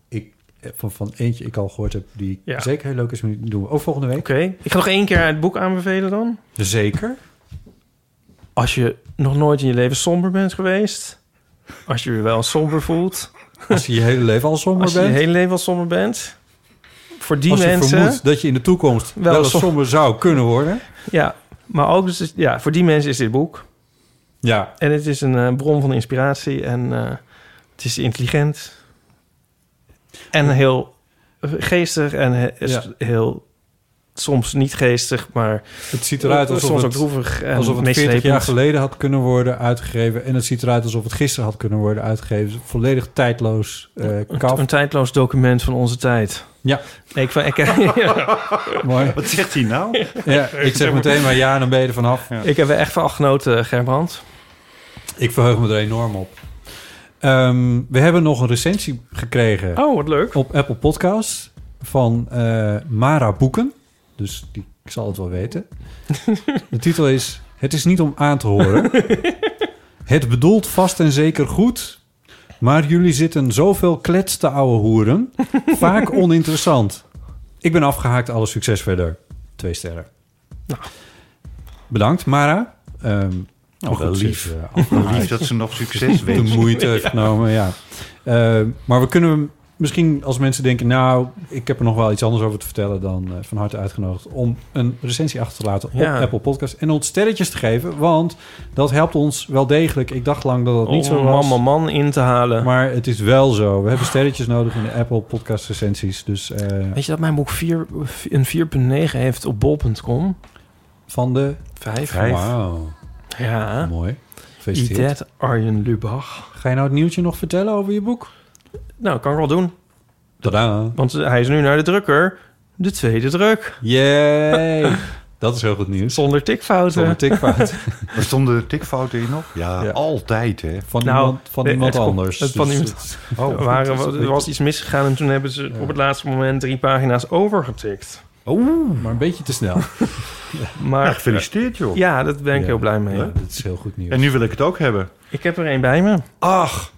[SPEAKER 3] ik eh, van, van eentje ik al gehoord heb die
[SPEAKER 2] Ja.
[SPEAKER 3] zeker heel leuk is. Maar die doen we ook volgende week.
[SPEAKER 2] Oké. Ik ga nog één keer het boek aanbevelen dan.
[SPEAKER 3] Zeker.
[SPEAKER 2] Als je nog nooit in je leven somber bent geweest. Als je je wel somber voelt.
[SPEAKER 3] Als je je hele leven al somber
[SPEAKER 2] Als je je
[SPEAKER 3] bent.
[SPEAKER 2] hele leven al somber bent. Voor die
[SPEAKER 3] Als je
[SPEAKER 2] mensen.
[SPEAKER 3] vermoedt dat je in de toekomst wel, eens
[SPEAKER 2] som-
[SPEAKER 3] somber zou kunnen worden.
[SPEAKER 2] Ja, maar ook dus, ja, voor die mensen is dit boek.
[SPEAKER 3] Ja.
[SPEAKER 2] En het is een eh, bron van inspiratie en eh, het is intelligent. En heel geestig en he- is
[SPEAKER 3] Ja.
[SPEAKER 2] heel soms niet geestig, maar
[SPEAKER 3] Het ziet eruit alsof
[SPEAKER 2] soms
[SPEAKER 3] het,
[SPEAKER 2] ook droevig en
[SPEAKER 3] alsof het 40 jaar
[SPEAKER 2] meeslepend.
[SPEAKER 3] geleden had kunnen worden uitgegeven. En het ziet eruit alsof het gisteren had kunnen worden uitgegeven. Volledig tijdloos eh
[SPEAKER 2] Een-
[SPEAKER 3] kaf.
[SPEAKER 2] Een tijdloos document van onze tijd.
[SPEAKER 3] Ja.
[SPEAKER 2] Nee, ik, van- ik, ja.
[SPEAKER 3] Mooi.
[SPEAKER 1] Wat zegt hij nou?
[SPEAKER 3] Ja, ik zeg meteen maar ja, dan ben je er vanaf.
[SPEAKER 2] ik heb er echt van genoten, Gerbrand.
[SPEAKER 3] Ik verheug me er enorm op. Ehm, we hebben nog een recensie gekregen.
[SPEAKER 2] Oh, wat leuk.
[SPEAKER 3] Op Apple Podcasts van eh, Mara Boeken. Dus die, ik zal het wel weten. De titel is Het is niet om aan te horen. het bedoelt vast en zeker goed. Maar jullie zitten zoveel kletste ouwe hoeren. Vaak oninteressant. Ik ben afgehaakt. Alle succes verder. Twee sterren. Bedankt, Mara. Ehm
[SPEAKER 1] Nou, wel
[SPEAKER 3] goed,
[SPEAKER 1] lief.
[SPEAKER 3] ze is, eh, afgehaakt.
[SPEAKER 1] Lief dat ze nog succes wenst.
[SPEAKER 3] De moeite heeft
[SPEAKER 1] Ja.
[SPEAKER 3] genomen, ja. Eh, maar we kunnen hem misschien als mensen denken... nou, ik heb er nog wel iets anders over te vertellen... dan eh, van harte uitgenodigd om een recensie achter te laten op
[SPEAKER 2] Ja.
[SPEAKER 3] Apple Podcast... en ons sterretjes te geven, want dat helpt ons wel degelijk. Ik dacht lang dat dat niet zo
[SPEAKER 2] Om
[SPEAKER 3] was.
[SPEAKER 2] man, man, man in te halen.
[SPEAKER 3] Maar het is wel zo. We hebben sterretjes nodig in de Apple Podcast recensies. Dus eh,
[SPEAKER 2] Weet je dat mijn boek vier, een 4.9 heeft op bol.com?
[SPEAKER 3] van de...
[SPEAKER 2] Vijf.
[SPEAKER 3] Vijf. Wauw.
[SPEAKER 2] Ja.
[SPEAKER 3] Mooi. Gefeliciteerd.
[SPEAKER 2] Idet Arjen Lubach.
[SPEAKER 3] Ga je nou het nieuwtje nog vertellen over je boek?
[SPEAKER 2] Nou, kan ik wel doen.
[SPEAKER 3] Tadaa.
[SPEAKER 2] Want hij is nu naar de drukker. De tweede druk.
[SPEAKER 3] Yay! dat is heel goed nieuws.
[SPEAKER 2] Zonder tikfouten.
[SPEAKER 3] Zonder tikfouten.
[SPEAKER 1] Maar stonden er tikfouten in nog? Ja, altijd hè.
[SPEAKER 3] Van
[SPEAKER 2] Nou,
[SPEAKER 3] iemand, van
[SPEAKER 2] nee,
[SPEAKER 3] iemand
[SPEAKER 2] het komt-
[SPEAKER 3] anders.
[SPEAKER 2] het van
[SPEAKER 3] Dus
[SPEAKER 2] iemand,
[SPEAKER 3] het-
[SPEAKER 2] er, waren, er was iets misgegaan en toen hebben ze op het laatste moment drie pagina's overgetikt.
[SPEAKER 3] Oeh, maar een beetje te snel.
[SPEAKER 2] Maar,
[SPEAKER 1] Ja, gefeliciteerd, joh.
[SPEAKER 2] Ja, daar ben ik
[SPEAKER 3] Ja,
[SPEAKER 2] heel blij mee.
[SPEAKER 3] ja, dat is heel goed nieuws.
[SPEAKER 1] En nu wil ik het ook hebben.
[SPEAKER 2] Ik heb er één bij me. Ach.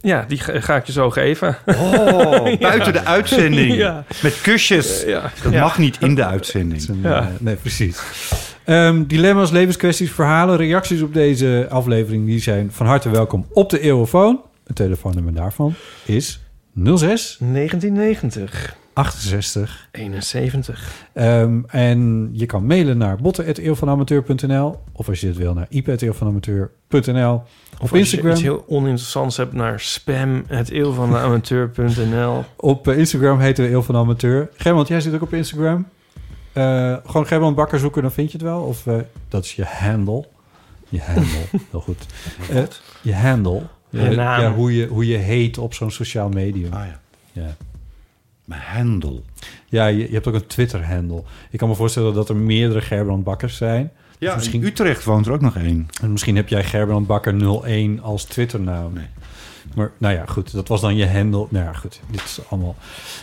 [SPEAKER 2] Ja, die ga, ga ik je zo geven.
[SPEAKER 1] Oh,
[SPEAKER 2] Ja.
[SPEAKER 1] buiten de uitzending.
[SPEAKER 2] Ja.
[SPEAKER 1] Met kusjes.
[SPEAKER 2] Eh, ja.
[SPEAKER 1] Dat
[SPEAKER 2] Ja.
[SPEAKER 1] mag niet in de uitzending.
[SPEAKER 2] Ja.
[SPEAKER 3] Eh, nee, precies. Ehm, dilemma's, levenskwesties, verhalen, reacties op deze aflevering... die zijn van harte welkom op de Eeuwofoon. Het telefoonnummer daarvan is 06
[SPEAKER 2] 1990,
[SPEAKER 3] 68
[SPEAKER 2] 71.
[SPEAKER 3] Ehm, en je kan mailen naar botten.eeuwvanamateur.nl of als je het wil naar ip.eeuwvanamateur.nl
[SPEAKER 2] Of
[SPEAKER 3] op
[SPEAKER 2] als je
[SPEAKER 3] Instagram.
[SPEAKER 2] iets heel oninteressants hebt naar spam, het eeuw van de amateur.nl.
[SPEAKER 3] Op eh, Instagram heten we Eeuw van de Amateur. Germant, jij zit ook op Instagram. Eh, gewoon Germant Bakker zoeken, dan vind je het wel. Of eh, dat is je handle. Je handle, heel goed. Eh, je handle.
[SPEAKER 2] Je
[SPEAKER 3] Eh,
[SPEAKER 2] naam.
[SPEAKER 3] ja, hoe, je, hoe je heet op zo'n sociaal medium.
[SPEAKER 1] Ah ja.
[SPEAKER 3] Ja.
[SPEAKER 1] Mijn hendel.
[SPEAKER 3] Ja, je, je hebt ook een Twitter-handle. Ik kan me voorstellen dat er meerdere Gerbrand Bakkers zijn.
[SPEAKER 1] Ja,
[SPEAKER 3] Of
[SPEAKER 1] in Utrecht woont er ook nog één.
[SPEAKER 3] En misschien heb jij Gerbrand Bakker 01 als Twitternaam. Maar nou ja, goed. Dat was dan je handle. Nou ja, goed. Dit is allemaal...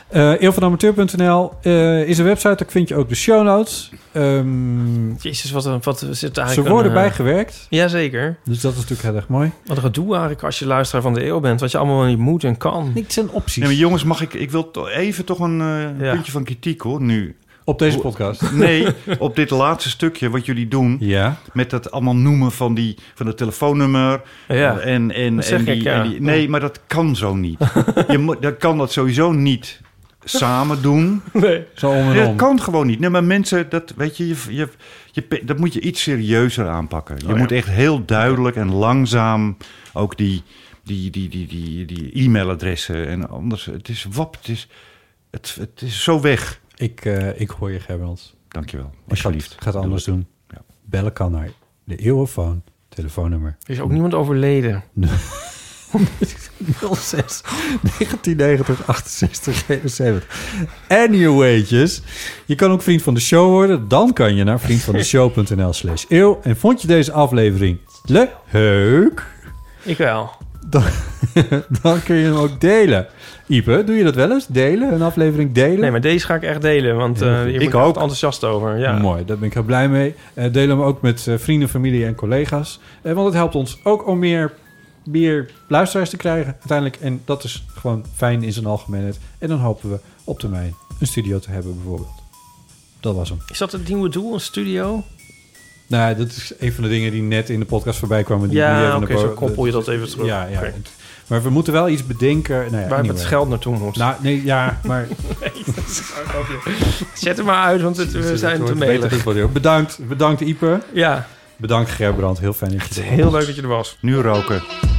[SPEAKER 3] Eh Eeuwvanamateur.nl eh, is een website. Daar vind je ook de show notes. Ehm,
[SPEAKER 2] Jezus, wat, een, wat zit daar
[SPEAKER 3] ze worden bijgewerkt.
[SPEAKER 2] Jazeker.
[SPEAKER 3] Dus dat is natuurlijk heel erg mooi.
[SPEAKER 2] Wat een gedoe eigenlijk als je luisteraar van de eeuw bent. Wat je allemaal wel niet moet en kan.
[SPEAKER 3] Niks zijn opties.
[SPEAKER 1] Nee, maar jongens, mag ik, ik wil to- even toch een eh,
[SPEAKER 2] Ja.
[SPEAKER 1] puntje van kritiek hoor, nu.
[SPEAKER 3] Op deze podcast?
[SPEAKER 1] Nee, op dit laatste stukje wat jullie doen.
[SPEAKER 3] Ja.
[SPEAKER 1] Met dat allemaal noemen van, die, van het telefoonnummer.
[SPEAKER 2] Ja.
[SPEAKER 1] En, en,
[SPEAKER 2] Dat zeg
[SPEAKER 1] en, die,
[SPEAKER 2] ik, ja.
[SPEAKER 1] en die- Nee, maar dat kan zo niet. Je moet, dat kan dat sowieso niet samen doen.
[SPEAKER 2] Nee.
[SPEAKER 3] Zo om en
[SPEAKER 1] Ja,
[SPEAKER 3] om.
[SPEAKER 1] dat kan gewoon niet. Nee, maar mensen, dat, weet je, je, je, je pe- dat
[SPEAKER 3] Oh,
[SPEAKER 1] moet je iets serieuzer aanpakken. Je
[SPEAKER 2] ja.
[SPEAKER 1] moet echt heel duidelijk en langzaam ook die die, die, die, die, die e-mailadressen en anders. Het is wap, het is, het, het is zo weg.
[SPEAKER 3] Ik, eh, ik hoor je, Gerbrand.
[SPEAKER 1] Dankjewel.
[SPEAKER 3] Alsjeblieft. Ga het anders doen. Bellen kan naar de eeuwenfoon. Telefoonnummer.
[SPEAKER 2] Er is ook niemand overleden.
[SPEAKER 3] 06 1990 68 71. Anywaytjes. Je kan ook vriend van de show worden. Dan kan je naar vriendvandeshow.nl slash eeuw. En vond je deze aflevering leuk?
[SPEAKER 2] Ik wel.
[SPEAKER 3] Dan, dan kun je hem ook delen. Ipe, doe je dat wel eens? Delen? Een aflevering delen?
[SPEAKER 2] Nee, maar deze ga ik echt delen, want
[SPEAKER 3] Heel
[SPEAKER 2] eh
[SPEAKER 3] goed.
[SPEAKER 2] hier ben
[SPEAKER 3] Ik
[SPEAKER 2] ik
[SPEAKER 3] ook.
[SPEAKER 2] ook enthousiast over. Ja.
[SPEAKER 3] Mooi, daar ben ik heel blij mee. Eh, deel hem ook met eh, vrienden, familie en collega's. Eh, want het helpt ons ook om meer, meer luisteraars te krijgen uiteindelijk. En dat is gewoon fijn in zijn algemeenheid. En dan hopen we op termijn een studio te hebben bijvoorbeeld. Dat was hem.
[SPEAKER 2] Is dat het nieuwe doel, een studio?
[SPEAKER 3] Nou, dat is een van de dingen die net in de podcast voorbij kwamen. Die
[SPEAKER 2] Ja,
[SPEAKER 3] die hebben
[SPEAKER 2] oké,
[SPEAKER 3] naar
[SPEAKER 2] zo
[SPEAKER 3] boven-
[SPEAKER 2] koppel je dat even terug.
[SPEAKER 3] Ja, ja.
[SPEAKER 2] Oké.
[SPEAKER 3] Maar we moeten wel iets bedenken. Nou ja,
[SPEAKER 2] Waar
[SPEAKER 3] anyway.
[SPEAKER 2] het geld naartoe moet.
[SPEAKER 3] Nou, nee, ja, maar...
[SPEAKER 2] Zet hem maar uit, want het, we zijn te melig.
[SPEAKER 3] Bedankt, bedankt Ipe.
[SPEAKER 2] Ja.
[SPEAKER 3] Bedankt Gerbrand, heel fijn dat je er was.
[SPEAKER 2] Heel leuk dat je er was.
[SPEAKER 1] Nu roken.